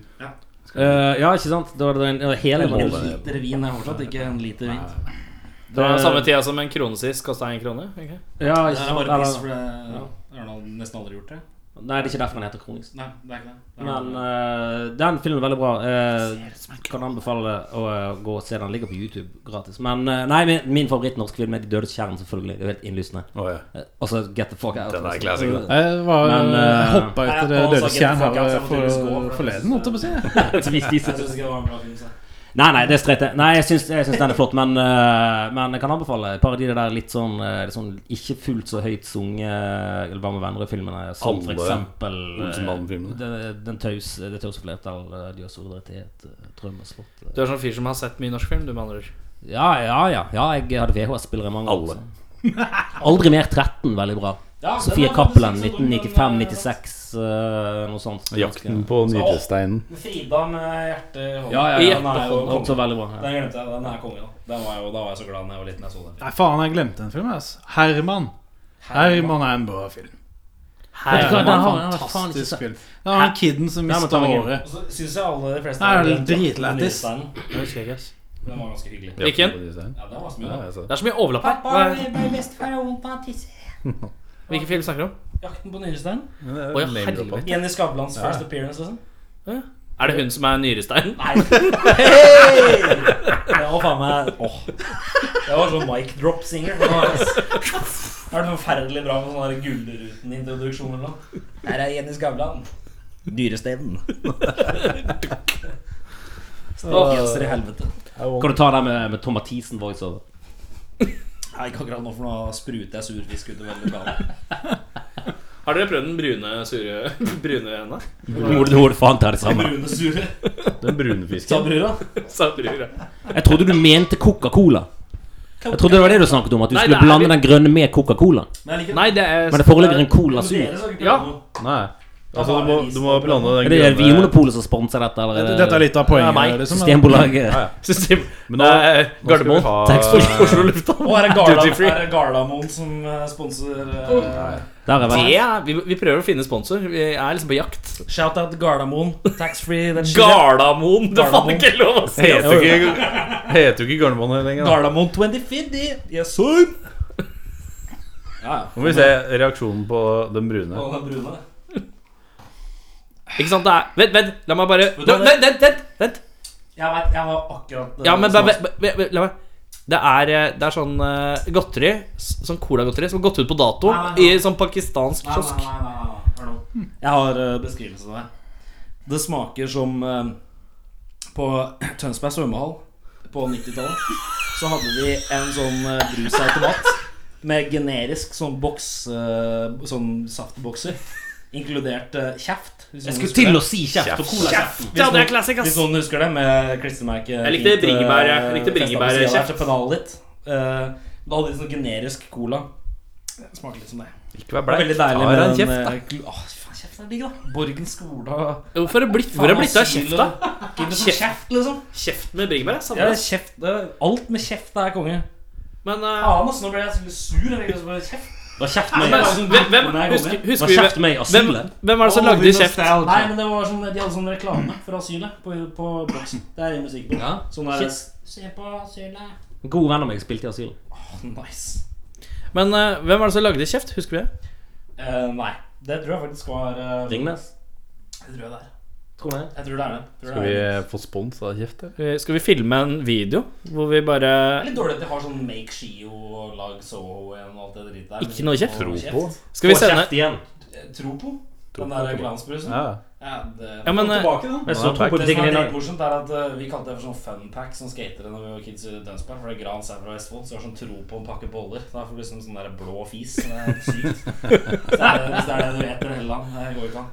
Speaker 5: Eh, ja, ikke sant? Da var det en, det var hele
Speaker 4: En liter vin er fortsatt ikke en liter vin.
Speaker 2: Det var samme tida som en krone sist kosta én krone. ikke?
Speaker 5: Ja, ikke
Speaker 4: Det
Speaker 5: sant?
Speaker 4: er bare piss,
Speaker 5: Eller,
Speaker 4: for det jeg har nå nesten aldri gjort det.
Speaker 5: nei, det er ikke derfor den heter Kronis.
Speaker 4: Nei, det er ikke det. det. er-
Speaker 5: Men eh, den filmen er veldig bra. Uh, kan anbefale å eh, gå og se den. Ligger på YouTube gratis. Men eh, nei, min, min favoritt norsk film er De dødes kjerne, selvfølgelig. Det er jo helt innlysende.
Speaker 3: Å, ja.
Speaker 5: Eh, Altså Get the fuck out.
Speaker 3: Den er
Speaker 5: liksom.
Speaker 3: classic, da.
Speaker 5: <laughs>
Speaker 6: Jeg var
Speaker 5: Men, eh,
Speaker 6: hoppa etter det
Speaker 4: jeg-
Speaker 6: døde tjern
Speaker 4: jeg- jeg-
Speaker 6: her
Speaker 4: jeg-
Speaker 6: for, forleden, holdt jeg på å si.
Speaker 4: Jeg synes ikke det var en bra film, så.
Speaker 5: Nei, nei, det er streit. det. Nei, jeg syns, jeg syns den er flott, men, eh, men jeg kan anbefale et par av de der litt sånn, eh, sånn ikke fullt så høyt sunge Eller hva med venner-filmene, som for
Speaker 3: Alle
Speaker 5: eksempel eh,
Speaker 3: Olsenbanden-filmene.
Speaker 5: Det, den taus, det tause flertall, eh, De har solidaritet, eh, Traumeslott eh.
Speaker 2: Du er sånn fyr som har sett mye norsk film, du, med andre ord.
Speaker 5: Ja, ja, ja. ja jeg hadde VHS-spillere i mange
Speaker 3: Alle.
Speaker 5: så. Aldri mer 13, veldig bra.
Speaker 4: Ja, den
Speaker 5: Sofie
Speaker 4: var
Speaker 5: Cappelen,
Speaker 4: faktisk ikke så dum, men, eh,
Speaker 5: 1995-96, noe sånt.
Speaker 3: Jakten på nytesteinen.
Speaker 4: Frida med hjertet i hånda.
Speaker 5: Ja, ja,
Speaker 2: I
Speaker 5: ja,
Speaker 4: den er jo
Speaker 5: den er også
Speaker 4: konge.
Speaker 5: veldig bra. Ja.
Speaker 4: Den glemte jeg. Den er konge, da. Den var jo, da var jeg så glad da jeg var liten. Jeg så den.
Speaker 6: Nei, faen, jeg glemte en film. ass Herman. Herman er en bra film.
Speaker 5: Vet du hva,
Speaker 6: Herman er
Speaker 5: den har-
Speaker 6: en
Speaker 5: den har faen ikke
Speaker 6: fantastisk
Speaker 5: sett.
Speaker 6: film. Det var han kiden som
Speaker 5: Nei, men
Speaker 6: mista
Speaker 5: ta meg inn.
Speaker 6: håret.
Speaker 4: Og så synes jeg alle de fleste
Speaker 6: Nei, det er
Speaker 4: den- den
Speaker 6: dritlættis.
Speaker 4: nyesteinen.
Speaker 2: Jeg husker ikke, ass.
Speaker 4: Den var ganske hyggelig.
Speaker 2: Hvilken?
Speaker 3: Jakten på nytesteinen.
Speaker 4: Ja, den var smooth.
Speaker 3: Ja,
Speaker 4: da.
Speaker 3: jeg så det.
Speaker 2: Det er så mye overlapp her. Hva er-
Speaker 4: ble bestefar og vondt av tisse.
Speaker 2: Hvilken film snakker du om?
Speaker 4: Jakten på nyrestein.
Speaker 3: Men det er
Speaker 2: Å, ja,
Speaker 3: name drop, da.
Speaker 2: helvete.
Speaker 4: Jenny Skavlans first appearance, liksom.
Speaker 2: Er det hun som er nyrestein?
Speaker 4: Nei. Hey! Det var faen meg åh. Det var sånn mic drop singer. Det var det var forferdelig bra med sånn Gullruten-introduksjon eller noe. Her er Jenny Skavlan. Dyresteinen. Stakkjenser i helvete.
Speaker 5: Kan du ta den med, med Tom Mathisen-voiceover?
Speaker 4: Nei, ikke akkurat nå, for nå spruter jeg surfisk utover hele lokalet.
Speaker 2: Har dere prøvd den brune, sure <laughs> brune henne?
Speaker 5: Nå må du- nå må du faen ta det
Speaker 2: <laughs>
Speaker 5: sammen.
Speaker 4: Brune sure.
Speaker 3: Den brune
Speaker 4: Ta
Speaker 3: fisken.
Speaker 4: brura.
Speaker 2: Sa brura.
Speaker 5: Jeg trodde du mente Coca-Cola. Jeg trodde det var det du snakket om, at du
Speaker 2: Nei,
Speaker 5: skulle
Speaker 2: det er
Speaker 5: blande
Speaker 2: vi-
Speaker 5: den grønne med Coca-Cola.
Speaker 2: Nei, det er
Speaker 5: Men det foreligger en Cola Sur.
Speaker 2: Ja.
Speaker 3: Nei. Altså, du må, du må blande den
Speaker 5: Er det Vinmonopolet som sponser dette, eller er det
Speaker 6: Dette er litt av poenget.
Speaker 5: Nei,
Speaker 6: liksom.
Speaker 5: Systembolaget?
Speaker 2: System
Speaker 3: Men nå-
Speaker 2: Eh,
Speaker 3: nå skal vi
Speaker 2: Gardermoen.
Speaker 3: ha-
Speaker 2: Taxfree. Oslo lufthavn.
Speaker 4: Og er det
Speaker 2: Duty
Speaker 4: Garla-
Speaker 2: free.
Speaker 4: er det Garlamoen som eh, sponser eh,
Speaker 5: Der er vel
Speaker 2: Det er, vi, vi prøver å finne sponsor. Vi er liksom på jakt.
Speaker 4: Shout-out Garlamoen. Taxfree. den skylder-
Speaker 2: Gardamoen! Det er faen
Speaker 4: Gardermoen.
Speaker 2: ikke lov å si!
Speaker 3: Heter jo
Speaker 4: <laughs>
Speaker 3: ikke, heter jo ikke Gardermoen lenger. da.
Speaker 4: Garlamoen 2050. Yes, sir.
Speaker 3: Nå må vi se reaksjonen på den brune.
Speaker 4: Og den brune.
Speaker 2: Ikke sant, det er Vent, vent, la meg bare
Speaker 4: du hva,
Speaker 2: Vent, vent, vent! vent.
Speaker 4: Jeg vet, jeg var akkurat eh,
Speaker 2: Ja, men bare,
Speaker 4: snakket-
Speaker 2: bare, bare, bare, La meg det er, eh, det er sånn eh, godteri, s- sånn colagodteri, som har gått ut på dato
Speaker 4: Nei, nei, nei.
Speaker 2: i sånn pakistansk
Speaker 4: Nei,
Speaker 2: kiosk.
Speaker 4: Nei, nei, nei, nei, nei. Hør nå. Jeg har eh, beskrivelsen der. Det smaker som eh, På <clears throat> Tønsberg svømmehall på 90-tallet så hadde de en sånn eh, brusautomat med generisk sånn boks eh, Sånn saftbokser. Inkludert eh, kjeft. hvis
Speaker 5: Jeg
Speaker 4: noen
Speaker 5: skulle
Speaker 4: husker
Speaker 5: til
Speaker 4: det.
Speaker 5: å si kjeft på cola.
Speaker 2: Kjeft! Ja, det er classic, ass.
Speaker 4: Hvis noen husker det, med klistremerke
Speaker 2: Jeg likte
Speaker 4: fint, eh,
Speaker 2: bringebær, jeg. Jeg likte
Speaker 4: festet på siden
Speaker 2: bringebær,
Speaker 4: der
Speaker 2: kjeft.
Speaker 4: til pennalet ditt. Eh, Da hadde de sånn generisk cola. Det Smaker litt som det.
Speaker 3: Ikke vær
Speaker 4: Det var
Speaker 3: bleik.
Speaker 4: veldig deilig
Speaker 3: Tar
Speaker 4: med
Speaker 3: en
Speaker 4: den
Speaker 3: kjeft, da.
Speaker 4: eh, gl- Åh, faen, kjeft er digg, da. Borgen skola
Speaker 2: Hvorfor har det blitt, hvor har det blitt av kjeft, da?
Speaker 4: Kjeft,
Speaker 2: Kjeft.
Speaker 4: kjeft liksom.
Speaker 2: Kjeft med bringebær? jeg
Speaker 4: Ja,
Speaker 2: savner det.
Speaker 4: kjeft, det, er- alt med kjeft er konge.
Speaker 2: Men eh,
Speaker 4: Faen, ass, nå ble jeg så litt sur. Jeg fikk lyst til å kjeft.
Speaker 5: Da kjeft meg
Speaker 2: men,
Speaker 4: liksom
Speaker 2: hvem, hvem,
Speaker 4: Nei, jeg
Speaker 2: husker,
Speaker 4: kommer.
Speaker 5: Da
Speaker 2: husker vi
Speaker 5: kjeft meg i
Speaker 2: hvem,
Speaker 5: asylet.
Speaker 2: hvem var det som
Speaker 7: All
Speaker 2: lagde
Speaker 7: the
Speaker 2: kjeft?
Speaker 7: nostalgia.
Speaker 4: Nei, men det var sånn, de hadde sånn reklame for asylet på, på boksen. Det er i musikken.
Speaker 5: Ja.
Speaker 4: Sånn der
Speaker 5: Shit. En god venn av meg spilte i asylet.
Speaker 4: Åh, Nice.
Speaker 2: Men eh, hvem var det som lagde kjeft? Husker vi det?
Speaker 4: Eh, nei. Det tror jeg faktisk var eh,
Speaker 5: Ringnes.
Speaker 4: Det tror jeg det er.
Speaker 5: Tror jeg.
Speaker 4: Jeg tror det er det. Jeg Tror
Speaker 3: Skal
Speaker 4: det
Speaker 3: vi
Speaker 4: er det.
Speaker 3: få spons av kjeft, eller?
Speaker 2: Eh, Skal vi filme en video hvor vi bare
Speaker 4: Det er litt dårlig at de har sånn Make Shio og Lag Soho igjen og alt det dritet der.
Speaker 2: Ikke noe kjeft.
Speaker 4: Tro
Speaker 2: Skal vi
Speaker 5: Få
Speaker 2: sende
Speaker 5: kjeft igjen.
Speaker 4: Eh, Tro på? Den der glansbrusen?
Speaker 3: Ja.
Speaker 4: Ja, det...
Speaker 2: Ja, men eh,
Speaker 7: Tilbake, da.
Speaker 5: Jeg så tro på
Speaker 4: det som
Speaker 5: tingen
Speaker 4: er
Speaker 5: din
Speaker 4: litt morsomt, er at eh, vi kalte det for sånn funpack som skatere når vi var kids i Tønsberg. For det Grans er fra Vestfold, så det er sånn tro på en pakke boller. Da får du liksom sånn der blå fis. Det er helt
Speaker 2: <laughs>
Speaker 4: sykt. Hvis det er hvis det er det du vet i hele land. Det går ikke an.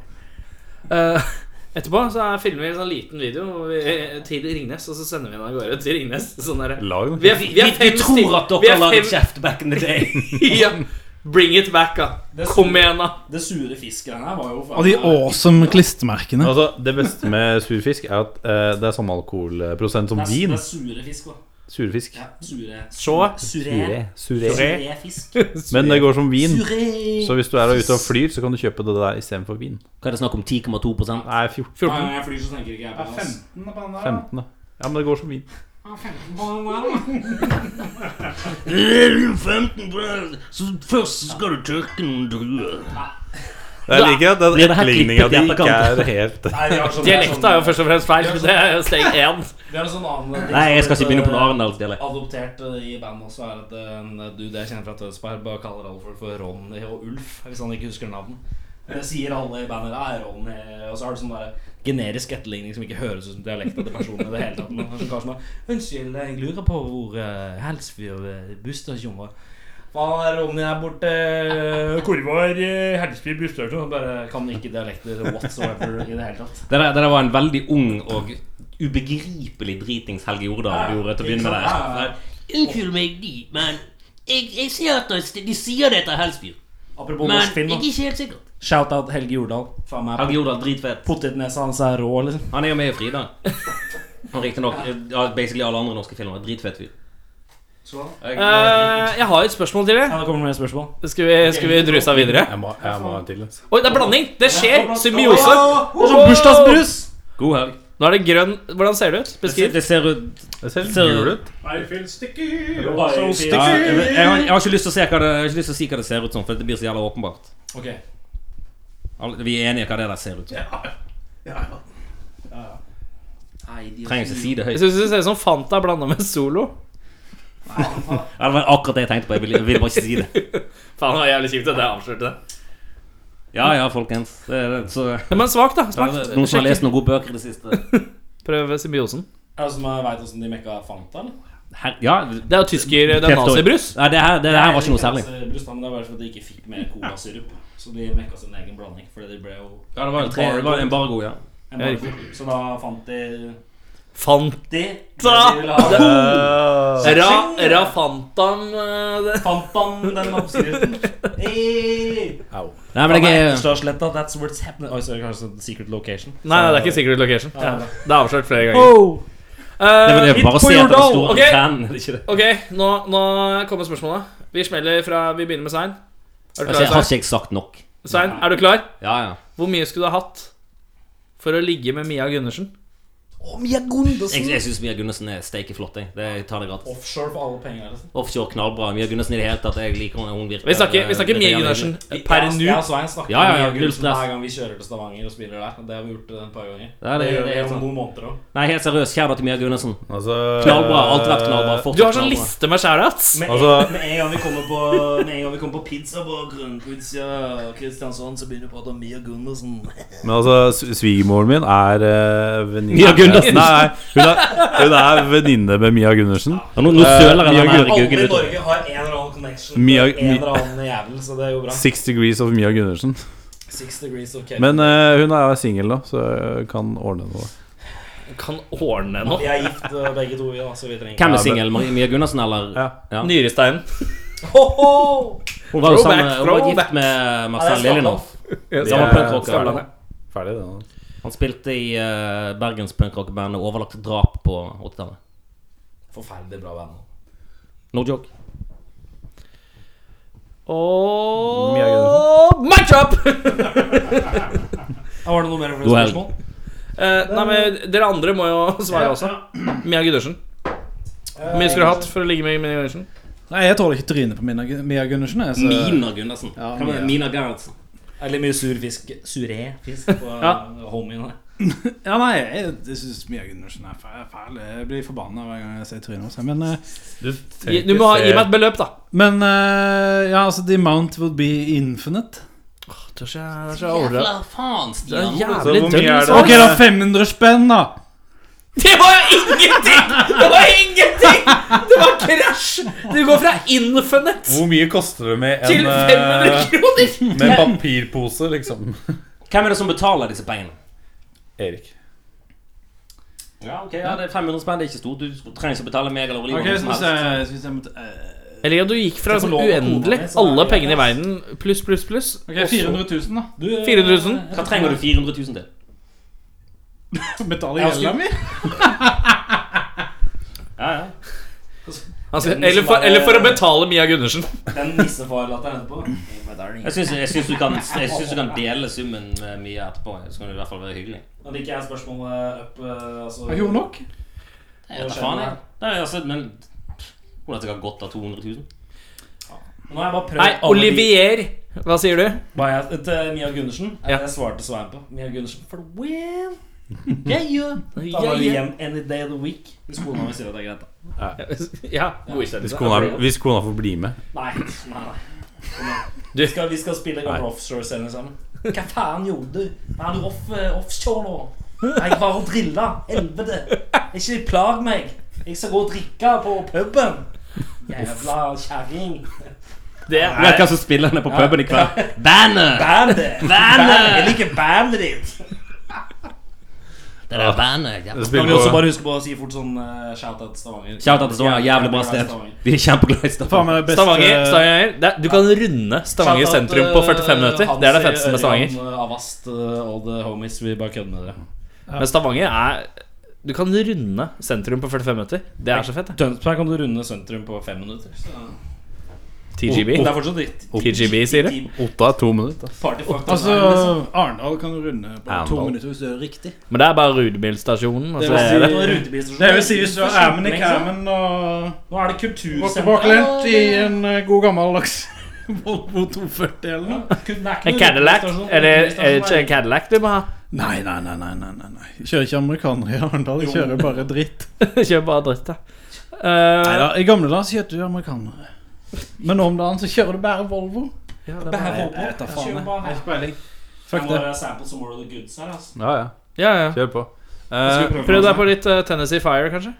Speaker 2: eh, <laughs> etterpå så er- filmer vi en sånn liten video hvor vi, eh, til Ringnes, og så sender vi den av gårde til Ringnes. <laughs> Sånn der.
Speaker 3: Lag
Speaker 2: Vi er,
Speaker 3: noe.
Speaker 2: vi er
Speaker 5: Vi
Speaker 2: fem
Speaker 5: tror at
Speaker 2: vi
Speaker 5: dere
Speaker 2: er
Speaker 5: laget
Speaker 2: fem-
Speaker 5: kjeft back in the day.
Speaker 2: <laughs> ja. Bring it back, da.
Speaker 4: Det er
Speaker 2: Kom
Speaker 4: sur-
Speaker 2: igjen, da.
Speaker 4: Det sure fiskgreiene her var jo faen
Speaker 6: Og de awesome klistremerkene.
Speaker 3: Altså, det beste med surfisk er at eh, det er samme alkoholprosent som
Speaker 4: Det er-
Speaker 3: vin.
Speaker 4: Det er sure fisk, da.
Speaker 3: Surfisk.
Speaker 4: Ja, sure.
Speaker 2: Så.
Speaker 4: Suré.
Speaker 3: Suré.
Speaker 4: Suré fisk.
Speaker 3: Men det går som vin.
Speaker 4: Suré.
Speaker 3: Så hvis du er ute og flyr, så kan du kjøpe det der istedenfor vin.
Speaker 5: Hva er det snakk om? 10,2 prosent?
Speaker 3: Nei, 14,
Speaker 4: Hver gang jeg flyr, så tenker ikke jeg på det. ass.
Speaker 7: 15 på den der.
Speaker 3: 15, da. Ja, men det går som vin.
Speaker 5: Først skal du tørke noen druer.
Speaker 3: Jeg liker at
Speaker 5: Blir det
Speaker 3: den
Speaker 5: her
Speaker 3: etterligninga di
Speaker 5: klippet i
Speaker 3: ikke er helt
Speaker 4: Nei, de har sånn-
Speaker 2: Dialekta er jo først og fremst feil.
Speaker 4: Det er sånn-
Speaker 2: Det er steg én.
Speaker 4: Vi har en sånn annen ting
Speaker 5: Nei, jeg
Speaker 4: som
Speaker 5: skal ikke begynne på
Speaker 4: heter,
Speaker 5: noen Arendalsdialekt.
Speaker 4: Adoptert eh, i bandet også er at eh, en dude jeg kjenner fra Tønsberg, bare kaller alle folk for Ronny og Ulf, hvis han ikke husker navn. Det sier alle i bandet. Ja, Ronny Og så har du sånn der generisk etterligning som ikke høres ut som dialekten til personen i det hele tatt. Men det er sånn kar som er, Unnskyld, jeg lurer på hvor uh, Helsfyr eh, busstasjon var. Faen, er Ronny er borte. eh, Hvor var eh, Helsfyr busstasjon? Han Bare kan ikke dialekter whatsoever i det hele tatt.
Speaker 5: Det der, det der var en veldig ung og ubegripelig dritings Helge Jordal gjorde til å begynne med. der. Unnskyld meg, de, men jeg, jeg ser at de de sier det etter Helsfyr.
Speaker 4: Apropos
Speaker 5: Men
Speaker 4: norsk
Speaker 5: jeg
Speaker 4: film.
Speaker 5: er
Speaker 4: da.
Speaker 5: ikke helt sikker.
Speaker 4: Shout-out Helge Jordal. Faen meg
Speaker 5: Helge Jordal dritfett.
Speaker 4: Potetnesa hans er rå, liksom.
Speaker 5: Han er jo med i Frida. Han Riktignok ja, basically alle andre norske filmer. Dritfett fyr. Jeg-
Speaker 2: Eh, jeg har et spørsmål til deg.
Speaker 4: Ja, det kommer mer spørsmål.
Speaker 2: Skal vi, skal vi druse av videre?
Speaker 3: Jeg må, jeg må ha en til. altså.
Speaker 2: Oi, det er blanding! Det skjer! Symbiose.
Speaker 4: Det er sånn bursdagsbrus!
Speaker 5: God helg.
Speaker 2: Nå er det grønn Hvordan ser det ut?
Speaker 5: Det ser,
Speaker 2: Beskriv.
Speaker 5: det ser ut
Speaker 3: Det ser litt
Speaker 5: Ser-
Speaker 3: gul ut.
Speaker 5: ja, jeg, jeg, har, jeg har ikke lyst til å se hva det, jeg har ikke lyst til å si hva det ser ut som, for det blir så jævla åpenbart.
Speaker 4: Ok,
Speaker 5: Alle- Vi er enige hva det der ser ut som. Trenger ikke si det høyt.
Speaker 2: Jeg syns det ser ut som Fanta blanda med Solo.
Speaker 5: Ja, det var akkurat det jeg tenkte på. Jeg ville, jeg ville bare ikke si det.
Speaker 2: Faen, det var jævlig kjipt at jeg avslørte det.
Speaker 5: Ja ja, folkens. Det, er det, så,
Speaker 2: Ja, Men svakt, da.
Speaker 5: Ja,
Speaker 2: Svakt.
Speaker 5: det- noen som har lest noen gode bøker i det siste?
Speaker 2: Prøv symbiosen.
Speaker 4: Er det som jeg vet hvordan de mekka Fanta, eller?
Speaker 5: Her, ja,
Speaker 2: Det er jo tysker Det er
Speaker 5: Kreft-
Speaker 2: nazibrus.
Speaker 5: Nei, det her, det, det her var ikke noe særlig.
Speaker 4: Brus, da, men altså, det var bare fordi de ikke fikk mer colasyrup. Så de mekka sin egen blanding, fordi de ble jo
Speaker 5: Ja, det var en, tre, det var en embargo, ja.
Speaker 4: embargo. Så da fant de
Speaker 2: Fanta!
Speaker 4: Det
Speaker 2: Ra, Rafantam eh, det-
Speaker 4: Fant han den oppskriften? Hey!
Speaker 5: Nei, men jeg er
Speaker 4: Etterstadsletta, that's where it's happening. Oi, så er det kanskje sånn secret location.
Speaker 2: Nei, nei, det er ikke Secret Location. Ja, det er avslørt flere ganger.
Speaker 5: oh. Det var
Speaker 2: Eh,
Speaker 5: det bare å
Speaker 2: Hit på
Speaker 5: si at det var
Speaker 2: Jordal!
Speaker 5: stor
Speaker 2: Ok.
Speaker 5: fan, er det ikke det?
Speaker 2: Ok, nå, nå kommer spørsmålet. Vi smeller fra Vi begynner med Svein. Er du
Speaker 5: Altså, jeg
Speaker 2: klar,
Speaker 5: har
Speaker 2: Svein?
Speaker 5: ikke jeg sagt nok.
Speaker 2: Svein, er du klar?
Speaker 5: Ja, ja.
Speaker 2: Hvor mye skulle du ha hatt for å ligge med Mia Gundersen?
Speaker 5: Jeg, jeg syns Mia Gunnarsen er steike flott. Jeg. Det, jeg tar det gratis.
Speaker 4: Offshore for alle penger. Liksom.
Speaker 5: Offshore knallbra. Mia Gunnarsen i det hele tatt. Jeg liker henne. Hun virker
Speaker 2: Vi snakker, vi snakker
Speaker 5: eh,
Speaker 2: Mia
Speaker 5: litt
Speaker 2: Gundersen
Speaker 5: jævlig.
Speaker 2: per nå.
Speaker 4: Jeg og
Speaker 5: altså-
Speaker 4: Svein snakker
Speaker 5: Ja, ja, ja,
Speaker 4: om Mia Gundersen
Speaker 5: null stress.
Speaker 4: hver gang vi kjører til Stavanger og spiller der. Det har vi gjort eh, et par ganger.
Speaker 5: Ja, det- altså.
Speaker 4: gjør
Speaker 5: det
Speaker 4: vi
Speaker 5: er
Speaker 4: om
Speaker 5: sant.
Speaker 4: noen måneder også.
Speaker 5: Nei, helt seriøst. Kjære til Mia Gunnarsen.
Speaker 3: Altså, eh,
Speaker 5: Knallbra. Alt vært knallbra.
Speaker 2: Du har sånn
Speaker 5: knallbra.
Speaker 2: liste med shoutouts.
Speaker 4: Med,
Speaker 3: Altså-
Speaker 4: en, med en gang vi kommer på Med en gang vi kommer på pizza på Grønnpizza og Kristiansand, så begynner vi å prate om Mia Gundersen.
Speaker 3: Men altså, s- svigermoren min er eh, venninne
Speaker 5: Mia Gunnarsen.
Speaker 3: Nei, hun er, hun er venninne med Mia Gundersen.
Speaker 5: Ja, nå, nå søler
Speaker 3: Eh,
Speaker 5: jeg
Speaker 3: Mia
Speaker 5: den her
Speaker 3: Gunn-
Speaker 4: Alle i
Speaker 5: guggen ut.
Speaker 4: Norge har en eller annen connection
Speaker 3: Mia-
Speaker 4: til en
Speaker 3: Mi-
Speaker 4: eller annen jævel, så det er jo bra.
Speaker 3: Six degrees of Mia Gundersen.
Speaker 4: Six degrees of Kevin.
Speaker 3: Men eh, hun er singel nå, så jeg kan ordne noe.
Speaker 2: Kan ordne
Speaker 4: Vi
Speaker 2: noe.
Speaker 4: er gift eh, begge to, ja, så vi trenger
Speaker 5: Hvem
Speaker 3: Ja,
Speaker 5: er singel? Marie- Mia Gunnarsen, eller?
Speaker 3: Ja.
Speaker 5: Ja.
Speaker 2: Nyresteinen.
Speaker 5: Hun var jo
Speaker 2: Throwback,
Speaker 5: sammen Hun var gift
Speaker 2: throwback.
Speaker 5: med
Speaker 4: Ja, det
Speaker 5: Marcel
Speaker 4: er
Speaker 5: Lillenoff.
Speaker 3: Det
Speaker 5: Samme
Speaker 3: er-
Speaker 5: punkrocker.
Speaker 3: Ferdig, det nå.
Speaker 5: Han spilte i eh, Bergens punkrockband Overlagt drap på 80-tallet.
Speaker 4: Forferdelig bra band.
Speaker 5: No joke.
Speaker 3: Mia Gundersen.
Speaker 2: Og match up!
Speaker 4: Var det noe mer
Speaker 5: God helg.
Speaker 4: spørsmål?
Speaker 2: Eh, nei, men Dere andre må jo <laughs> svare også. Mia Gundersen. Hvor mye skulle du hatt for å ligge med Mia Gundersen?
Speaker 6: Nei, jeg tåler ikke trynet på Mina, Mia Gundersen. Jeg, så-
Speaker 5: Mina Gunnarsen.
Speaker 6: Ja,
Speaker 5: Hvem er
Speaker 6: Mia.
Speaker 5: Mina Gerhardsen?
Speaker 4: Er det litt mye surfisk Suré-fisk på ja.
Speaker 2: Ja.
Speaker 4: homiene?
Speaker 6: Ja, nei, jeg, jeg syns Mia Gundersen er fæl. fæl. Jeg blir forbanna hver gang jeg ser trynet hennes. Men, eh,
Speaker 2: Gi- Du må ha, gi meg et beløp, da.
Speaker 6: men eh, ja, altså The amount would be infinite.
Speaker 2: Det er så, det er så overdrevet.
Speaker 5: Jævla faen, Stian.
Speaker 2: Det er liksom.
Speaker 5: Må
Speaker 3: Så hvor
Speaker 5: du-
Speaker 3: mye er det?
Speaker 6: Ok, da 500 spenn, da!
Speaker 2: <laughs> Det var jo ingenting! Det var ingenting! Det var krasj! Du går fra Infinite
Speaker 3: Hvor mye koster det med
Speaker 2: til
Speaker 3: en,
Speaker 2: 500
Speaker 3: Oh, eh,
Speaker 2: kroner!
Speaker 3: med en papirpose, liksom?
Speaker 5: Hvem er det som betaler disse pengene?
Speaker 3: Erik.
Speaker 5: Ja, ok, ja, det er 500 spenn, det er ikke stort. Du trenger ikke å betale meg eller Oliver.
Speaker 6: Ok,
Speaker 5: noe
Speaker 6: så
Speaker 5: som
Speaker 6: hvis
Speaker 5: helst.
Speaker 6: jeg, så hvis jeg måtte eh,
Speaker 2: Jeg liker at du gikk fra
Speaker 4: Så får
Speaker 2: liksom,
Speaker 4: lov å kone
Speaker 2: uendelig
Speaker 4: med, så er
Speaker 2: alle
Speaker 4: det
Speaker 2: pengene i
Speaker 4: greit.
Speaker 2: verden pluss, pluss, pluss
Speaker 6: Ok, 400 000, da.
Speaker 4: Du,
Speaker 2: 400 000.
Speaker 5: Hva trenger du 400 000 til?
Speaker 6: Betaler
Speaker 4: Jeg skulle-
Speaker 6: gjelda mi?
Speaker 5: Ja, ja.
Speaker 2: Han skal- Altså, eller, for, eller for å betale Mia Gundersen.
Speaker 4: Den nissefarlatteren etterpå.
Speaker 5: Jeg syns, jeg, syns du kan, jeg syns du kan dele summen med mye etterpå. Så kan det i hvert fall være hyggelig.
Speaker 4: Nå liker jeg spørsmålet opp eh, altså,
Speaker 6: Har ikke hun nok?
Speaker 5: Jeg vet da faen, jeg. Nei, altså, men hun har sikkert godt av 200 000.
Speaker 4: Nå har jeg bare prøvd
Speaker 2: Nei,
Speaker 4: alle
Speaker 2: Olivier. Hva sier du?
Speaker 4: de- Hva jeg, til Mia Gundersen.
Speaker 2: Ja.
Speaker 4: Jeg svarte Svein på. Mia Gundersen for the <laughs> win.
Speaker 5: Yeah, yeah.
Speaker 4: Da var vi
Speaker 2: Ja,
Speaker 4: hjem any day of the week. Hvis kona mi sier at det er greit, da.
Speaker 2: ja. ja godkjent.
Speaker 3: Hvis kona, hvis kona får bli med.
Speaker 4: Nei, nei, nei. Kom igjen. Vi skal, vi skal spille gamle offshore-scener sammen. Hva faen gjorde du? Hva er du off, eh, offshore nå? Jeg var og drilla. Helvete. Ikke plag meg. Jeg skal gå og drikke på puben. Jævla kjerring.
Speaker 2: Det
Speaker 5: Du vet
Speaker 2: er
Speaker 5: hva som spiller nede på puben i <laughs> kveld? Bandet!
Speaker 4: Bandet. Bandet. Jeg liker bandet ditt.
Speaker 5: Det der bandet.
Speaker 3: Det
Speaker 5: jævla-
Speaker 4: Da
Speaker 3: spiller
Speaker 4: vil vi også
Speaker 3: på-
Speaker 4: bare huske på å si fort sånn eh, shout-out til Stavanger.
Speaker 5: Shout out til Stavanger. Jævlig bra sted. Vi er kjempeglade i
Speaker 6: Faen
Speaker 5: Stavanger.
Speaker 6: meg det beste
Speaker 2: Stavanger. Stavanger. Det er, du kan runde Stavanger
Speaker 4: Shout-out,
Speaker 2: sentrum på 45 minutter. Det er det feteste med Stavanger.
Speaker 4: Hansi, Ørjan, Avast, eh, all the homies. Vi bare kødder med dere.
Speaker 2: Men Stavanger er Du kan runde sentrum på 45 minutter. Det er så fett. det.
Speaker 4: Tønsberg kan du runde sentrum på fem minutter. Så.
Speaker 2: TGB.
Speaker 4: Det er fortsatt litt
Speaker 2: TGB, sier det.
Speaker 3: Otta er to minutter.
Speaker 4: Party fuck
Speaker 6: Altså,
Speaker 4: den er, liksom.
Speaker 6: Arendal kan du runde på to
Speaker 3: Arendal.
Speaker 6: minutter hvis du gjør det riktig.
Speaker 2: Men det er bare Rudebilstasjonen. Og
Speaker 6: Det
Speaker 2: så
Speaker 6: vil
Speaker 2: er det
Speaker 6: si-
Speaker 4: Nå er rutebilstasjonen.
Speaker 6: Det vil si hvis du har ermen i
Speaker 4: Ikke sant?
Speaker 6: kæmen og
Speaker 4: liksom. Nå er det
Speaker 6: går
Speaker 4: kultursenter.
Speaker 6: tilbakelent i en eh, god gammeldags Volvo 240 eller noe.
Speaker 2: en Cadillac.
Speaker 4: sånn
Speaker 2: Eller er det ikke en Cadillac du må ha? <laughs>
Speaker 6: Nei, nei, nei, nei, nei, nei, nei. Jeg Kjører ikke amerikanere i Arendal, jeg kjører bare dritt.
Speaker 2: Kjøp bare dritt, da. Eh,
Speaker 6: Neida, I gamle dager så kjørte du amerikanere. Men nå om dagen så kjører du bare Volvo.
Speaker 2: ja, det er
Speaker 6: Jeg
Speaker 2: bare-
Speaker 6: jeg vet da faen. jeg. Jeg har ikke peiling.
Speaker 4: Fuck
Speaker 6: Fuck
Speaker 4: det.
Speaker 6: det.
Speaker 4: Sample some more of the goods her, altså.
Speaker 3: Ja, ja.
Speaker 2: ja, ja.
Speaker 3: Kjør på.
Speaker 4: Skal
Speaker 3: Eh,
Speaker 4: vi prøve
Speaker 2: Prøv deg
Speaker 4: noe
Speaker 2: på litt eh, Tennessee Fire, kanskje.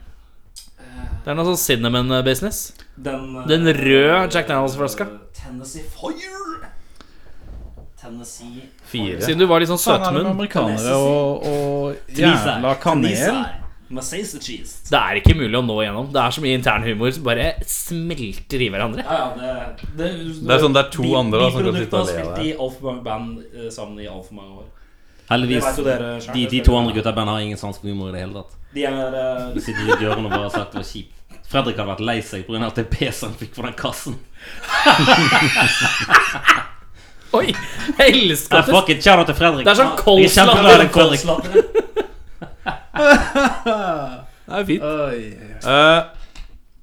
Speaker 2: Det er noe sånn cinnamon-business.
Speaker 4: Den, eh,
Speaker 2: Den røde Jack Daniels-flaska.
Speaker 4: Tennessee Fire. Tennessee
Speaker 3: fire.
Speaker 2: Siden du var litt sånn
Speaker 6: Faen er det med
Speaker 2: søtmunn.
Speaker 6: amerikanere og, og jævla kanel.
Speaker 4: Tennessee. Massage cheese.
Speaker 2: Det er ikke mulig å nå igjennom. Det er så mye internhumor som bare smelter i hverandre.
Speaker 4: Ja, ja, det, det,
Speaker 3: Det er sånn det er to andre, da, som kan sitte og
Speaker 4: og
Speaker 3: le av
Speaker 4: spilt
Speaker 3: det.
Speaker 4: i altfor mange band eh, sammen i altfor mange år. Det
Speaker 5: Heldigvis.
Speaker 4: vet jo dere selv,
Speaker 5: De, de
Speaker 4: selvfølgelig.
Speaker 5: to andre gutta i bandet har ingen sans for humor i det hele tatt.
Speaker 4: De
Speaker 2: <laughs>
Speaker 4: er eh,
Speaker 5: De sitter i et hjørne og bare har sagt det var kjipt. Fredrik hadde vært lei seg pga. ATP-en han fikk for den kassen.
Speaker 2: Oi, jeg elsker
Speaker 5: Nei,
Speaker 2: at det
Speaker 5: fuck it, shout out til Fredrik.
Speaker 2: Det er sånn
Speaker 5: Ja,
Speaker 2: cold
Speaker 5: jeg er kjempeglad i deg, Fredrik.
Speaker 3: Det er fint.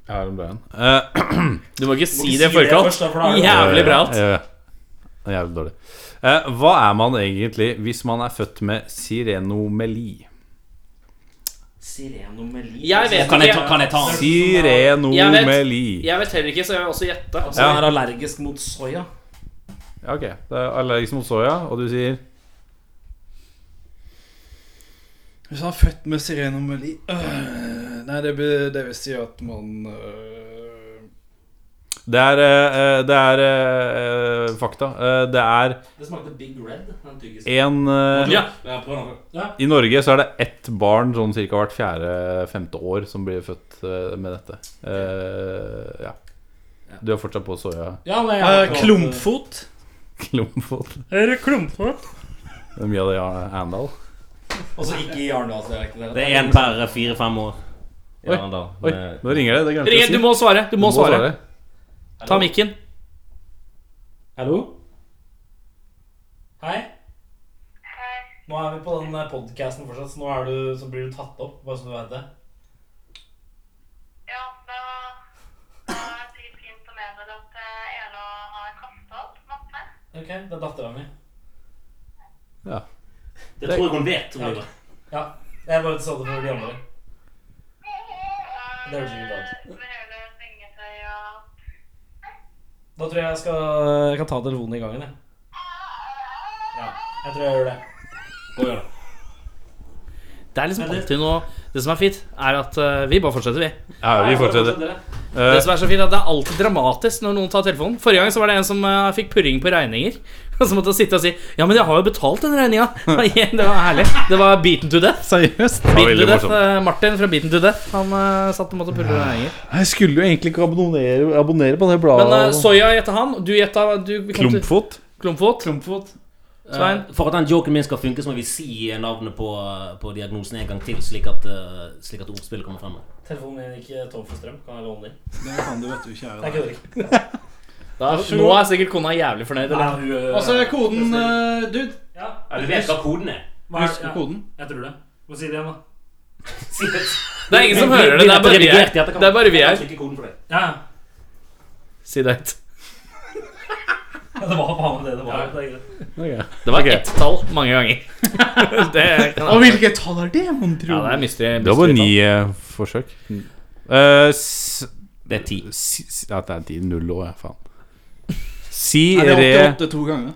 Speaker 3: jeg har en bra en. Eh, <clears throat>
Speaker 2: Du må ikke si det
Speaker 4: ikke
Speaker 2: i
Speaker 4: si det
Speaker 2: forkant.
Speaker 4: først, da, for da er det-
Speaker 2: Jævlig bra alt.
Speaker 3: Ja, ja. Det er Jævlig dårlig. Eh, hva er man egentlig hvis man er født med sirenomeli?
Speaker 4: Sirenomeli.
Speaker 2: Jeg vet
Speaker 5: Kan jeg
Speaker 2: ikke.
Speaker 5: ta, kan jeg ta den?
Speaker 3: Sirenomeli.
Speaker 2: Jeg vet heller ikke, så jeg vil også gjette.
Speaker 4: Altså,
Speaker 3: Ja.
Speaker 4: jeg er allergisk mot soya.
Speaker 3: Ja, ok. Det er allergisk mot soya, og du sier
Speaker 7: Hvis han er født med sirenomeli øh, Nei, det, be- det vil si at man øh,
Speaker 3: Det er, eh, eh, det er eh, eh, fakta. Eh, det er
Speaker 4: Det smakte Big Red. Den tyggisen.
Speaker 3: én
Speaker 2: Ja.
Speaker 4: Ja, prøv den. Ja.
Speaker 3: I Norge så er det ett barn sånn ca. hvert fjerde-femte år som blir født eh, med dette. Eh, ja. Du er fortsatt på soya.
Speaker 4: Ja, nei, jeg har eh,
Speaker 7: øh,
Speaker 4: prøvd-
Speaker 7: Klumpfot.
Speaker 3: Klumpfot.
Speaker 4: Er det klumpfot?
Speaker 3: Det er Mye av det er Arendal.
Speaker 4: Og så ikke i Arendalsdialekten.
Speaker 5: Det er én per fire-fem år.
Speaker 3: Oi,
Speaker 5: Ja, da.
Speaker 3: Oi, nå ringer det. Det glemte jeg
Speaker 2: Ring,
Speaker 3: å si.
Speaker 2: du må svare. Du må svare. Ta
Speaker 4: Hallo?
Speaker 2: mikken.
Speaker 4: Hallo? Hei? Nå er vi på den podkasten fortsatt, så nå er du, så blir du tatt opp. Bare så du vet det.
Speaker 8: Ja, da, da er det sikkert fint å meddele at eh, Ela har kasta opp masse.
Speaker 4: Ok, det er dattera mi.
Speaker 5: Det tror jeg hun vet. Tror jeg.
Speaker 4: Ja. Jeg bare sa det for de andre. Det høres ikke bra ut.
Speaker 8: Med hele sengetøy og
Speaker 4: Da tror jeg jeg skal Jeg kan ta telefonen i gangen, jeg. Ja. Jeg tror jeg gjør det. Gå og gjør det.
Speaker 2: Det er liksom
Speaker 4: Men det-
Speaker 2: alltid noe Det som er fint, er at eh, vi bare fortsetter, vi.
Speaker 3: Ja, vi fortsetter. Eh,
Speaker 2: Det som er så fint, er at det er alltid dramatisk når noen tar telefonen. Forrige gang så var det en som eh, fikk purring på regninger. <laughs> Og så måtte han sitte og si Ja, men jeg har jo betalt den <laughs> regninga. Det var herlig. Det var Beaten to Death.
Speaker 6: Seriøst?
Speaker 3: var
Speaker 2: Beaten
Speaker 3: veldig
Speaker 2: to death.
Speaker 3: morsomt.
Speaker 2: eh, Martin fra Beaten to Death. Han eh, satt og måtte pulle regninger.
Speaker 6: Jeg skulle jo egentlig ikke abonnere, abonnere på det
Speaker 2: Men
Speaker 6: bladet.
Speaker 2: eh, soya gjetta han. Du gjetta du, vi kom til-
Speaker 3: Klumpfot.
Speaker 2: Klumpfot.
Speaker 6: Klumpfot.
Speaker 2: Svein.
Speaker 5: Eh, For at den joken min skal funke, så må vi si navnet på, på diagnosen en gang til, slik at, eh, slik at ordspillet kommer frem.
Speaker 4: Telefonen min gikk tom for strøm. Kan jeg låne den?
Speaker 6: Det kan du, vet du,
Speaker 4: Jeg
Speaker 6: kjære.
Speaker 4: kødder ikke.
Speaker 2: Da, nå er sikkert kona jævlig fornøyd. Eller?
Speaker 4: Og
Speaker 7: Og så er koden øh, dude.
Speaker 4: Ja,
Speaker 5: Ja, du vet hva koden er?
Speaker 7: Husker koden.
Speaker 4: Jeg tror det. Må si det igjen, da.
Speaker 5: Si det.
Speaker 2: Det er ingen som hører det. Det er bare vi her. Det er bare vi her.
Speaker 4: Ja,
Speaker 2: Si det høyt.
Speaker 4: ja. Det var faen meg det det var. Det er greit.
Speaker 2: Det var ett tall mange ganger. det kan
Speaker 7: Og
Speaker 2: jeg.
Speaker 7: hvilket tall er det, mon tro?
Speaker 2: Ja, det er mystery.
Speaker 3: Det var bare
Speaker 2: mystery-tall.
Speaker 3: ni eh, forsøk. Eh, s
Speaker 5: Det er ti.
Speaker 3: si, si- ja, det er ti null år, ja, faen.
Speaker 7: Er det
Speaker 3: Sire,
Speaker 7: 88 to ganger?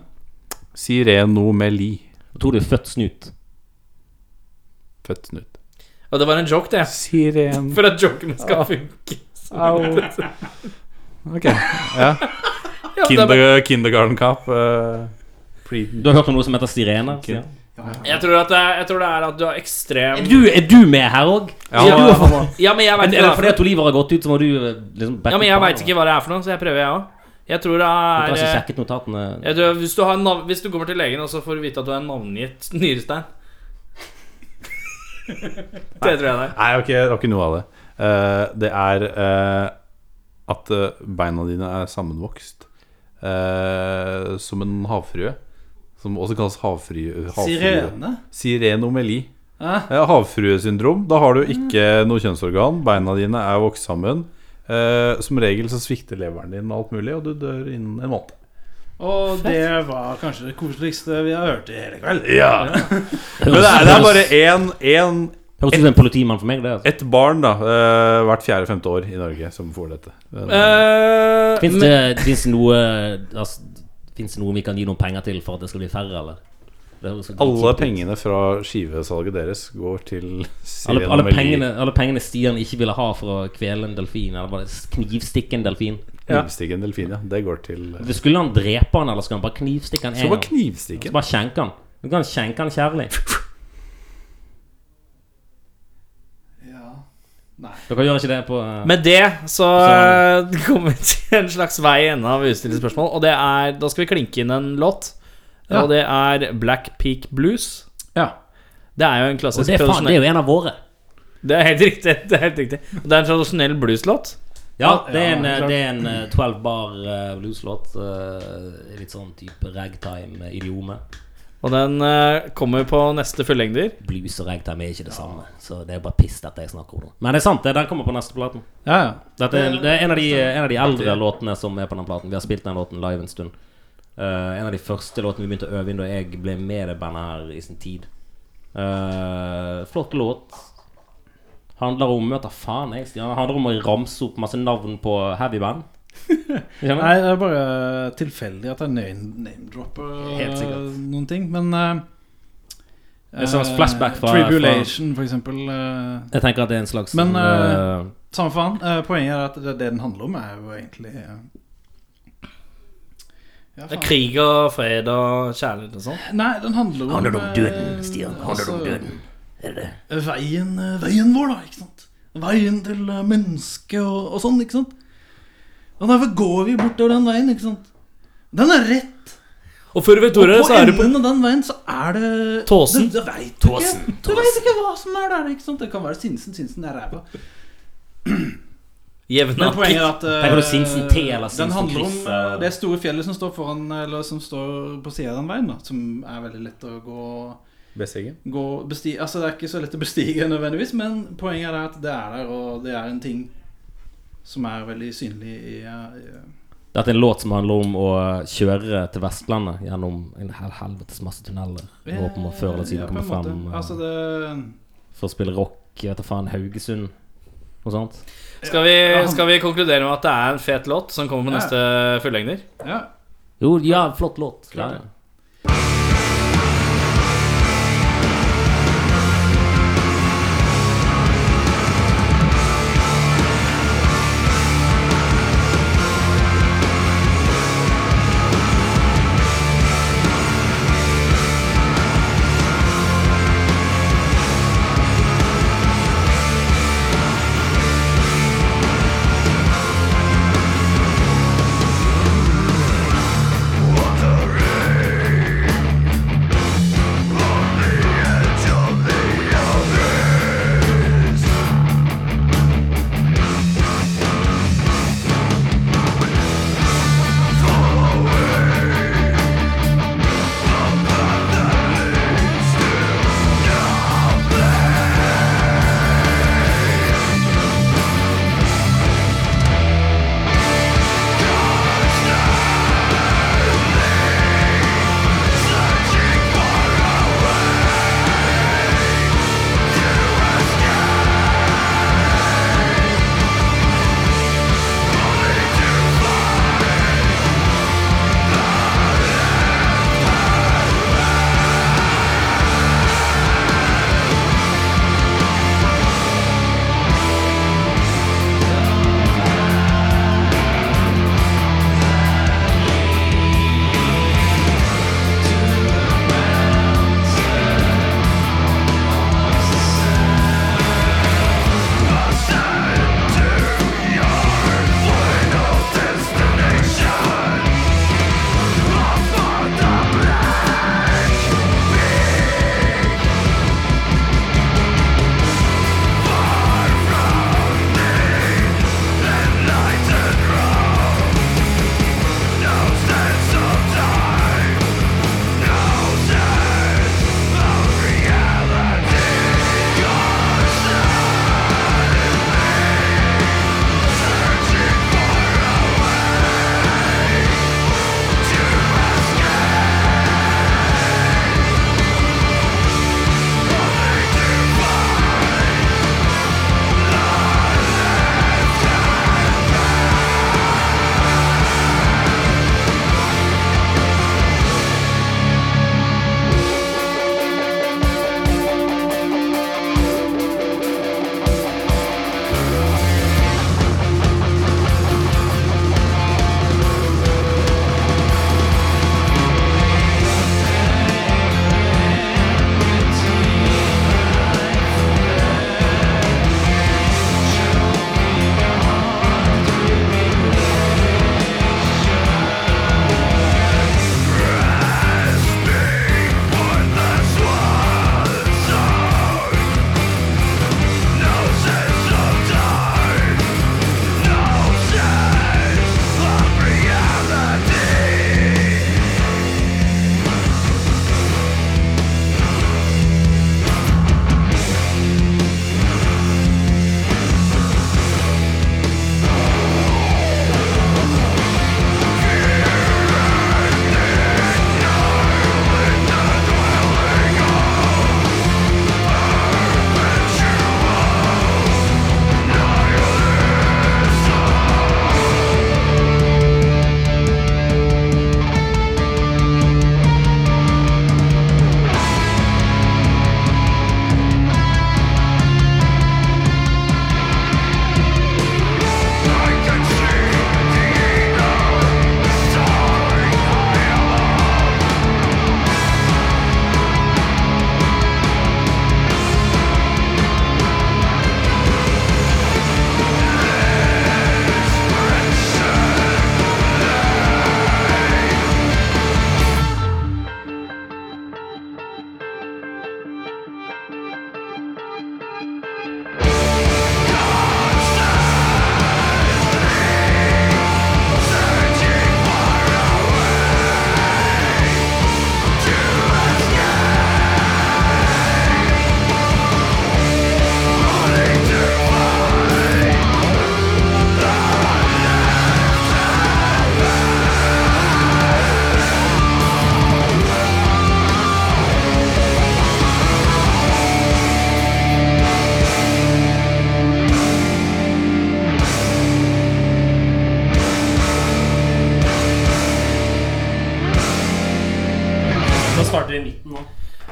Speaker 3: sirenomeli.
Speaker 5: Tror du er født snut?
Speaker 3: Født snut.
Speaker 2: Og det var en joke, det.
Speaker 3: Siren...
Speaker 2: For at jokene skal funke.
Speaker 3: Au. Ok. <laughs> Ja.
Speaker 2: Ja, det er bare-
Speaker 3: Kinder, kindergarten Cup. eh, pre-
Speaker 5: Du har hørt om noe som heter sirener?
Speaker 3: Sier han.
Speaker 2: jeg, tror at det er, jeg tror det er at du er ekstrem
Speaker 5: Er du, er du med her òg?
Speaker 3: Ja,
Speaker 5: du har fått-
Speaker 2: Ja, men jeg
Speaker 5: Er
Speaker 2: veit
Speaker 5: det
Speaker 2: ikke,
Speaker 5: er det
Speaker 2: hva det er for noe.
Speaker 5: fordi at Oliver har gått ut, så må du eh, liksom backe
Speaker 2: ja, men jeg
Speaker 5: opp
Speaker 2: vet
Speaker 5: han,
Speaker 2: ikke hva det er for noe, så jeg prøver, jeg òg. Jeg tror det
Speaker 5: da? Du har ikke
Speaker 2: er eh,
Speaker 5: sjekket notatene?
Speaker 2: jeg tror, hvis, du har en nav hvis du kommer til legen og så får du vite at du er en navngitt <laughs> nyrestein Det tror jeg det er.
Speaker 3: Nei, ok, det var ikke noe av det. Eh, det er eh, at eh, beina dine er sammenvokst eh, som en havfrue. Som også kalles havfrue. havfrue.
Speaker 7: Sirene?
Speaker 3: Sirenomeli.
Speaker 7: Hæ?
Speaker 3: Eh, havfruesyndrom. Da har du ikke noe kjønnsorgan. Beina dine er vokst sammen. Eh, som regel så svikter leveren din og alt mulig, og du dør innen en måned.
Speaker 7: Og det var kanskje det koseligste vi har hørt i hele kveld.
Speaker 3: Ja. Men det er, det er bare én, én
Speaker 5: Høres ut som en politimann for meg. det altså.
Speaker 3: ett barn da eh, hvert fjerde-femte år i Norge som får dette. Men,
Speaker 2: Eh,
Speaker 5: Fins det, finnes det noe altså, Fins det noe vi kan gi noen penger til for at det skal bli færre, eller? Det høres litt
Speaker 3: Alle
Speaker 5: kjipt ut.
Speaker 3: pengene fra skivesalget deres går til
Speaker 5: alle,
Speaker 3: Sirene
Speaker 5: alle,
Speaker 3: Melin.
Speaker 5: pengene, alle pengene Stian ikke ville ha for å kvele en delfin, eller bare knivstikke en delfin.
Speaker 3: Knivstikke en delfin, ja. Det går til
Speaker 5: Det Skulle han drepe han, eller skulle han bare knivstikke han
Speaker 3: Så
Speaker 5: en
Speaker 3: var
Speaker 5: gang? Så
Speaker 3: knivstikken.
Speaker 5: bare skjenke han. Du kan skjenke han kjærlig. Dere gjør ikke det på eh,
Speaker 2: Med det så eh, <laughs> kommer vi til en slags vei i enden av ustilte spørsmål. Og det er, da skal vi klinke inn en låt.
Speaker 6: Ja.
Speaker 2: Og det er Black Peak Blues.
Speaker 6: Ja.
Speaker 2: Det er jo en klassisk
Speaker 5: Og det er, faen, det er jo en av våre.
Speaker 2: Det er helt riktig. <laughs> Det er helt riktig Og det er en tradisjonell blueslåt.
Speaker 5: Ja, det er en, eh, det er en eh, 12 bar eh, blueslåt. eh, litt sånn type eh, ragtime-idiome.
Speaker 2: Og den eh, kommer på neste fullengder.
Speaker 5: Blues og ragtime er ikke det samme, så det er bare piss dette jeg snakker om nå. Men det er sant, det, den kommer på neste platen.
Speaker 6: Ja, ja.
Speaker 5: Dette er, det er en av, de, en av de eldre låtene som er på den platen. Vi har spilt den låten live en stund. Eh, en av de første låtene vi begynte å øve inn da jeg ble med i det bandet her i sin tid. Eh, flott låt. Handler om Møter faen, jeg. Stian. Handler om å ramse opp masse navn på
Speaker 6: <laughs>
Speaker 5: heavyband. Skjønner?
Speaker 6: Nei, det er bare tilfeldig at jeg name- name-dropper
Speaker 5: Helt
Speaker 6: eh,
Speaker 5: sikkert.
Speaker 6: noen ting, men øh, eh,
Speaker 5: En slags
Speaker 6: eh,
Speaker 5: flashback fra-
Speaker 6: Tribulation, for eksempel. eh,
Speaker 5: Jeg tenker at det er en slags
Speaker 6: Men, eh,
Speaker 5: sånn,
Speaker 6: Samme faen. eh, poenget er at det, det den handler om, er jo egentlig øh, eh,
Speaker 2: Det
Speaker 6: ja,
Speaker 2: er
Speaker 6: faen.
Speaker 2: krig og fred og kjærlighet og sånn.
Speaker 6: Nei, den handler om
Speaker 5: Handler det om døden,
Speaker 6: eh,
Speaker 5: Stian? Handler det om døden? eh, er det det?
Speaker 6: Veien, eh, veien vår, da. ikke sant? Veien til eh, mennesket og, og sånn, ikke sant? Og derfor går vi bortover den veien, ikke sant? Den er rett.
Speaker 2: Og før du vet
Speaker 5: <laughs>
Speaker 2: ordet,
Speaker 6: Og på
Speaker 2: så er det på
Speaker 6: enden av den veien så er det
Speaker 2: Tåsen.
Speaker 6: Du, du veit
Speaker 5: Tåsen,
Speaker 6: ikke. Du vet ikke hva som er der. ikke sant? Det kan være Sinsen. Sinsen er ræva.
Speaker 2: jevne
Speaker 6: Men poenget er at eh,
Speaker 5: Tenker du Sinsen te eller Sinsen
Speaker 6: Den handler om
Speaker 5: kryss,
Speaker 6: eh,
Speaker 5: eller?
Speaker 6: det store fjellet som står foran Eller som står på sida av den veien, da. Som er veldig lett å gå,
Speaker 3: Besseggen.
Speaker 6: gå besti Altså, det er ikke så lett å bestige nødvendigvis, men poenget er at det er der, og det er en ting som er veldig synlig i, eh, i
Speaker 5: Dette er en låt som handler om å kjøre til Vestlandet gjennom en hel helvetes masse tunneler. Jeg håper man før eller siden
Speaker 6: eh, Ja, på en
Speaker 5: kommer
Speaker 6: måte.
Speaker 5: frem eh,
Speaker 6: Altså, det
Speaker 5: for å spille rock. Jeg vet da faen, Haugesund og sånt.
Speaker 2: Skal vi, skal vi konkludere med at det er en fet låt som kommer på
Speaker 6: Ja.
Speaker 2: neste fullengder?
Speaker 6: Ja.
Speaker 5: Jo, ja, flott låt. Ja, ja.
Speaker 1: What the rain?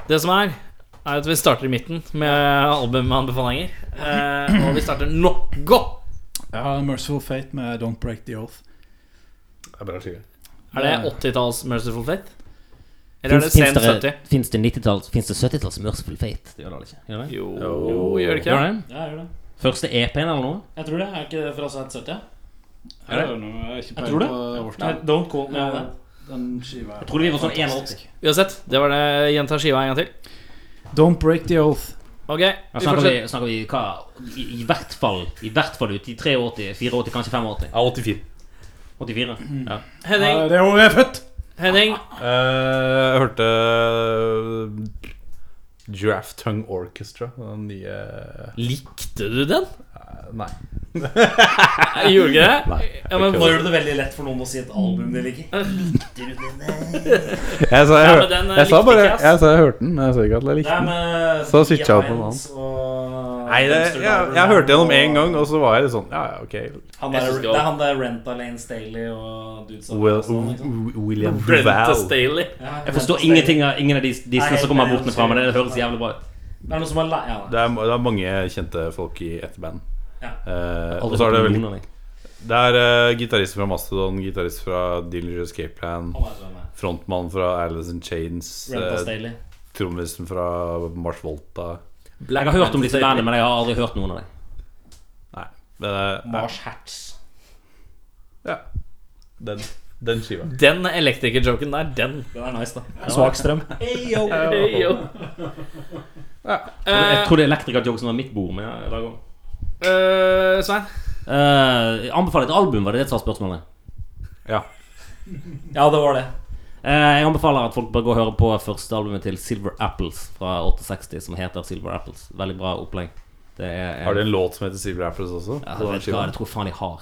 Speaker 2: Det som er, er at vi starter i midten med albumanbefalinger. Eh, og vi starter noe!
Speaker 6: Ja, Merciful Fate med Don't Break The Oath.
Speaker 3: Det er bra skive.
Speaker 2: Er det 80-talls Merciful Fate? Eller er det sent 70?
Speaker 5: Fins det 90-talls Fins det 70-talls Merciful Fate? Det gjør det vel ikke? Gjør det?
Speaker 2: Jo, gjør det ikke det?
Speaker 4: Ja, jeg gjør det.
Speaker 5: Første EP-en eller noe?
Speaker 4: Jeg tror det. Er ikke det fra Side 70?
Speaker 6: Jeg har noe- ikke
Speaker 4: Jeg
Speaker 6: peiling
Speaker 4: tror det.
Speaker 6: på
Speaker 4: Nei,
Speaker 6: årstall.
Speaker 4: don't call me on that.
Speaker 6: Den skiva er
Speaker 5: Jeg tror det vi var sånn 81.
Speaker 2: Uansett, det var det. Gjenta skiva en gang til.
Speaker 6: Don't Break The Oath.
Speaker 2: Ok,
Speaker 5: Da
Speaker 2: vi
Speaker 5: snakker vi,
Speaker 2: fortsetter.
Speaker 5: snakker vi hva i, I hvert fall I hvert fall ut i 83, 84, kanskje 85.
Speaker 3: Ja, 84.
Speaker 5: 84. Ja.
Speaker 6: Ja,
Speaker 2: Henning,
Speaker 6: Det er året jeg er født!
Speaker 2: Henning.
Speaker 3: Eh, jeg hørte eh, Giraffe Tongue Orchestra. Den nye
Speaker 2: Likte du den?
Speaker 3: Nei.
Speaker 2: Jeg gjorde ikke det?
Speaker 3: Nei,
Speaker 2: Ja, men
Speaker 4: Nå
Speaker 2: hvor,
Speaker 4: gjør du det veldig lett for noen å si et album de liker.
Speaker 3: Jeg sa, jeg,
Speaker 2: Ja,
Speaker 3: hør-
Speaker 2: men den, eh,
Speaker 3: jeg sa
Speaker 2: likte
Speaker 3: bare
Speaker 2: ikke, ass.
Speaker 3: Jeg sa jeg hørte den, men jeg sa ikke at jeg likte
Speaker 4: Det er
Speaker 3: den.
Speaker 4: med
Speaker 3: Så switcha jeg på noe
Speaker 4: eh, Hines og
Speaker 3: Nei, det, jeg, jeg, hørte gjennom én gang, og så var jeg litt sånn Ja, ja, ok.
Speaker 4: Han
Speaker 2: Jeg
Speaker 4: der,
Speaker 2: synes det
Speaker 4: det
Speaker 2: var-
Speaker 4: er han der Renta Lane Staley og dudes og
Speaker 3: Will,
Speaker 4: sånn, liksom.
Speaker 3: William
Speaker 2: Brente
Speaker 3: Duval.
Speaker 2: Staley.
Speaker 4: Ja,
Speaker 5: Jeg
Speaker 4: Renta
Speaker 5: forstår
Speaker 4: Staley.
Speaker 5: ingenting av ingen av de dissene som kommer bort med fra, men det høres jævlig bra ut.
Speaker 4: Det er noen som har lei av det.
Speaker 3: Det er, det er mange kjente folk i ett band.
Speaker 4: Ja.
Speaker 3: Eh, og
Speaker 5: Aldri
Speaker 3: så er det
Speaker 5: hørt
Speaker 3: vel
Speaker 5: noen av dem.
Speaker 3: Det er eh, gitarist fra Mastodon, gitarist fra Dillinger Escape Plan,
Speaker 4: Han er
Speaker 5: altså,
Speaker 4: sånn, ja.
Speaker 3: frontmann fra Alice in Chains,
Speaker 4: Renta
Speaker 3: eh,
Speaker 4: Staley.
Speaker 3: trommisen fra Mars Volta
Speaker 5: Jeg har hørt om disse bandene, men jeg har aldri hørt noen av dem.
Speaker 3: Nei. Men, eh,
Speaker 4: Mars Hats.
Speaker 3: ja. Den, den skiva.
Speaker 2: Den elektrikerjoken der, den.
Speaker 4: Den er nice, da.
Speaker 5: Svak strøm.
Speaker 2: Hey, yo.
Speaker 5: Jeg
Speaker 2: Eh,
Speaker 5: tror det er Electrica Jog som var mitt bord, men ja, i dag òg.
Speaker 2: eh, Svein,
Speaker 5: Eh, anbefaler et album, var det det som var spørsmålet?
Speaker 3: Ja.
Speaker 4: Ja, det var det.
Speaker 5: Eh, jeg anbefaler at folk bør gå og høre på første albumet til Silver Apples fra 68, som heter Silver Apples. Veldig bra opplegg. Det er,
Speaker 3: Har de en låt som heter Silver Apples også?
Speaker 5: Ja,
Speaker 3: på den
Speaker 5: vet du hva,
Speaker 3: skiva?
Speaker 5: det tror jeg faen jeg har.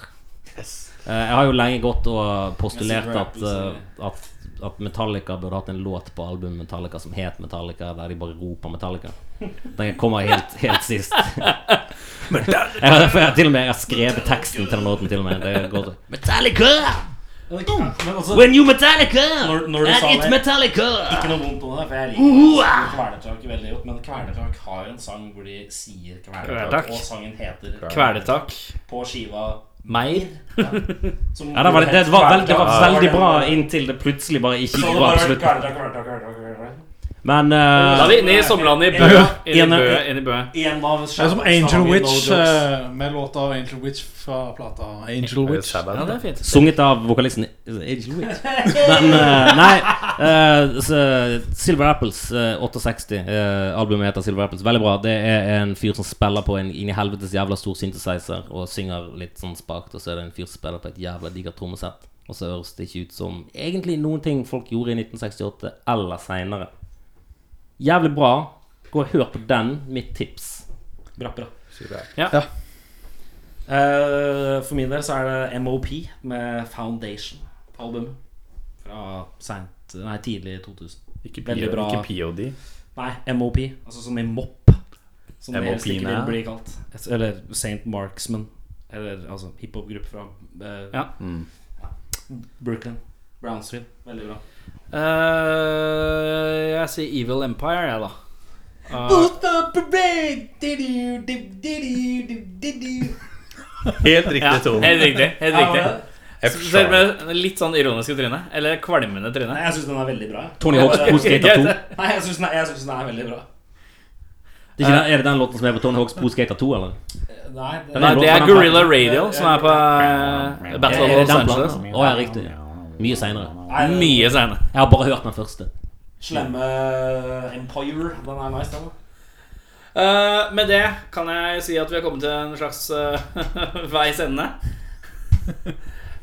Speaker 5: Eh, jeg har jo lenge gått og postulert
Speaker 4: Silver
Speaker 5: at,
Speaker 4: Apples,
Speaker 5: eh, at, at Metallica burde hatt en låt på albumet Metallica som het Metallica, der de bare roper Metallica. Den kommer helt, helt
Speaker 3: <laughs>
Speaker 5: sist. jeg har, for jeg, har til og med, jeg har skrevet teksten til den låten, til og med. Det går så Metallica!
Speaker 4: Men også,
Speaker 5: When you Metallica!
Speaker 4: Når- når du
Speaker 5: and
Speaker 4: sa
Speaker 5: it's
Speaker 4: det-
Speaker 5: Metallica!
Speaker 4: ikke noe vondt om det, for jeg liker Kvelertak veldig godt. Men Kvelertak har en sang hvor de sier
Speaker 2: Kvelertak.
Speaker 4: Kvelertak, og sangen heter
Speaker 2: kvelertak.
Speaker 4: på skiva
Speaker 2: Meir.
Speaker 4: som
Speaker 5: Ja, det var, det var, veld, det var
Speaker 4: Kvelertak.
Speaker 5: veldig bra inntil det plutselig bare ikke
Speaker 4: Så
Speaker 5: gikk
Speaker 4: det
Speaker 5: bra
Speaker 4: bare
Speaker 5: på
Speaker 4: vært
Speaker 5: slutten.
Speaker 4: Kvelertak, Kvelertak, Kvelertak, Kvelertak.
Speaker 5: Men eh,
Speaker 2: Da er vi inne i sommerlandet i Bø. Inn i Bø. Inn i Bø.
Speaker 4: En av
Speaker 6: Det er som Angel
Speaker 4: sjangen,
Speaker 6: Witch
Speaker 4: no jokes.
Speaker 6: eh, med låta Angel Witch fra plata Angel
Speaker 3: Er det
Speaker 6: Witch.
Speaker 3: Sabbath?
Speaker 2: Ja, det er fint.
Speaker 5: Sunget av vokalisten Angel Witch. Men eh, nei eh, så Silver Apples, eh, 68. eh, albumet heter Silver Apples. Veldig bra. Det er en fyr som spiller på en inni helvetes jævla stor synthesizer og synger litt sånn spakt, og så er det en fyr som spiller på et jævla digert trommesett. Og så høres det ikke ut som egentlig noen ting folk gjorde i 1968 eller seinere. Jævlig bra. Gå og hør på den. Mitt tips.
Speaker 4: Bra, bra.
Speaker 2: Ja.
Speaker 4: Eh, for min del så er det MOP med Foundation på albumet. Fra sent, nei, tidlig 2000.
Speaker 3: Ikke,
Speaker 4: Veldig
Speaker 3: POD,
Speaker 4: bra.
Speaker 3: ikke POD.
Speaker 4: Nei, MOP. Altså som i MOP. Som det helst ikke vil
Speaker 3: MOP-ene.
Speaker 4: bli kalt. Eller St. Marksman. Eller altså hiphop-gruppe fra eh,
Speaker 2: Ja.
Speaker 3: Mm.
Speaker 4: Brooklyn. Brownsville. Veldig bra.
Speaker 2: Eh, jeg sier Evil Empire, jeg, da. Eh,
Speaker 4: Both the parade! Diddy, diddy, diddy, diddy.
Speaker 3: Helt riktig
Speaker 2: ja,
Speaker 3: tone.
Speaker 2: helt riktig. Helt
Speaker 4: Ja,
Speaker 2: riktig.
Speaker 4: men-
Speaker 2: Selv med litt sånn ironiske tryne. Eller kvalmende
Speaker 4: Nei,
Speaker 2: tryne.
Speaker 4: jeg syns den er veldig bra.
Speaker 5: Tony Hawks Pro Skater 2.
Speaker 4: Nei, jeg syns den, er- jeg synes den er veldig bra.
Speaker 5: Det
Speaker 2: Eh,
Speaker 5: er, ikke den, er det den låten som er på Tony Hawks Pro Skater 2, eller?
Speaker 4: Nei, det,
Speaker 2: Nei, det er Gorilla Radio som er på eh, Battle of
Speaker 5: Er det
Speaker 2: Los
Speaker 5: den
Speaker 2: Angeles.
Speaker 5: platen? Å ja, riktig. Mye seinere.
Speaker 4: Nei, den
Speaker 2: Mye senere.
Speaker 5: Jeg har bare hørt den første.
Speaker 4: Slemme Empire. Den er nice, den. da.
Speaker 2: Eh, med det kan jeg si at vi har kommet til en slags eh, <laughs> veis ende.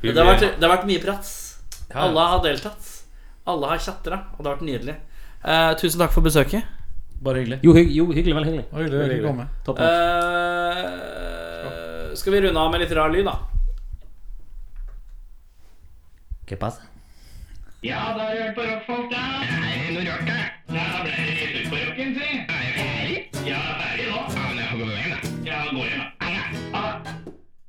Speaker 2: Det har, vært, det har vært mye prat. Alle har deltatt. Alle har tjatra, og det har vært nydelig. Eh, tusen takk for besøket.
Speaker 4: Bare hyggelig.
Speaker 5: Jo, hygg, jo hyggelig. Veldig hyggelig.
Speaker 6: Oi, det er ikke komme.
Speaker 5: Topp notch.
Speaker 2: Eh, skal vi runde av med litt rar lyd, da?
Speaker 5: Ok, pass.
Speaker 9: Er det noe rart, da? Ja, ble det litt ut på rocken, si. Er jeg ferdig? Ja, ferdig nå.